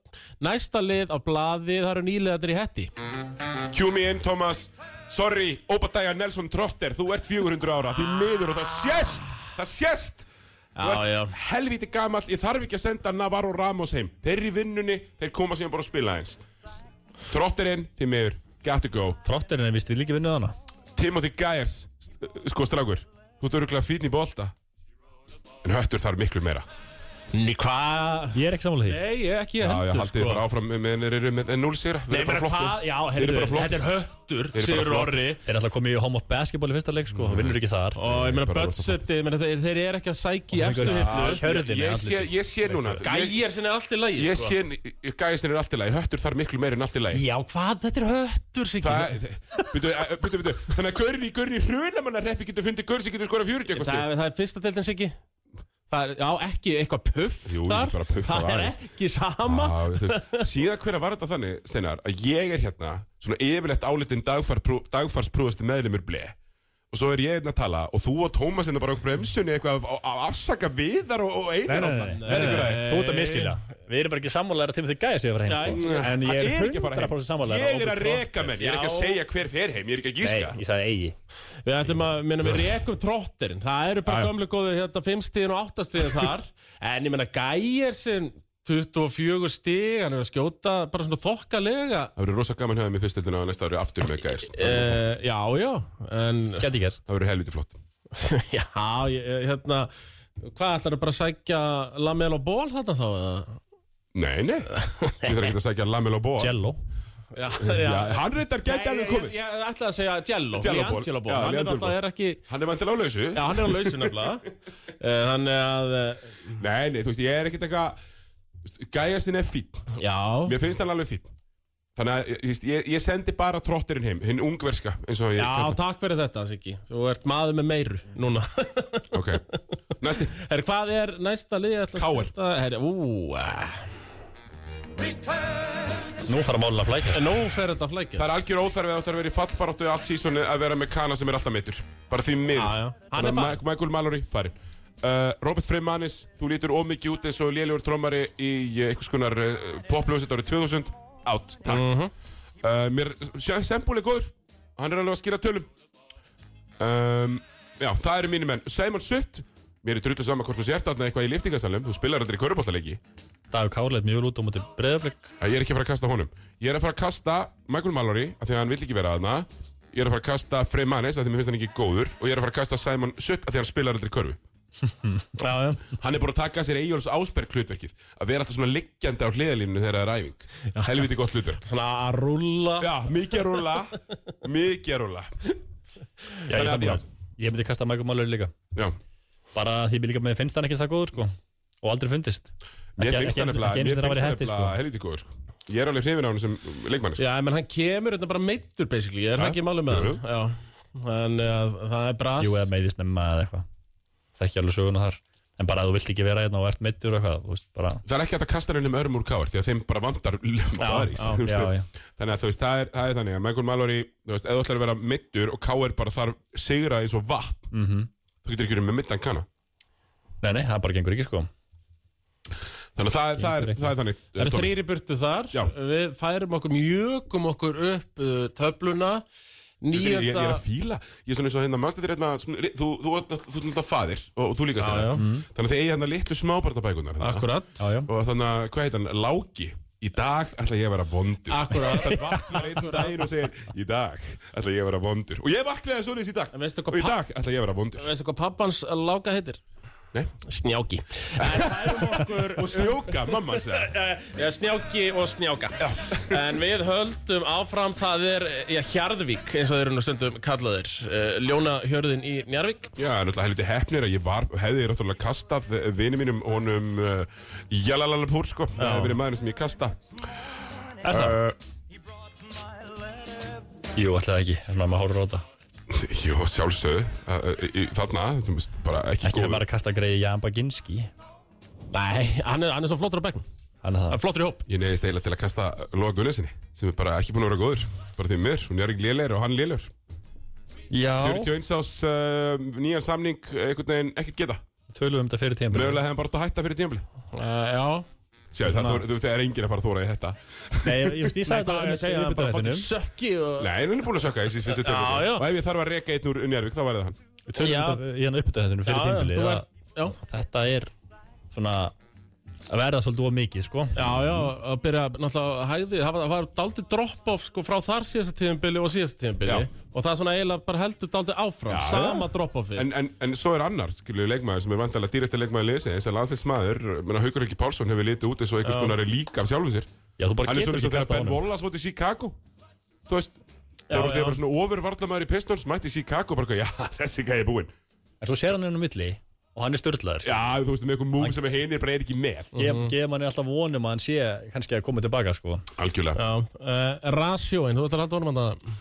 B: Næsta lið á blaði, það eru nýliðatir í hetti
A: cue me in, Thomas Sorry, Obadiah Nelson Trotter Þú ert 400 ára, því miður og það sést Það sést Þú ert
B: já.
A: helvíti gamall, ég þarf ekki að senda Navarro Ramos heim Þeir eru í vinnunni, þeir koma síðan bara að spila eins Trotterinn, því miður, got to go
D: trotterinn er vist við líka vinnuð hana
A: Timothy Geyers, st- sko strákur Þú ert öruglega fín í bolta En höttur þarf miklu meira
B: Ný, hvað?
D: ég er ekki sammála því,
B: Nei, ég ekki
A: Já, ég
B: heldur,
A: haldið þér bara áfram með, með, með, með 0 sigra Við
B: sko. Nei,
A: erum bara
B: bara hvað?
A: flottir
B: Já,
A: Þeir eru
B: heyrðu,
A: bara flottir.
B: þetta er höttur,
A: bara
B: Sigur
A: flottir.
B: Orri
D: þeir er alltaf komið í home of basketball í fyrsta leik sko, þú vinnur ekki þar
B: Og ég meina,
A: bara
B: budgetið, ég meina, þeir, þeir eru ekki að sæki í
D: Og
B: efstu
D: það er-
B: hillu
D: Ah, hjörðin er
A: Ég
D: andlitið.
A: sé, ég sé núna ég-
B: Gæjar sinni er allt í lagi,
A: Ég
B: sko
A: sé, gæðisinn er allt í lagi, höttur þarf miklu meira en allt í lagi
B: Já, hvað? Þetta er höttur, Sigur
A: Það, byrju, byrju, byrju eh, Þannig að Gaurinn í Gaurinn í hrunamannarreppi getur fundið Gaurinn sem getur skorað 40 eitthvað
B: það,
A: stíl
B: er- það er fyrsta deildin Siggi Það er, já, ekki eitthvað puff
A: Jú,
B: þar
A: bara puff
B: Það er
A: aðeins. Ah.
B: ekki sama
A: Já, þú veist, Síðan hver að var þetta þannig, Steinar Að ég er hérna, svona yfirlegt álitinn dagfar, dagfarsprúðasti meðlumur ble Og svo er ég einn að tala Og þú og Tómas hérna bara á bremsunni eitthvað Að að afsaka viðar og, og einar
D: nei, nei, nei, nei, nei. þú ert að miskilja við erum bara ekki sammála þegar Timothy Gæs er að fara heim sko.
B: Já,
D: en
A: Hann
D: ég er
A: ekki að fara heim.
D: 100% sammála
A: Ég er að reka sko. menn, ég er ekki að
B: Já.
A: segja hver fer heim Ég er ekki að gíska
D: nei, ég sagði eigi
B: Við ætlum að, minna, við rekum trotterinn Það eru bara
A: Já.
B: gömlu góðu hérna fimmstíðin og áttastíðin þar En ég menna gæjar sinn 24 stíg, hann er að skjóta bara svona þokkalega
A: Það verður rosa gaman hefðið mér fyrst heldina á næsta ári aftur með gæs Það
B: Uh, já, já, en
D: geti gerst
A: verður helviti flott
B: já, ég, hérna, hvað ætlarðu bara að sækja lamel og ból þarna þá? eða?
A: Nei, nei, ég þarf ekki að sækja Lamel og Bóa
D: Jello
B: Já,
A: Já, hann reyndar gæti alveg komið
B: Ég, ég, ég ætlaði að segja Jello,
A: Jello ból.
B: Liangelo ból,
A: Já,
B: hann
A: Liangelo
B: er
A: ból.
B: náttúrulega er ekki
A: Hann er vantilega á lausu
B: Já, hann er á lausu nefnilega Eh, Þannig að, eh,
A: Nei, nei, þú veist, ég er ekkert eitthvað Gæjastinn er fín,
B: já
A: mér finnst hann alveg fín Þannig að, þú veist, ég, ég sendi bara trotterinn heim Hinn ungverska, eins og ég
B: Já,
A: kalla hann.
B: takk fyrir þetta, Siggi Þú ert maður með meiru núna
A: Ok, Næsti
B: Herri, hvað er næsta lið ég ætla að
A: KR.
B: setja? Herri, ú, ah.
D: Nú fara málun að flækja
B: Nú fer þetta að flækja
A: Það er algjör óþarfið að það er verið í fallbaráttu allt sísoni að vera með Kana sem er alltaf mittur. Bara því miður.
B: Já, já. Hann er
A: Þannig að Ma- Michael Mallory, farinn. Uh, Robert Freymanis, þú lítur ómikið út eins og lélugur trommari í uh, einhvers konar uh, popljóðsett árið 2000. Átt, takk.
B: Mhm.
A: uh, mér, sjá, Sembúl er góður. Hann er alveg að skýra tölum. Um, já, það eru mínir menn. Simon Sutt, mér er drullu saman hvort þú sért aðna eitthvað í liftingasalum. Þú spilar aldrei í körubóttaleiki.
D: Dagur Kárleit mjög lút á móti breyðarblik
A: Ég er ekki að fara að kasta honum Ég er að fara að kasta Michael Mallory af Því að hann vil ekki vera aðna Ég er að fara að kasta Frey Manes af Því að mér finnst hann ekki góður Og ég er að fara að kasta Simon Sutt af Því að hann spilar aldrei körfu
B: Já, já
A: Hann er búin að taka sér Eyjóls Ásberg hlutverkið Að vera alltaf svona liggjandi á hliðalínu þegar það er æfing Helviti gott hlutverk
B: Svona að rúlla
A: Já, mikið að rúla Mikið að rúla
D: Já, ég,
A: Þannig að
D: sammála.
A: já.
D: ég myndi kasta Michael Mallory líka
A: Já,
D: bara því líka með finnst hann ekki það góður sko. og aldrei fundist
A: mér
D: Ekki-
A: finnst
D: ekki
A: hann
D: einu-
A: nefnilega
D: ekki einu
A: Mér finnst
D: sinni það væri
A: hann
D: hendi,
A: nefnilega helviti góður sko. Ég er alveg hrifin á hann sem leikmann sko.
B: Já, menn hann kemur þetta bara meittur, basically Er það
A: Ja,
B: ekki málið með
A: jú,
B: hann? Já Þannig að það er brast
D: sko. Jú, eða meiðist nema eða eitthvað það er ekki alveg söguna þar en bara að þú vilt ekki vera hérna og ert meittur og eitthvað þú veist, bara,
A: Það er ekki hægt að kasta hennum örum úr káar því að þeim bara vantar varis.
D: já,
A: Þú veist,
D: já, já.
A: Þannig að þú veist, það er, það er þannig að Michael Mallory, þú veist, eða ætlar að vera mittur og káar bara þarf sigra eins og vatn mm
B: Mhm.
A: -hmm. þú getur ekki verið með mittan kanna.
D: nei, nei, það bara gengur ekki sko
A: Þannig að það er, það er, það er þannig.
B: Það eru
A: Tommy.
B: þrýri burtu þar
A: Já.
B: Við færum okkur, mjögum okkur upp uh, töfluna
A: Ég, ég, ég er
B: Nýjönda
A: að fíla, ég er svona eins og hérna mannstættir hérna, sm- ri- þú, þú, þú, þú, þú náttúrulega faðir og, og þú líka
B: Já, já.
A: stæðar þannig að þið eigi hérna litlu smábarnabækunar hérna.
B: Akkurat
D: já, já.
A: og þannig að, hvað heit hann, Láki í dag ætla ég að vera vondur
B: Akkurat
A: hann vaknar einn daginn og segir í dag ætla ég að vera vondur og ég vaknaði svoleiðis í dag
B: En veistu
A: og
B: hvað
A: í dag ætla ég að vera vondur
B: Veistu hvað pappans láka heitir?
A: Nei.
B: Snjáki En færum okkur
A: og snjóka, mamma segir
B: Já, snjáki og snjáka En við höldum áfram Það er, já, Hjarðvík eins og þeir eru nú stundum kallaðir uh, Ljóna hjörðin í Njarvík
A: já, náttúrulega helviti hefnir að ég var, hefði náttúrulega kastað eh, vini mínum honum uh, Jalalalapur sko, það hefði verið maðurinn sem ég kasta
B: Er það?
A: uh,
D: jú, alltaf ekki, þannig að maður horfir á þetta
A: Jó, sjálfsögðu uh, uh, í- Þarna, sem veist, bara ekki,
D: ekki þegar maður er að kasta greiði Jan Baginski
B: Nei, hann er, hann er svo flottur á bekknum
D: hann
B: Hann
D: er
B: er
D: það,
B: flottur í hóp
A: Ég neyðist eiginlega til að kasta Lóa Gunnasinni sem er bara ekki búin að vera góður bara því mér, hún er ekki lélegur og hann lélegur
D: já,
A: 41 ás uh, nýjan samning uh, einhvern veginn ekkert geta
D: tölum um þetta fyrir Eh, tíma
A: Mögulega hefði hann bara átt að hætta fyrir tímafli
B: uh, Já
A: Sjáðu, það, þú, þú, það er enginn að fara að þóra í þetta
D: nei, ég ég veist, ég sagði
B: Hvað er
D: þetta
B: hann að segja? Hann bara
D: viðbitarættinum.
B: fucking sökki og
A: Nei, hann er búin að sökka þessi fyrstu
B: Já, já.
A: tökum Og ef ég þarf að reka einn úr Njárvík, þá var það hann
D: Við tölum
B: Já.
D: um þetta í hann uppdæðinu
B: Já,
D: fyrir
B: já,
D: tíma
B: þú er- Já,
D: þetta er svona að verða svolítið of mikið sko
B: já, já, að byrja náttúrulega að hæði, það var, það var daldið drop-off sko frá þar síðasta tíðinbili og síðasta tíðinbili
A: Já.
B: og það er svona eiginlega bara heldur daldið áfram, sama drop-offið
A: En, en, en svo er annar, skilju, leikmaður sem er vantarlega dýrasti leikmaður liðsins, þessi landsleiksmaður, menna Haukur Helgi Pálsson hefur litið út eins og einhvers konar er líka af sjálfum sér.
D: já, þú bara
A: Hann er
D: getur
A: svona eins og þegar
D: ekki kasta
A: Ben
D: honum
A: Wallace vótt í Chicago Þú veist
D: Já,
A: Þegar
D: já.
A: þeir bara svona ofurvarlamæður í Pistons Mætti í Chicago bara eitthvað, já þessi gæði er búinn
D: en svo sér hann hann á milli og hann er störtlaður
A: Já þú veist með eitthvað múf sem heinir bara er ekki með
D: gefa manni alltaf vonum að hann sé kannski að koma tilbaka sko
A: Algjörlega
B: Já, uh, rasjóin, þú ætlar að halda honum að það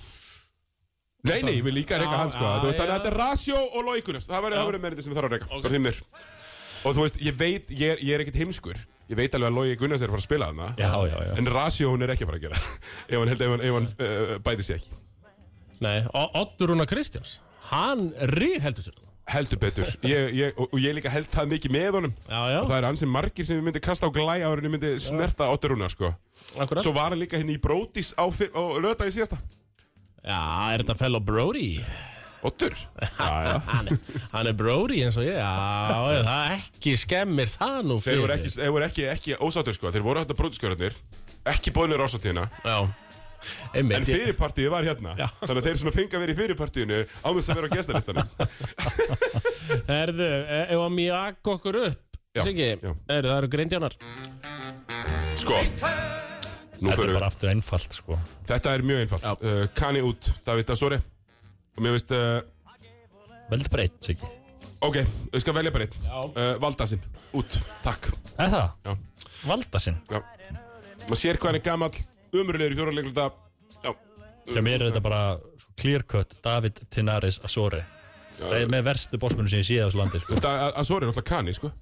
A: Nei nei, ég vil líka reyka
B: Já,
A: hann sko
B: já,
A: Þú veist
B: já.
A: þannig að þetta er rasjó og loikunast Það verður það verður menniti sem þarf að reyka Bara þimmir Og þú veist, ég veit, ég er, ég er ekkit heimskur Ég veit alveg að Logi Gunnars er að fara að spila þarna
D: já, já, já
A: En Rasjó hún er ekki að fara að gera Ef hann held ef hann, ef hann uh, bæti sig ekki
B: Nei, O- Oddur Rúnar Kristjáns Hann rík heldur sér
A: Heldur betur ég, ég, og, og ég líka held það mikið með honum
B: Já, já,
A: Og það er ansið margir sem ég myndi kasta á glæ áður en ég myndi snerta átturuna, sko.
B: akkurat
A: Svo var hann líka hérna í Brodís á, fi- á löðdagi síðasta.
B: Já, er þetta fellow Brody?
A: Ottur? Já, já.
B: Hann, hann er Brody eins og ég Já, það ekki skemmir það nú
A: Þeir
B: fyrir
A: voru ekki, þeir voru ekki, ekki ósáttur, sko. Þeir voru hérna Brodískjörðarnir, ekki bóðnir ásátíðina,
B: Já,
A: en
B: einmitt ég-
A: fyrirpartíði var hérna. Þannig að þeir svona fengi að vera í fyrirpartíðinu á þess að vera á gestalistanum.
B: Herðu, e- ef að mjög okkur upp
A: Já,
B: Siggi,
A: já.
B: herðu, það eru greindjánar
A: Sko, nú
D: þetta er
A: fyrir
D: bara aftur einfalt sko
A: Þetta er mjög einfalt. Uh, Kani út, David Asori. Og mér veist, uh,
D: vel breytt, Siggi
A: ok, við skal velja bara einn. Uh, Valdasinn, út, takk.
D: er það?
A: Já.
D: valda sinn
A: Já Maður sér hvað hann er gamall, umurlegur í fjóraleglunda Já,
D: hjá mér er þetta bara svo clear cut David Tinaris Asore Það er með verstu bósmunum sem ég sé á þessu landi sko.
A: Þetta Azor er alltaf Kani, sko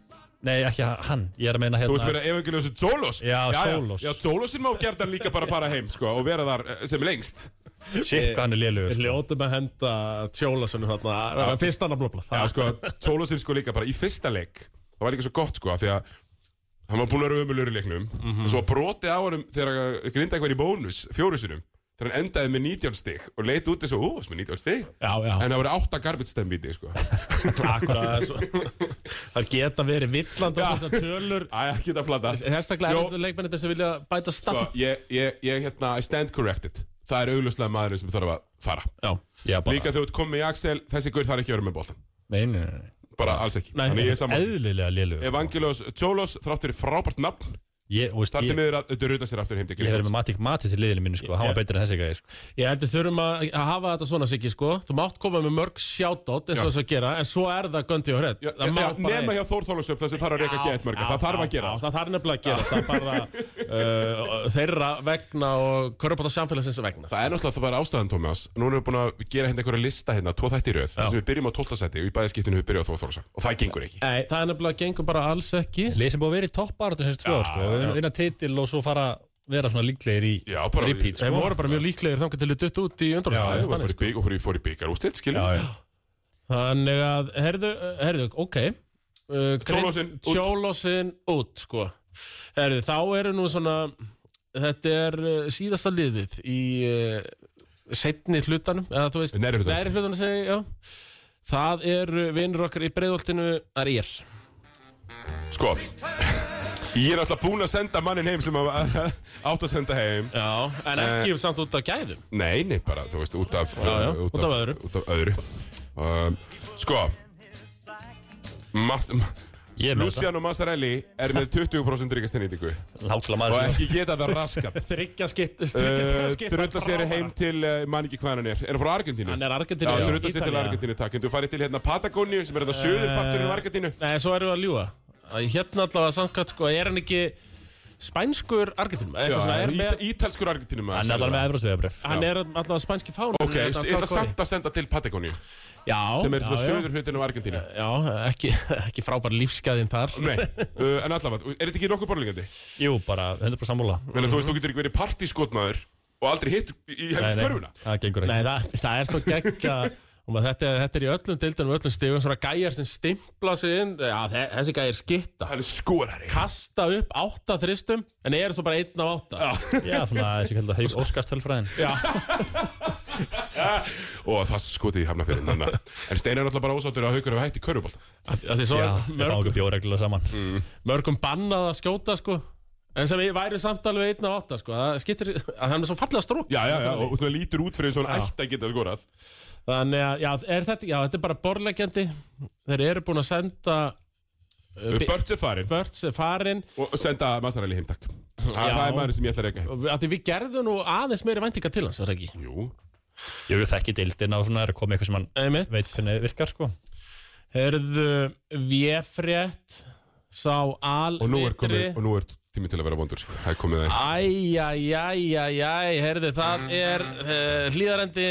D: Nei, ekki hann, ég er að meina
A: Þú veist
D: hérna
A: meira evangeljósu Zolos
D: Já, Zolos.
A: Já, Zolosin má gerðan líka bara fara heim, sko Og vera þar eh, sem lengst
D: Shit, hvað hann er lélugur
B: Við
D: sko.
B: hljótum að henda tjólasönu þarna Fyrst hann að blóbla
A: Já, sko, Zolosin sko líka bara í fyrsta leik Það var líka svo gott, sko, af því að Hann var búin að vera ömulur í leiknum mm
D: Mhm.
A: -hmm. Svo brotið á honum þegar grinda eitthvað í bónus Fjórusunum Þegar hann endaði með 19 stig Og leit út eins og, ú, varst með 19 stig
B: Já, já,
A: En það voru 8 garbage time viti, sko
B: akkurat Það geta verið villandi á
A: Já.
B: þessar tölur
A: Æ, ekki þetta að flata
B: Hérstaklega
A: Jó.
B: er leikmennir þess að vilja bæta
A: Sko,
B: stafn
A: ég, ég, ég, hérna, I stand corrected Það er augljóslega maðurinn sem þarf að fara
B: Já,
D: Já, bara
A: Líka þegar þú ert komið í Axel, þessi gaur þarf ekki að vera með boltan
D: Nei, nei, nei, nei.
A: Bara alls ekki
B: Nei.
A: Þannig ég er saman
D: Eðlilega lélugur
A: Evangelos Tjólos, þrátt fyrir frábært nafn
D: Ég, þú veist,
A: Þar til
D: ég,
A: miður að druta sér aftur heim til
D: ég verður
A: Grikklands.
D: með Matic Matic til liðinu mínu sko. Hann
B: Ég-
D: var betur en þessi gæði sko.
B: Ég held við þurfum að að hafa þetta svona Siggi sko Þú mátt koma með mörg shoutout eins
A: Já.
B: og þess að gera En svo er það göndi og hrett
A: Já, já, Nema hjá Þór Þólasöf þessi þarf að reyka getmörga Það þarf að gera
B: já, Það þarf nefnilega að gera Það er bara uh, þeirra vegna og körubáta samfélagsins vegna
A: Það er náttúrulega það bara ástæðan, Tómas Nú erum við búin að gera hérna einhverja lista hérna, tvo þætti í röð þar sem við byrjum á 12. seti og í bæðaskiptinu við byrjum á Þór Þólasöf Og það gengur ekki
B: Nei, það er nefnilega gengur bara alls ekki
D: Lið sem búið að vera í toppbaratu þessu tvö ár sko. Vin- Vinna titil og svo fara vera svona líklegir í
A: Já, bara-
D: repeat
B: Þeir
D: sko.
B: voru bara mjög líklegir þangar til þau dutt út í
A: Það var
B: undanúrslitunum,
A: bara í
B: þannig. sko.
A: bygg- og fór í- fór í bikarúrslit, skilurðu.
D: já, já.
B: Þannig að, herðu, eh, herðu, ok Uh, grein-
A: Tjólosinn út.
B: Tjólosinn út, sko herðu, Þá eru nú svona Þetta er uh, síðasta liðið í uh, setni hlutanum eða þú veist,
A: Neðri hlutanum.
B: neðri hlutanum segi, ég, já Það eru vinnur okkar í breiðoltinu Það er ég
A: Sko Ég er alltaf búinn að senda mannin heim sem að- átt að senda heim
B: Já, en ekki
A: Eh.
B: samt út af gæðum
A: Nei, nei, bara, þú veist, út af
B: já,
A: uh,
B: út af öðru.
A: út af öðru. Um, Sko Mat- ma-
D: Ég er með þetta
A: Luciano Massarelli er með 20% ríkastennýtingu
D: Lákla
A: og
D: maður sem-
A: ekki geta það raskat
B: Tryggja skitt
A: Uh, Drulla sér heim til, uh, man ekki hvað hann er Er hann frá Argentínu?
B: Hann er Argentínu,
A: Já,
B: já.
A: drulla sér til
B: Ítalía. Eh,
A: Argentínu, takk En þú farið til hérna Patagoníu sem er þetta söðurparturinn á Argentínu
B: Nei, svo erum við að ljúa Hérna allavega samkvæmt, sko, er hann ekki Spænskur Argentinum
A: Já,
B: eitthvað svona, er
A: ít-
B: með-
A: Ítalskur Argentínu
D: Hann er allar með Evrósvegabref
B: Hann er allavega spænski fánu
A: Ok, ég ætla samt að senda til Patagoníu
B: Já,
A: sem er
B: já,
A: svona
B: já. Eh.
A: söður hlutin á Argentínu
B: Já, ekki, ekki frábær lífsgæðin þar
A: Nei, uh, en allavega, er þetta ekki nokkuð borlingandi? Mm
D: Jú, bara 100% sammála
A: -hmm. Þú veist, þú getur ekki verið partískotmaður og aldrei hitt í
D: Nei,
A: helvins
D: nei,
A: körfuna
D: Það gengur
B: Nei,
D: ekki
B: það, það er svo gegga og maður, þetta, þetta er í öllum deildunum, öllum stigum svona gæjar sem stimpla sig inn Já, þe- þessi gæjar skitta
A: Hann er skorari
B: Kasta upp átta þristum en eru svo bara einn af átta Já,
D: Já, svona þessi kallar Hauks Óskastölfræðin
A: og það skotið í hafna fyrir en Steinar er alltaf bara ósáttur að haugur hafa hætt í körfubólta
B: Því svo er
D: Já, við fáum
B: mörg,
D: okkur bjóreglulega saman
B: mörgum bannað að skjóta sko En sem ég væri samtalið við einn af átta sko Það skiptir, að hann er svo fallega strók
A: Já, já, já, og þú lítur út fyrir svona ætt að geta skorað
B: Þannig að, já, er þetta, já, þetta er bara borlegjandi Þeir eru búin að senda Bi-
A: Börts er farin
B: Börts er farinn
A: og senda Masaræli heim takk Það það er maður sem ég ætla að reyka heim
B: og við- af Því við gerðum nú aðeins meiri væntingar til hans, var það ekki?
A: Jú,
D: Jú, ég þekki deildina og svona er að koma eitthvað sem hann
B: Einmitt,
D: veit hvernig virkar sko
B: herðu Véfrétt Sá al
A: og nú er, komið, og nú er tími til að vera vondur sko. Það er komið það
B: Æjæjæjæjæj, herðu, það er uh, hlýðarendi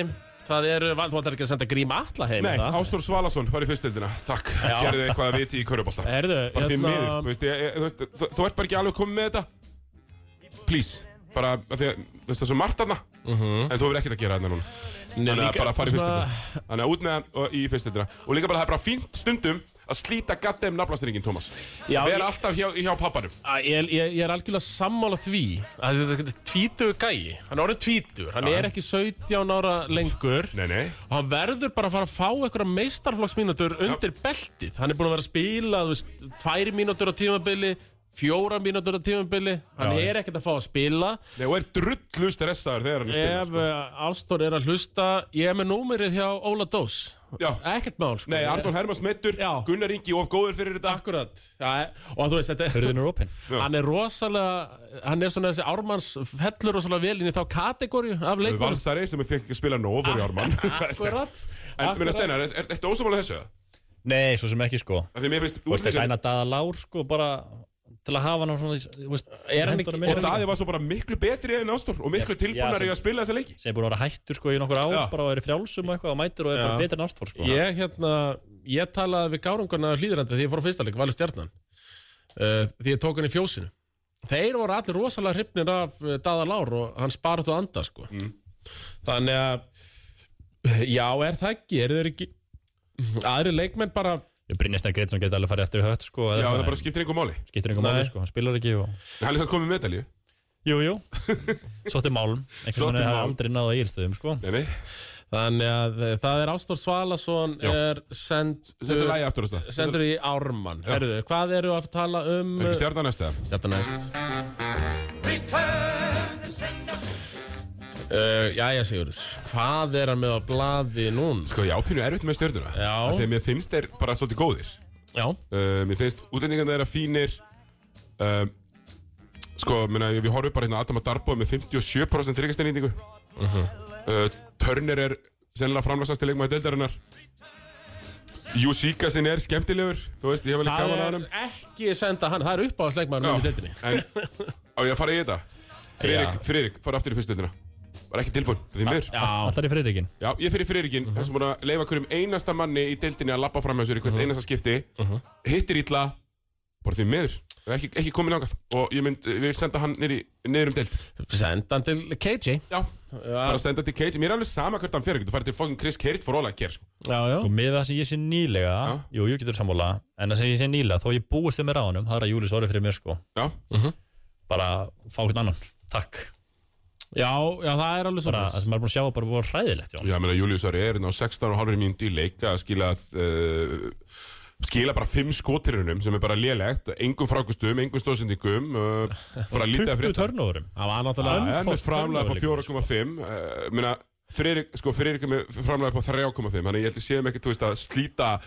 B: Það eru, vald- þú ætlar ekki að senda grím alla heim
A: Nei,
B: er það?
A: Ástór Svalason, farið fyrstendina, takk Gerðu eitthvað að viti í körfubólta
B: Herðu,
A: bara því miður, þú veist, ég, ég, þú veist, þú, þú ert bara ekki alveg komið með þetta please, bara af því að þú veist það er svo margt aðna en þú verður ekkert að gera þetta núna þannig að
B: Mhm. líka-
A: bara fara í
B: svona-
A: fyrstöldina þannig að út með hann og í fyrstöldina og líka bara það er bara fínt stundum að slíta gatteim nafnastringin, Tómas
B: Já,
A: vera
B: ég-
A: alltaf hjá, hjá pappanum
B: Æ, Ég, ég, ég er algjörlega sammála því að þetta- þetta er tvítugur gæi hann er orðin tvítur, hann er ekki 17 ára lengur
A: nei, nei,
B: og hann verður bara að fara að fá einhverja meistarflokksmínútur undir beltið hann er búin að vera að spila þú veist, tvær mínútur á tímabili fjóra mínútur á tímabili hann
D: Já, já.
B: er ekkert að fá að spila
A: nei og er drullu stressaður þegar hann er spilað
B: ef
A: sko.
B: sko. Ástór er að hlusta ég er með númerið hjá Óla Dós
A: já,
B: ekkert mál sko.
A: nei, Arnón Hermans meittur
B: Já.
A: Gunnar Ingi of góður fyrir þetta
B: Akkurat, já, og þú veist, þetta er
D: Hörðin er opinn
B: hann er rosalega hann er svona þessi ármanns fellur rosalega vel inn í þá kategóriu af leikunum
A: Valsari sem ég fekk ekki að spila nóg fyrir Ármann
B: Ah, akkurat,
A: en minna
B: akkurat.
A: Steinar, er- er- ertu ósamálað þessu? eða?
D: Nei, svo sem ekki sko
A: Af því mér finnst
D: Þú veist,
A: útlendingar-
D: þessi æna daða lár sko bara til að hafa hann á svona, þú veist,
B: Er hann
D: hendunum
B: ekki-
D: minni.
A: Og Daði var svo bara miklu betri en Ástór og miklu tilbúnari
D: já,
A: í að spila þessa leiki
D: sem er búin að vera hættur sko í nokkur ár
A: Já.
D: bara og er í frjálsum og eitthvað og mætir og er bara
B: Já.
D: betur en ástór sko
B: Ég hérna, ég talaði við gárungana hlýðrandi þegar ég fór á fyrsta leik, valið stjarnan uh, því ég tók hann í fjósinu Þeir voru allir rosalega hrifnir af uh, Daða Lár og hann sparat og anda sko.
A: Mm.
B: Þannig að já, er það ekki, eru þeir ekki aðri leikmenn bara
D: Ég Brynjarsnær Greitsson geti alveg farið eftir í hött sko
A: Já,
D: eða eitthvað,
A: það bara
D: en
A: skiptir einhver máli
D: skiptir einhver
B: Nei.
D: máli sko, hann spilar ekki og...
A: Hann er satt komið með medalju
D: Jú, jú, sótti málum
A: Sótti
D: einhvern veginn hefði
A: málum.
D: aldrei náða írstöðum sko
A: Nei, nei,
B: þannig að uh, það er Ástór Svalason
A: Já.
B: er send, eh,
A: setja lagi aftur á stað
B: sendur í Ármann Herðu, hvað eru að tala um
A: Er ekki stjarnan næsta?
B: Stjartanæst uh, Jæja Sigurður Hvað er hann með á blaði núna?
A: Sko, ég ápínu erfitt með stjörnuna
B: Já.
A: Af Því að mér finnst þeir bara svolítið góðir
B: Já,
A: uh, Mér finnst útlendingan þeirra fínir uh, Sko, minna, við horfum bara hérna á Adam að Darbo með 57% þryggasteinýtingu uh
B: Mhm.
A: Eh, Turner er sennilega framlagsasti leikmaði deildarinnar Júsíka sinni er skemmtilegur Þú veist, ég hef alveg
B: það
A: gaman að
B: er
A: hann
B: ekki senda hann Það er uppáðsleikmaður minn í deildinni
A: en á ég að fara í þetta Friðrik, Friðrik, fara aftur í fyrstöldina Var ekki tilbúin, því mér
B: Já,
D: Alltaf er í friðrikinn
A: Já, ég fyrir Friðrikinn, mm -hmm. þessum búin að leifa hverjum einasta manni í deildinni að lappa fram hjá sér í hvert einasta skipti, hittir ítla, bara því miður, ekki, ekki komin ágæð og ég mynd, við senda hann niður, í, niður um deild.
B: senda hann til KJ
A: Já, bara senda til KJ, mér er alveg sama hvert hann fyrir, þú farið til fucking Chris Kerrit for all I care, sko.
B: Já, já
D: og með það sem ég sé nýlega
A: Já.
D: jú, ég getur sammála, en það sem ég sé nýlega þó ég búist þeim með ránum, það er að Júli svarið fyrir mér sko
A: Já,
D: bara fá hvern annan, takk
B: Já, já, það er alveg
D: bara,
B: svona
D: það sem maður er búin að sjá er bara búin hræðilegt já.
A: já, ég meina, Július Ari er hérna á 16 og halvri mínúti í leika að skila uh, skila bara 5 skotirunum sem er bara lélegt, engum frákustum, engum stóðsendingum, uh, bara lítið að
D: 20
A: frétta.
D: törnóðurum
B: Það var
A: Já,
B: náttúrulega
A: Það er með
D: Unforced
A: framlega upp á
D: turnover
A: 4,5 uh, Meina, Friðrik, sko, Friðrik er með framlega upp á 3,5 Þannig ég held við séum ekkert, þú veist, að slíta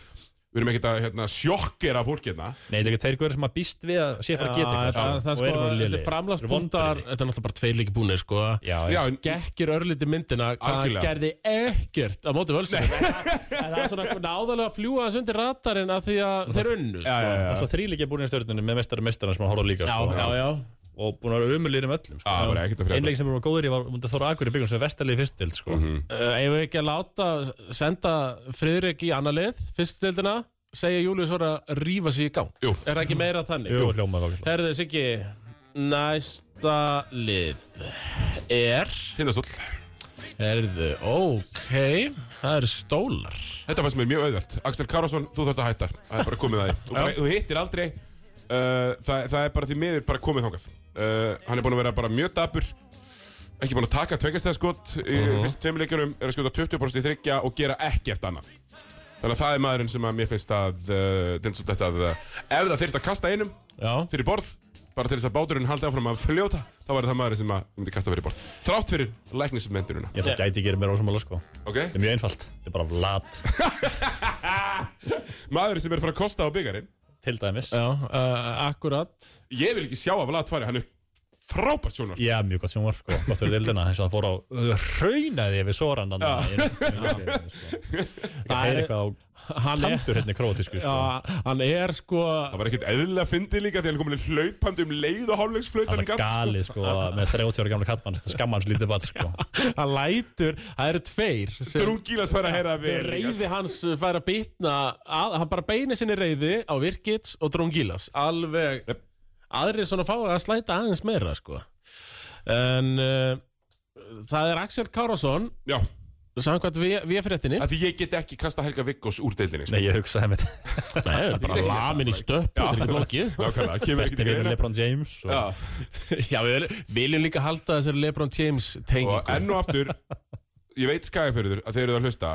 A: Við erum ekkert að hérna, sjokkera fólk hérna
D: Nei, þetta er ekki tveir guður sem að býst við að sé fara að geta
B: Já, það, það
D: og
B: sko,
D: eru bara
B: þessi
D: lélegir.
B: framlagspundar
D: Vonbrigði.
B: Þetta er náttúrulega bara tveir líki búinir sko
D: Já,
A: Já,
D: já,
A: en,
B: Gekkir örliti myndina Hvað hann
A: Algjörlega.
B: gerði ekkert á móti völsum En það er svona náðalega að fljúa þessu undir ratarinn Af því að þeir unnu sko.
A: já, já, já,
D: alltaf þrýleikja búin í stjórnunum með mestari mestara sem að horfa á líka sko.
B: já, já
D: og búin að vera umulir um öllum sko.
A: Já, bara ekkert að fréttast.
D: einleik sem við varum góður í var mútið Þóra Akur í byggum sem er vestalið fyrstild sko.
B: Uh, Eigum við ekki að láta senda Friðrik í annar lið, fyrstu deildina segja Július voru að rífa sig í gang
A: Jú.
B: Er það ekki meira þannig?
D: Jú, hljómaði ágætlega.
B: Herðu Siggi, næsta lið er
A: tindastóll
B: Herðu, ok Það eru stólar
A: Þetta fannst mér mjög auðvelt Axel Karasson, þú þarft að hætta Það er bara komið það Þú, bara, þú hittir aldrei uh, það, það er bara því miður bara komið þangað uh, Hann er búin að vera bara mjög dabur Ekki búin að taka tveikastæðaskot Í uh -huh. fyrstu tveimileikjunum Er að skjóta 20% í þryggja og gera ekkert annað Þannig að það er maðurinn sem að mér finnst að uh, Dins og þetta að uh, Ef það þyrft að kasta einum
B: Já,
A: fyrir borð bara til þess að báturinn haldi áfram að fljóta þá væri það maður sem að myndi kasta fyrir borð þrátt fyrir læknismendununa
D: ég ætla að gæti að gera mér ósumála sko.
A: ok?
D: þetta er mjög einfalt, þetta er bara lat
A: maður sem er að fara að kosta á byggarinn
D: til dæmis
B: já, uh, akkurat
A: ég vil ekki sjá af að lat fari hann er frábært sjónar
D: Já, mjög gott sjónvarp, sko, gott fyrir dildina eins og það fór á raunaði við Soran þannig að það er eitthvað á
B: Hann er,
D: kandur hérna í króatísku sko.
B: já, hann er sko
A: það var ekkert eðlilega fyndið líka því hann komin hlaupandi um leið og
D: Það
A: hálfleiksflöytan
D: er galið sko, með 30 ára gamla kattmann sem skammar hans lítið bat sko.
B: hann lætur, það eru tveir sem
A: drungilas færi að heyra
B: Þegar
A: vel líka,
B: reyði hans fær að bitna að, hann bara beinir sinni reyði á Virkits og Drongilas alveg
A: Jep.
B: aðrir svona fá að slæta aðeins meira sko en uh, það er Axel Kárásson
A: sko. já
B: samkvæmt við, við fréttinni
A: af því ég get ekki kasta Helga Viggos úr deildinni sko.
D: Nei, ég hugsaði með
B: Nei, bara lamin í stöpp þetta er ekki flókið
A: nákvæmlega kemur ekki
D: besti
A: til
D: vinnur
A: greina
D: Lebron James og
A: Já,
B: Já, við viljum líka halda þessari Lebron James
A: og
B: tengingu
A: enn og aftur ég veit skæðafyrður að þeir eru að hlusta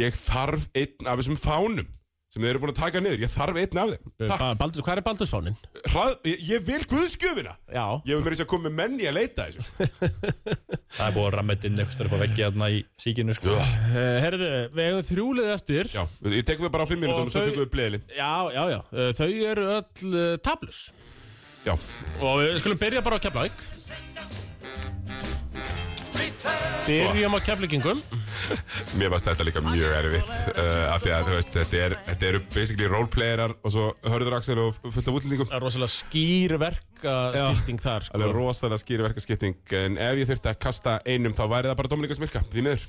A: ég þarf einn af þessum fánum sem þeir eru búin að taka niður, ég þarf einn af þeim Takk,
B: Ba- Baldur, Hvað er Baldursfánin?
A: hrað, ég, ég vil guðskjöfina
B: Já,
A: ég vil mér þess að koma með menni að leita að þessu sko.
D: það er búið að ramma þetta inn eitthvað upp á veggi hérna í síkinu sko.
B: uh, herðu, við eigum þrjúlið eftir
A: já, ég tekum við bara á fimm
B: Og
A: mínútum og svo
B: þau-
A: tökum við bleðilinn
B: Já, já, já, uh, þau eru öll uh, tablus
A: já,
B: Og við skulum byrja bara á Keflavík Byrjum á Keflvíkingum
A: Mér varst þetta líka mjög erfitt uh, af því að þú veist, þetta, er, þetta eru basically roleplayerar og svo hörður Axel og fullt af útlendingum
B: Það er rosalega skýr verkaskipting þar sko.
A: alveg rosalega skýri verkaskipting en ef ég þurfti að kasta einum þá væri það bara Dominika Smilka, því miður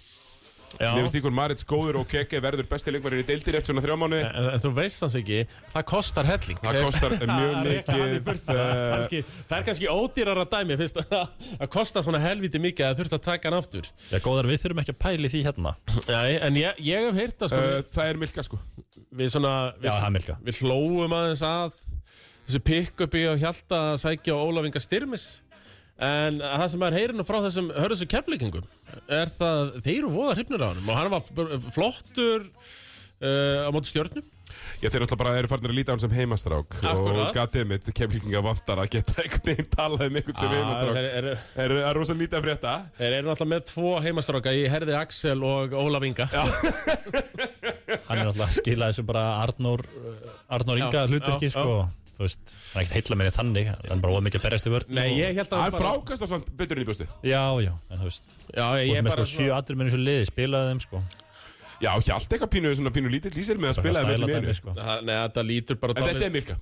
B: Já.
A: Mér finnst því hvern Marits góður og Keke verður besti leikmarin í deildir eftir svona þrjá mánuði
B: En, en þú veist hans ekki, það kostar helling
A: Það kostar mjög
B: Það er ekki Eh, hann í
A: mikið
B: burtu. Það er
A: eh,
B: kannski- það er kannski ódýrar að dæmi fyrst að það kostar svona helviti mikið að þurft að taka hann aftur
D: Já, góðar, við þurfum ekki að pæli því hérna
B: Nei, en ég, ég hef heyrt að sko,
A: eh, Það er Milka sko
B: við svona við,
D: Já, það er Milka.
B: við hlóum aðeins að þessu pick-upi og hjalta að sækja á Ólafinga styrmis en það sem maður heyrir nú frá þessum hörðustu keflíkingum er það þeir eru voða hrifnir á hann og hann var b- flottur uh, á móti stjörnum
A: Já, þeir náttúrulega bara eru farnir að líta á hann sem heimastrák og
B: Akkúrat.
A: gatið mitt kemlinginga vantar að geta einhvern veginn talað um einhvern sem
B: Ah, þeir,
A: heimastrák
B: eru-
A: Það er er rosa lítið að frétta
B: þeir eru náttúrulega með tvo heimastráka í Herði Axel og Ólafinga
D: Hann er alltaf að skila þessu bara Arnór, eh, Arnór Inga
B: Já,
D: hluturki
B: já,
D: sko Þú veist, hann er ekkert heilla minni þannig Hann er bara of mikið að berjast í vörn
B: Nei,
D: og-
B: ég held að
A: Það er frákastar samt betur inn í bústu
D: Já, já, en þú veist
B: Já, ég
D: Þú
B: er
D: ert með
B: bara
D: sko sjö atur minni svo liði, spilaði þeim sko
A: Já, Hjalti eitthvað pínu, svona pínu lítill í sér með að
D: Bara
A: spila það
D: stæla
A: með
D: dæmi,
A: einu
D: sko.
B: Það- Nei, þetta lítur bara
A: En þetta
B: dálítið-
A: er Mirka,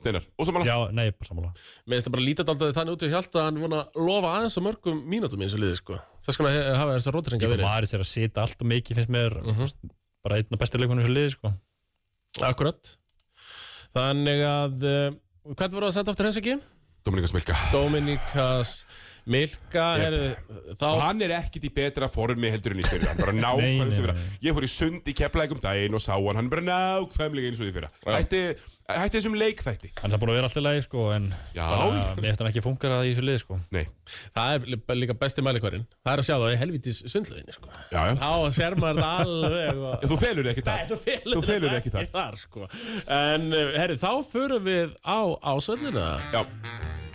A: Steinar Og svo manna,
D: Já, nei, bara sammála
B: Mér finnst það bara lítið alltaf þannig út í hjálta að hann vona lofa aðeins á mörgum mínútum eins og liði sko. Þess vegna he- hafa þessar rótringa
D: Líka
B: verið.
D: Maris er að sita allt og mikið finnst mér bara einn af bestu leikunum sem liði sko
B: Akkurat. Þannig að, uh, hvernig voru að senda aftur hans ekki?
A: Dominika Smilka
B: Dominikas Milka,
A: Jep.
B: herðu, þá...
A: Og hann er ekkit í betra formi heldur en í fyrra Hann bara
D: Nei,
A: nákvæmlega
D: nei,
A: sem fyrra
D: nei.
A: Ég fór í sund í keflæk um daginn og sá hann Hann er bara nákvæmlega eins og því fyrra Hætti, hætti þessum leikþætti
D: Hann er búin að vera alltaf lægi sko en
A: Já.
D: bara, mér finnst hann ekki funkar í þessu liði sko
A: Nei,
B: Það er li- líka besti mælikvarinn. Það er að sjá það í helvitis sundlöginni sko.
A: já, já
B: Þá sér maður það alveg og...
A: Já, Þú felur ekki það
B: Þú felur,
A: Þú felur ekki
B: þar. sko. En, herri, þá förum við á ásvöllina.
A: Já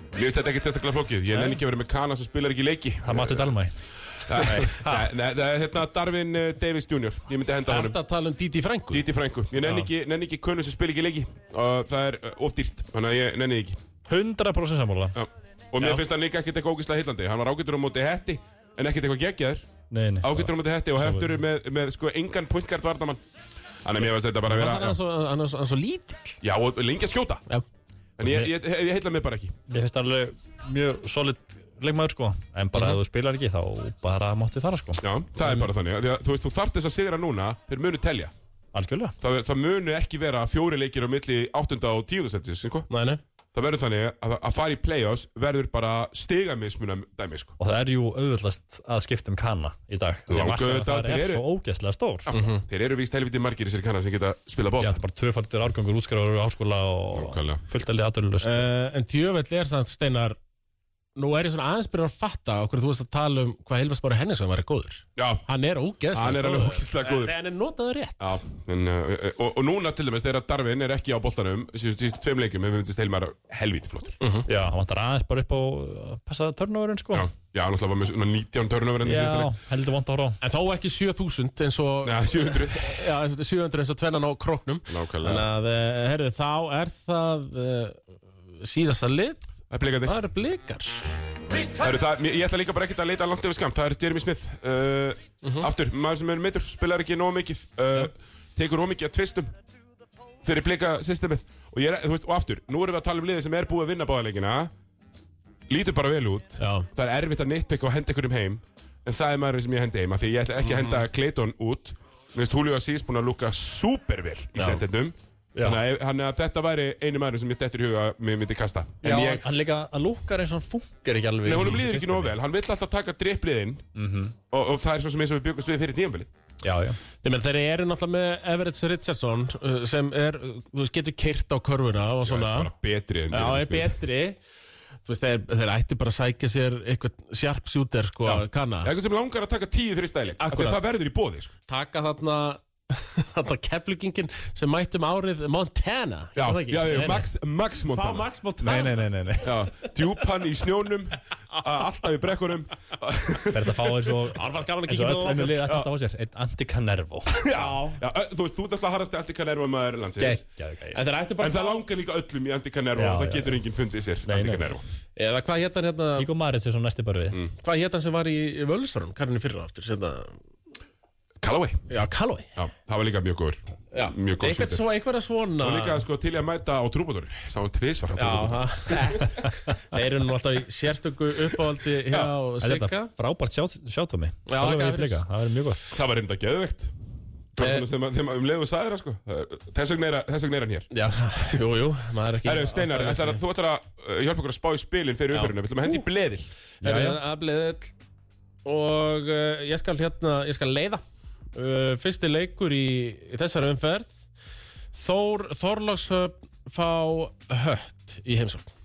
A: Mér finnst þetta ekkert sérstaklega flókið, ég nenni ekki að vera með kana sem spilar ekki leiki
D: Það mati Dalmæ
A: Nei, nei, nei, það er hérna Darvin eh, Davis Jr. Ég myndi henda honum
B: Þetta tala um Didi Frængu.
A: Díti frængu, ég nenni ekki, nenni ekki konu sem spil ekki leiki og það er eh, of dýrt, þannig að ég nenni því ekki
D: 100% sammála
A: Já. Og mér finnst hann líka ekkert eitthvað ógislega hillandi Hann var ágættur á móti hetti, en ekkert eitthvað geggjaður
D: Nei, nei
A: Ágættur á móti hetti og heftur með, með sko engan punktgard varnamann Þannig að mér finnst þetta bara að
B: Hann
A: vera
B: er svo, hann er svo, hann er svo lítill.
A: Já, og lengi að skjóta
B: Já.
A: En ég, ég, ég heilla mig bara ekki
D: Mér finnst hann alveg mjög solid leikmaður sko En bara ef þú spilar ekki þá bara máttu fara sko
A: Já, það er bara þannig Því að, Þú veist, þú þarft þess að sigra núna, þeir munu telja
D: Algjörlega
A: Það, það munu ekki vera fjóri leikir á milli 8. og 10. sentis, sko
B: Nei, nei.
A: það verður þannig að, að fara í play-offs verður bara stigamismunum dæmi sko.
D: Og það er jú auðvöldast að skipta um kanna í dag Því að markaðurinn
A: auðveldast,
D: þar
A: þeir
D: er
A: eru.
D: svo ógeðslega stór
A: Þeir eru víst helviti margir í sér kannar sem geta spila
D: Já,
A: bótt.
D: þetta er bara tvöfaldur árgangur útskrifar úr háskóla og
A: Nákvæmlega.
D: fullt að liða aðurlust
A: sko.
B: Uh, en djöfell er samt Steinar Nú er ég svona aðeins byrjað að fatta okkur þú veist að tala um hvað Hilfars Bári Henningsson var góður
A: Já,
B: Hann er ógeðslega
A: Hann er alveg ógeðslega góður.
B: En hann er notaður rétt
A: já. En, uh, og, og núna til dæmis þegar Darvin er ekki á boltanum síðustu síðustu tveim leikum hefur myndist heilmar helviti flottur.
D: Já, hann vantar aðeins bara upp á að passa törnóðurinn sko
A: Já, já, hann alltaf var með svona 19 törnöfur enn í síðustu
D: Já,
A: leik.
D: heldur vant að horfa á.
B: En þó ekki 7000 eins og
A: Já, 700.
B: já, eins og- 700 eins og tvennan á kroknum Þannig
A: Nákvæmlega.
B: að, uh, herðu, þá er það uh, síðasta lið
A: Það er blikandi.
B: Það eru blikar
A: Það eru það, mér- ég ætla líka bara ekkert að leita langt yfir skam. Það er Jeremy Smith. Uh, Aftur, maður sem er meitur, spilar ekki nóg mikið, uh, tekur ómikið að tvistum fyrir blika systemið. Og, ég er, þú veist, og aftur, nú erum við að tala um liðið sem er búið að vinna báðarleikina. Lítur bara vel út.
B: Já.
A: Það er erfitt að nitpika og henda einhverjum heim. En það er maður sem ég hendi heim, af því ég ætla ekki að henda
B: Mhm.
A: Clayton út. Mér finnst Julio Assis búin að lúka supervel í sendendum. Þannig að- þannig að þetta væri einu maður sem ég dettur í huga að mér myndi kasta. En
D: Já,
A: ég,
D: hann líka, hann lúkar eins og hann funkar ekki
A: Nei,
D: alveg í
A: honum líður ekki
D: systeminu.
A: nóg vel, hann vill alltaf taka drippliðinn
B: Mhm.
A: og, og það er svo sem eins og við byggumst við fyrir tímanbilið
D: Já, já
B: Þeir, menn, þeir eru náttúrulega með Everett Richardson uh, sem er, uh, þú veist, getur kyrt á körfuna og svona
A: Bara betri en
B: Já,
A: Jeremy
B: er
A: Smith.
B: betri Þú veist, þeir, þeir ættu bara að sækja sér eitthvað sharp shooter, sko, já. kanna
A: Eitthvað sem langar að taka tíu fyrir stæli af því
B: Akkúrat.
A: að það verður í bóði sko.
B: Taka þarna þarna keflugingin sem mættum árið Montana
A: Já,
B: er það ekki?
A: já, já,
B: Nei, nei.
A: Max, Max
B: Fá
A: Montana
B: Max Montana
D: Nei, nei, nei, nei, nei.
A: Já, djúpan í snjónum a- alltaf í brekkunum
D: Verður að fá eins og
B: Það var gaman að
D: eins
B: kíkja
D: og öll
B: það
D: ennum liða alltaf á sér Einn Anticanervo
A: Já, ö- Þú veist, þú ert alltaf harrasti Anticanervo maður landsins
D: Gekkjaðu gæði
B: En þeir ættu
A: En
B: bara
A: það langar líka öllum í Anticanervo
D: Já,
A: og það
D: já,
A: getur enginn fundið sér
D: Nei, nei.
A: Anticanervo
B: Eða hvað hétt hann hérna
D: Ígo Maris er svo næsti bara við
B: Hvað hétt hann sem var í, í Völsvarum Hvernig fyrir aftur, sem það
A: Callaway
B: hérna. Já, Callaway
A: Já, það var líka mjög góður
B: Já.
A: Mjög góð
B: Einhvern
A: sveitir.
B: svo, einhverja svona
A: Og líka sko til í að mæta á trúbútur Sá hann tvisvar á trúbútur
B: Já, það Þeir eru nú alltaf í sérstöku uppáhaldi hjá Sigga
D: Þetta frábært sjátómi
B: Já, ekki
D: Það
B: að
D: verður blika, það verður mjög gott
A: Það var reynda geðveikt Það var
B: Eh.
A: svona þegar maður- þegar maður um leiðu sagðir það sko Það er- Þess vegna er- þess vegna er hann hér
B: Já, jú, jú, maður er ekki
A: Herru, Steinar,
B: alltaf-
A: ætlar að- þú ætlar að uh, hjálpa okkur að spá í spilin fyrir umfyririnu Við ætlum að hendi í bleðil
B: Herru,
D: já.
B: það er afleiðill Og uh, ég skal hérna, ég skal leiða uh, Fyrsti leikur í, í þessari umferð Þór Þorlagshöfn fá hött í heimsókn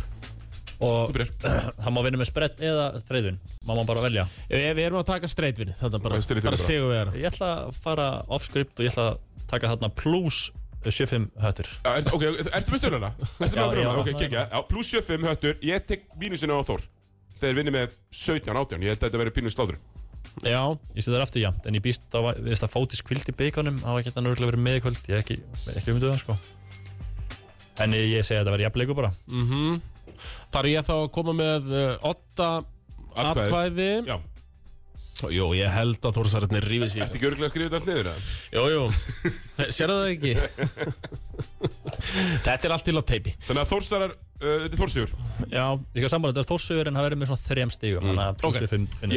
A: Þú
D: Og
A: byrjar
D: það má vinna með spredd eða þreyðvin Má maður bara velja
B: Við, Eh, við erum að taka streitvinni, þannig bara,
A: Streitvinni
B: bara
A: bara.
B: sigur við erum
D: Ég ætla að fara off-script og ég ætla að taka þarna plus 75 höttur
A: Já, ert- Ok, ertu með stjórnana? Ertu með
D: Já, já,
A: stjórnana? Ok,
D: já.
A: kekja Já, pluss 75 höttur Ég tek mínusinu á Þór Þeir vinni með 17, 18 Ég held að þetta verið pínu slátur
B: Já,
D: Ég sé það aftur jæmt En ég býst á að, viðst að fótis kvild í beikonum Það var ekki þetta nörgulega verið með í kvöld Ég er ekki, ekki ummynduð það sko En ég, ég segi að þetta verið jafnleiku bara
B: þar er ég þá að koma með uh, Otta
A: Atkvæðið.
B: atkvæði
A: Já,
B: Jú, ég held að Þórsararnir rífið sér
A: ertu ekki örgulega að skrifa þetta allt niður? eða?
B: Jú, jú, sérðu það ekki Þetta er allt til á teipi
A: Þannig að Þórsarar, uh, þetta er Þórsigur
B: Já, Mm,
D: Ég skal sambandu, þetta er þórsugur en það verður með svona þrem stígum Þannig að plus
B: Ok.
D: 75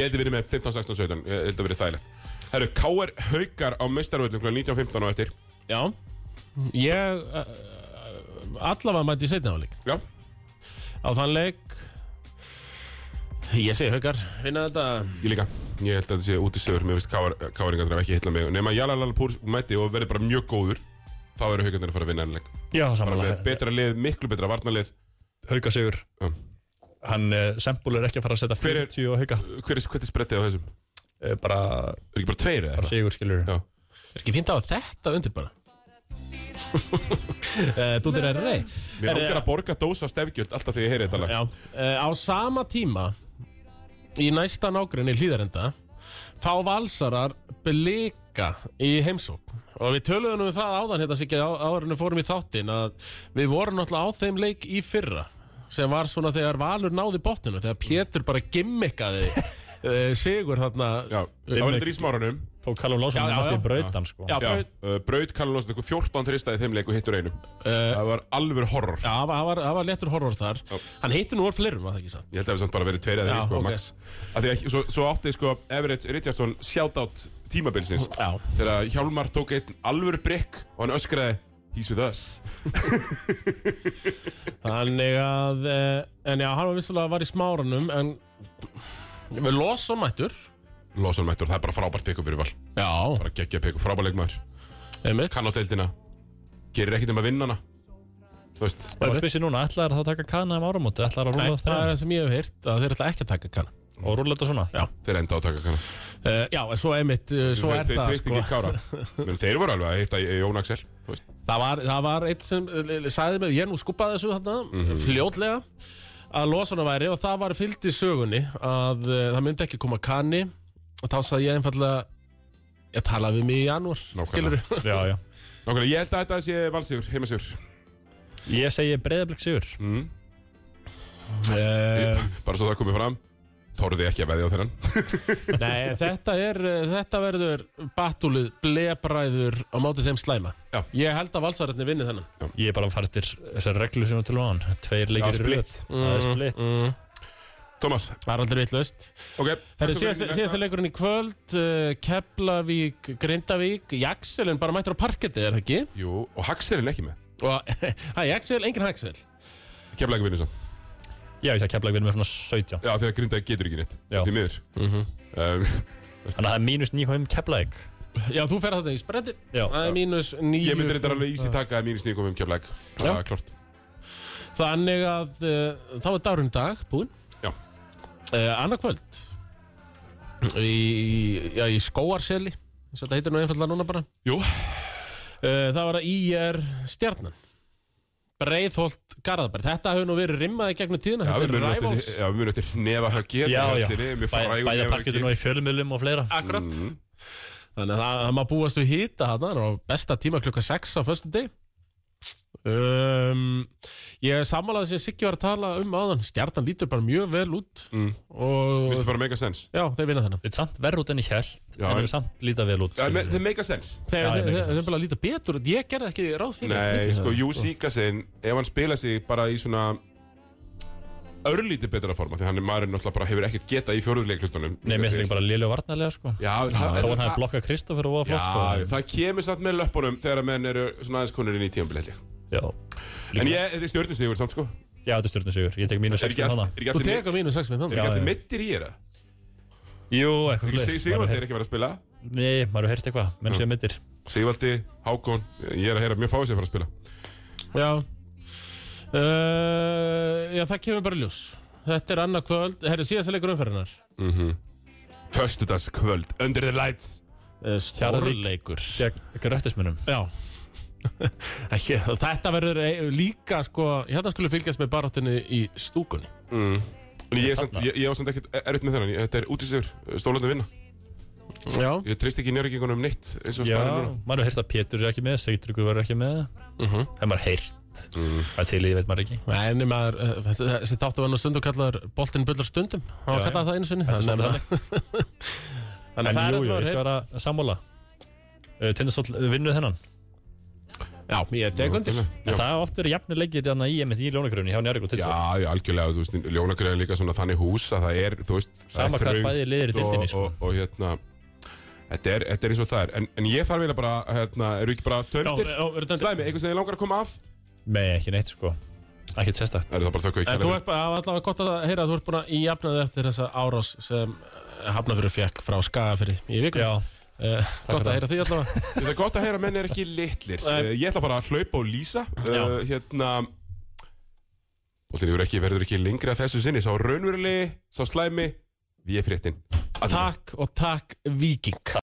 A: Ég
D: vinnur
A: held að verið með 15, 16, 17 Ég held að verið þægilegt Herru, K.R. haukar á mestarvöldum kl. 19.15 á eftir
B: já Ég uh, allavega mætti í seinna áleik
A: Já,
B: Á þann leik Ég segi haukar Vinna þetta
A: ég líka Ég held að þetta sé út í sögur Mér finnst K.R.ingarnir hafa ekki hitla mig Nefn að Jalalalapur mæti og verði bara mjög góður Þá eru haukarnir að fara að vinna ennleik
D: Já,
A: Bara með
D: samanlega
A: betra lið, miklu betra varnarlið
D: Hauka sigur
B: Mm.
A: Já.
D: Hann uh, sempul er ekki að fara að setja
A: Hver er-
D: 40 og hauka
A: Hver er, hvernig sprettið á þessum?
D: uh, Bara
A: Er ekki bara tveir eða?
D: sigur skilur
A: Já.
B: Er ekki fínt að hafa þetta undir bara Eh, Dúttir er rey
A: Mér ákveður að borga dósa stefgjöld alltaf þegar ég heyri þetta lag
B: Já, eh, á sama tíma í næsta nágrinni hlýðarenda fá valsarar blika í heimsókn og við töluðum um það áðan hérna sikið áðurinn við fórum í þáttinn að við vorum náttúrulega á þeim leik í fyrra sem var svona þegar Valur náði botninu þegar Pétur bara gimmikaði eh, sigur þarna
A: Já, það var þetta í smáranum
D: Tók Callum Lásson
B: Já, já,
D: og
B: já.
D: næstu í brautan sko
B: Já,
A: Já,
B: braut-
A: uh, braut Kalle Lósson eitthvað 14 þrista í þeim leik og hittur einum Það var alveg horror
B: Uh, Já, það var, það var lettur horror þar Hann heitir nú orð fleirum, var það ekki sant?
A: Ég held að það hefði samt bara verið tveir eða
B: Já,
A: þeir sko,
B: ok.
A: max Af því að svo, svo átti sko Everett Richardson shoutout tímabilsins
B: Já.
A: Þegar Hjálmar tók einn alvöru brikk og hann öskraði He's with us
B: Þannig að, eh, en já, hann var vissulega að var í smáranum En við losum mættur
A: Lósson mættur, það er bara frábært pick-up fyrir val
B: Já,
A: Bara geggja pick-up, frábær leikmaður
B: einmitt
A: Kann á deildina Gerir ekkert um að vinna hana Þú veist
D: Það var spysi núna, ætlar það að taka kana um áramóti Ætlar að
B: Nei,
D: rúla
B: það er
D: það
B: það sem ég hef heyrt að þeir ætla ekki að taka kann
D: og rúla þetta svona
B: Já,
A: Þeir enda á að taka kannan
B: uh, já en svo einmitt, uh, svo
A: Þeir,
B: er
A: þeir
B: það
A: treyst
B: sko.
A: ekki kára Men þeir voru alveg að hitta Jón Axel Þú veist
B: það, var, það var eitt sem eh, sagði mig, ég nú skupaði þessu þarna
A: Mhm.
B: fljótlega að losana væri og það var fyllt í sögunni að uh, það myndi ekki koma kanni og þá sagði ég einfallega ég talaði við mig í janúar
A: Nákvæmlega.
B: skilurðu?
D: Já, já
A: Nákvæmlega, ég held að þetta sé valsigur, heimasigur
D: Ég segi breyðablík sigur
A: mm.
B: Eh,
A: Bara svo það komið fram Þorði ekki að veðja á þennan
B: Nei, þetta er eh, þetta verður batúlið blebræður á móti þeim slæma
A: Já.
B: ég held að valsararnir vinni þennan
D: Ég er bara að fara til þessar reglu sem við tölum á hann Tveir
A: Já,
D: leikir í röð.
A: split.
D: Það er splitt
A: Thomas,
B: Mm, það er aldrei vitlaust
A: ok
B: Það er
A: takk fyrir
B: síðast,
A: næsta.
B: síðasta leikurinn í kvöld uh, Keflavík, Grindavík Jaxelin bara mættur á parketti, er það ekki?
A: Jú, og Haxelin ekki með
B: Og hæ, Jaxel, engin Haxel
A: Kefla ekki vinnur svo
D: Já, ég segi kefla ekki verið með svona 17
A: Já, þegar Grindavík getur ekki neitt
D: Já.
A: Því miður um,
D: Þannig að það er mínus 9 um keflaðik
B: Já, þú fer þetta í spretti
D: Já.
B: Það er mínus
A: Ég
B: nýju
A: myndi þetta alveg ísi taka að mínus nýjum komum um Kefla ekki
B: Já.
A: Það er klart
B: Þannig að uh, þá er dagurinn í dag búinn
A: Já.
B: uh, Annað kvöld Í, já, í skóarseli eins og Þetta heitir nú einfallega núna bara
A: Jú,
B: Uh, Það var að IR stjarnan Breiðholt Garðabær Þetta hefur nú verið rimmaði gegnum tíðina
A: já, við
B: Þetta er
A: munum
B: rivals
A: eftir- já, við munum eftir nefa höggi
D: Já, já
A: Við
D: Bæ- Bæði
A: frægum
D: parketur nú
A: nefahöggi
D: í fjölmiðlum og fleira
B: Akkurat
A: Mhm.
B: Þannig að það, það maður búast við hýta hann Það var besta tíma klukka 6 á föstu deg um, Ég sammálaði sem Siggi var að tala um áðan Stjartan lítur bara mjög vel út
A: Mm.
B: og
A: Vistu bara mega sens
B: já, þeir vinna þennan
D: Þetta er samt verð út en ég held
A: Já,
D: En
A: en-
D: það er samt líta vel út
A: Það
D: skilur
A: me-
D: við.
A: þeir mega sens
B: Þeir,
D: Já, ég
B: þeir,
D: meina
B: þeir,
D: það.
B: þeir bara líta betur út. Ég gerði ekki ráð fyrir
A: Nei,
B: Mikið.
A: sko, Jú Sikasin ef hann spila sig bara í svona örlítið betra forma því hann er maðurinn náttúrulega bara hefur ekkert getað í fjóruðleiklutunum
D: Nei, mér finnst ekki bara lélega varnarlega sko
A: Já, en
D: Þá
A: það,
D: var
A: en
D: hann
A: það,
D: að blokka Kristoffer og var
A: já,
D: flott sko
A: það kemur samt með löppunum þegar að menn eru svona aðeins konur inn í tíambil held ég
D: Já,
A: En ég, þetta er stjórnustíður samt sko
D: já þetta er stjórnum sigur Ég tek mínu
A: Er
D: 16 hana
A: ekki
B: Þú
A: allir
B: tekur mínu sex með
A: er ekki
B: hann
A: allir mittir í þeirra?
D: Jú, eitthvað
A: Ekki
D: svoleiðis.
A: Sig-
D: Maður
A: Sigvaldi
D: hefur
A: er ekki verið að spila
D: heyrt- Nei, maður hefur heyrt eitthvað Menn sem mittir
A: Sigvaldi, Hákon, ég er að heyra mjög fáið sér að fara að spila
B: Já uh, Já, það kemur bara í ljós Þetta er annað kvöld Herri, síðast að leikur umferðinar
D: Mhm.
A: Föstudagskvöld, Under the Lights
B: Stjárleikur
D: Gegn grættismunum
B: Eh, Já ekki, Þetta verður ei- líka sko Hérna skulle fylgjast með baráttinni í stúkunni
A: Mm. En ég, er samt, ég, ég á samt ekkert erut með þennan, ég- þetta er útistegur, stólandi vinna
B: Já
A: Ég treyst ekki njörgingunum neitt eins og
D: Já,
A: staðan er núna
D: maður hefur heyrt að Pétur er ekki með Sigtryggur var ekki með Það er maður heyrt
A: Mm.
D: Það er til í, veit maður ekki
B: Mhm. Nei, en maður, uh, þetta- þessi þáttu var nú stundu kallaður Boltinn bullar stundum Hann var
D: Já,
B: kallað það einu sinni
D: Þetta
B: Þannig
D: er
B: að-
D: svolítið
B: þannig að
D: En
B: það er
D: jú,
B: það sem
D: jú,
B: maður
D: ég skal
B: heyrt.
D: vera að sammála uh, Tindastóll vinnuð þennan
B: Já, ég tek undir
D: En það hafa oft verið jafnilegir þarna í emitt í ljónakröfunni hjá Njargo til
A: Já, já, algjörlega, þú veist, Ljónagrein er líka svona þannig hús að það er, þú veist, það er
D: Sama hvað
A: þröngt
D: bæði liðir í deildinni,
A: og,
D: sko.
A: og, og hérna, þetta er, þetta er eins og það er En, en ég þarf eiginlega bara, hérna, eru ekki bara töndir?
B: Já, já, eru dæmdir.
A: Slæmi, eitthvað sem ég langar að koma af?
D: Nei, ekki neitt sko Ekkert sérstakt
A: Það er það bara þökk og
B: En þú
A: ekki
B: ert bara, það var allavega gott að heyra að þú ert búin að jafnaði eftir þessa árás sem Hafnafjörður fekk frá Skagafyrði í vikunni.
D: Já,
B: Uh, gott að
D: fyrir
B: heyra því allavega.
A: Það er gott að heyra að menn er ekki litlir
B: Nei.
A: Eh, Ég ætla að fara að hlaupa og lýsa
D: Já.
A: uh, Hérna Bóttin yfir ekki, verður ekki lengri að þessu sinni Sá raunverulegi, sá slæmi, við er fréttin
B: takk og takk Víking.